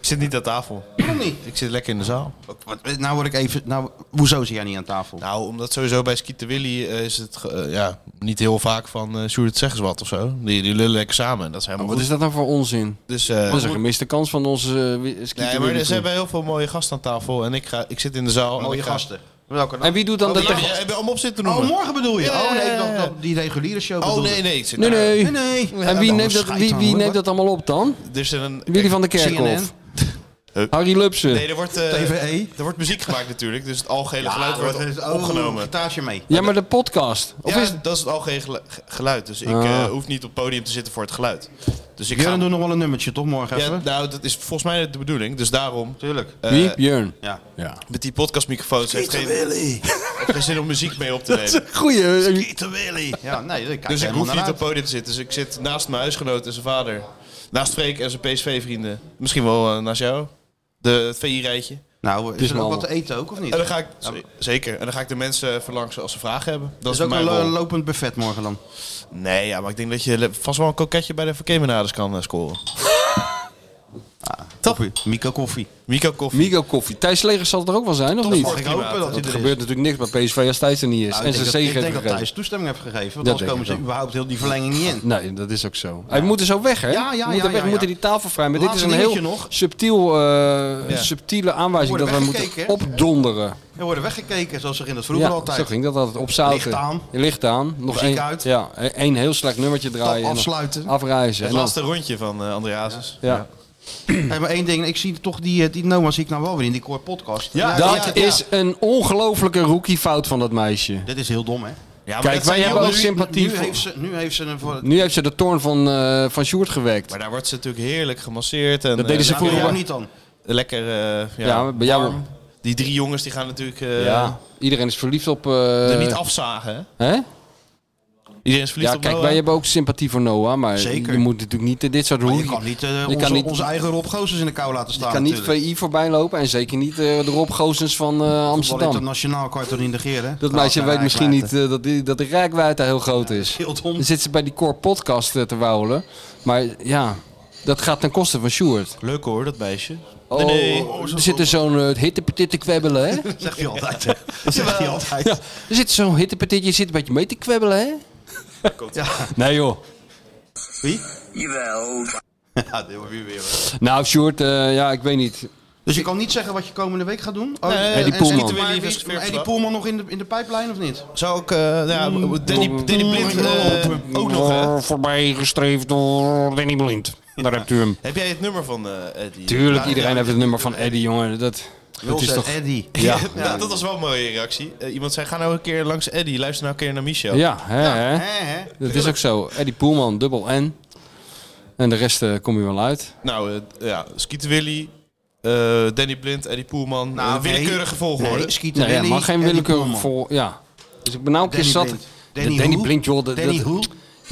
Ik zit niet aan tafel. Waarom niet? Ik zit lekker in de zaal. Wat- Nou word ik even... Nou, hoezo zit jij niet aan tafel? Nou, omdat sowieso bij Skieten Willy eh, is het ge- eh, ja, niet heel vaak van eh Sjoerd zeg eens wat of zo. Die, die lullen lekker samen en dat Oh, is helemaal Wat goed. is dat nou voor onzin? Dus, eh, dat is een gemiste kans van onze eh, wi- skieten Nee, maar Willy er zijn Poel. bij heel veel mooie gasten aan tafel en ik, ga, ik zit in de zaal. en Mooie ik eh, ga- Oh, gasten. Welke dan? En wie doet dan de... Ja, ja, ja, om op zitten te noemen. Oh, morgen bedoel je? Ja, Oh nee, ja, ja. dat, dat- die reguliere show Oh bedoelde. nee, nee. Ik zit Nee, daar. nee. Nee, nee. En wie neemt, dat, wie, wie neemt dat allemaal op dan? Dus Er is een, Willy van der Kerkhof. Harry Lubsen. Nee, er wordt, eh, TVE? er wordt muziek gemaakt natuurlijk, dus het algehele geluid E. dat wordt is opgenomen. Ah, oh, Gitaartje mee. ja, maar de podcast. Of ja, is dat is het algehele gelu- ge- geluid, dus ik Ah. eh, hoef niet op het podium te zitten voor het geluid. Dus ik ga... Jurgen doet nog wel een nummertje toch morgen Ja, even? nou, dat is volgens mij de bedoeling, dus daarom... Tuurlijk. eh, Wie? Björn. Ja. Ja. Met die podcastmicrofoons heeft geen, heeft geen zin om muziek mee op te nemen. Goeie. eh, Pieter Willy. Ja, nee, ik kijk Dus ik helemaal hoef niet naar op het uit. podium te zitten. Dus ik zit naast mijn huisgenoot en zijn vader. Naast Freek en zijn PSV-vrienden. Misschien wel eh, naast jou. De, het VI-rijtje. Nou, is is er ook allemaal. wat te eten ook of niet? En Eh, dan ga ik, z- zeker. En dan ga ik de mensen even langs als ze vragen hebben. Dat is is, ook mijn een lo- rol. lopend buffet morgen dan. Nee, ja, maar ik denk dat je le- vast wel een koketje bij de verkeermenaders kan eh, scoren. Top. Mico koffie. Mico Koffie. Migo Koffie. Thijs Legers zal er ook wel zijn, of niet? mag ik hopen dat hij Want er Er is. gebeurt natuurlijk niks bij PSV als Thijs er niet is. Nou, en ik zijn denk dat- zegen Ik heeft denk dat gegeven. Thijs toestemming heeft gegeven. Want Dat anders denk komen ik ze wel. überhaupt heel die verlenging niet in. Nee, dat is ook zo. Hij moet er zo weg, hè? Ja, ja, We ja, moeten, ja, weg, we ja. moeten die tafel vrijmen. Dit is Laatste een heel dingetje nog. subtiel, eh, Ja. subtiele aanwijzing dat Worden we moeten weggekeken, opdonderen. Er worden weggekeken, zoals er in het vroeger Ja, zo altijd. ging dat altijd. Opzouten. Licht aan. Licht aan. Nog Muziek één, uit. Ja, e-, één heel slecht nummertje draaien. en dan afsluiten. Afreizen. Het En dan- laatste rondje van eh André Hazes. ja. Hey, maar één ding, ik zie toch die, eh, die Noma zie ik nou wel weer in die core podcast. Ja, ja, Dat ja. is een ongelofelijke rookiefout van dat meisje. Dit is heel dom, hè? Ja, maar Kijk, dat zijn wij hebben heel ook leuk. sympathie Nu voor- heeft ze, nu heeft ze een voor. Nu heeft ze de toorn van, eh, van Sjoerd gewekt. Maar daar wordt ze natuurlijk heerlijk gemasseerd. En, Dat deden eh, ze Ja, voor lekker, vroeger jou wel. Nou, niet dan. Lekker, eh, ja, Ja, bij jou- warm. Die drie jongens die gaan natuurlijk eh, ja. Iedereen is verliefd op... eh, er niet afzagen. Hè? hè? Iedereen is verliefd Ja, op kijk, Noah. wij hebben ook sympathie voor Noah, maar Zeker. je moet natuurlijk niet eh, dit soort Maar roekie... je kan niet, eh, kan onze, niet- onze eigen Rob Gozens in de kou laten staan. kan niet natuurlijk. VI voorbij lopen en zeker niet eh, de Rob Gozens van eh, Voetbal Amsterdam. internationaal kan je toch niet negeren? Nou, Dat meisje weet Raakwaarde. misschien niet eh, dat, die, dat de rijkwijd heel groot is. Heel dom. Dan zit ze bij die core podcast eh, te wauwelen. Maar ja, dat gaat ten koste van Sjoerd. Leuk hoor, dat meisje. Oh, er zit er zo'n eh, hittepetit te kwebbelen, hè? Zegt hij altijd. hè? Dat zegt hij altijd. ja, er zit zo'n hittepetitje, je zit een beetje mee te kwebbelen, hè? Ja. Nee joh. Wie? Jawel. Ja, dit wordt weer weer. wat. Nou, Sjoerd, eh, ja, ik weet niet. Dus je kan niet zeggen wat je komende week gaat doen? Oh, Nee, en- Eddie en- Poelman. maar wie- Willy heeft maar gespeerd Eddie vandaag. Poelman nog in de, in de pijplijn of niet? Zou ook, eh, nou ja, Mm, Danny, Danny Blind eh, ook nog. hè? Voorbij gestreefd door Danny Blind. Daar hebt u hem. Heb jij het nummer van eh Eddie? Tuurlijk, iedereen heeft het nummer van Eddie, jongen. Dat... Dat is toch... Eddie. Ja, dat, dat was wel een mooie reactie. Eh, iemand zei, ga nou een keer langs Eddie. Luister nou een keer naar Michel. Ja, hè, hè. dat is ook zo. Eddie Poelman, dubbel N. En de rest eh, kom je wel uit. Nou, eh, ja, Skeeter Willy, eh, Danny Blind, Eddie Poelman. Nou, nee. willekeurige volgorde. Nee, Skeeter Nee, Willy, maar geen Eddie willekeur Poelman. voor. Ja. Dus ik ben nou een Danny keer zat. Blind. De Danny Danny hoe? Blind, joh. dat- Danny dat- hoe?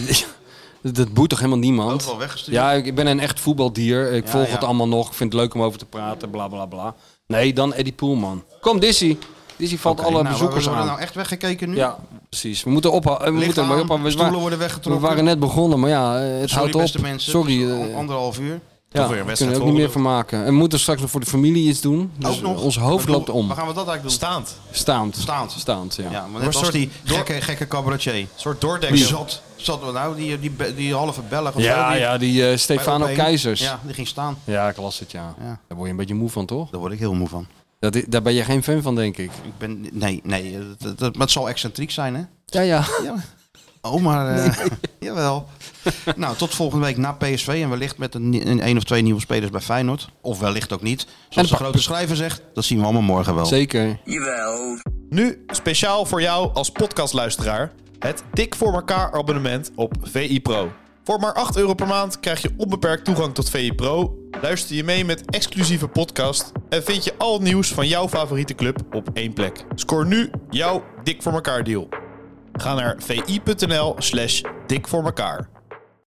Dat boeit toch helemaal niemand? Ook wel weggestuurd. Ja, ik ik ben een echt voetbaldier. Ik Ja, volg ja. het allemaal nog. Ik vind het leuk om over te praten. Bla bla bla. Nee, dan Eddie Poelman. Kom, Dizzy. Dizzy valt alle nou, bezoekers we worden aan. nou echt weggekeken nu? Ja, precies. We moeten ophouden. We Licht moeten maar aan, ophouden. We, stoelen wa- worden we weggetrokken. waren net begonnen, maar ja, eh, het Sorry, houdt op. beste mensen. Sorry. eh, Al- Anderhalf uur. ja, weer een we wedstrijd kunnen er ook voor niet meer bedoeld. van maken. En we moeten straks nog voor de familie iets doen. Dus Ook nog. Ons hoofd Ik bedoel, loopt om. Waar gaan we dat eigenlijk doen? Staand. Staand. Staand. Staand, ja. Ja, maar Maar net als soort die door- gekke, gekke cabaretier. Een soort Die doordekker. zat, zat er nou, die, die, die, halve Belg of zo, Ja, die- ja, die eh, Stefano bij Opeen. Keizers. Ja, die ging staan. Ja, ik las het, ja. Ja. Daar word je een beetje moe van, toch? Daar word ik heel moe van. Dat, i- daar ben je geen fan van, denk ik. Ik ben, nee, nee, dat, dat, dat- maar het zal excentriek zijn, hè? Ja, ja. Ja. Oh, maar... eh, jawel. nou, tot volgende week na PSV en wellicht met een, ni- een, één of twee nieuwe spelers bij Feyenoord. Of wellicht ook niet. Zoals de pak- grote schrijver zegt, dat zien we allemaal morgen wel. Zeker. Jawel. Nu speciaal voor jou als podcastluisteraar het Dik voor elkaar abonnement op VI Pro. Voor maar 8 euro per maand krijg je onbeperkt toegang tot VI Pro. Luister je mee met exclusieve podcast en vind je al het nieuws van jouw favoriete club op één plek. Scoor nu jouw Dik voor elkaar deal. Ga naar vi.nl/slash dik voor elkaar.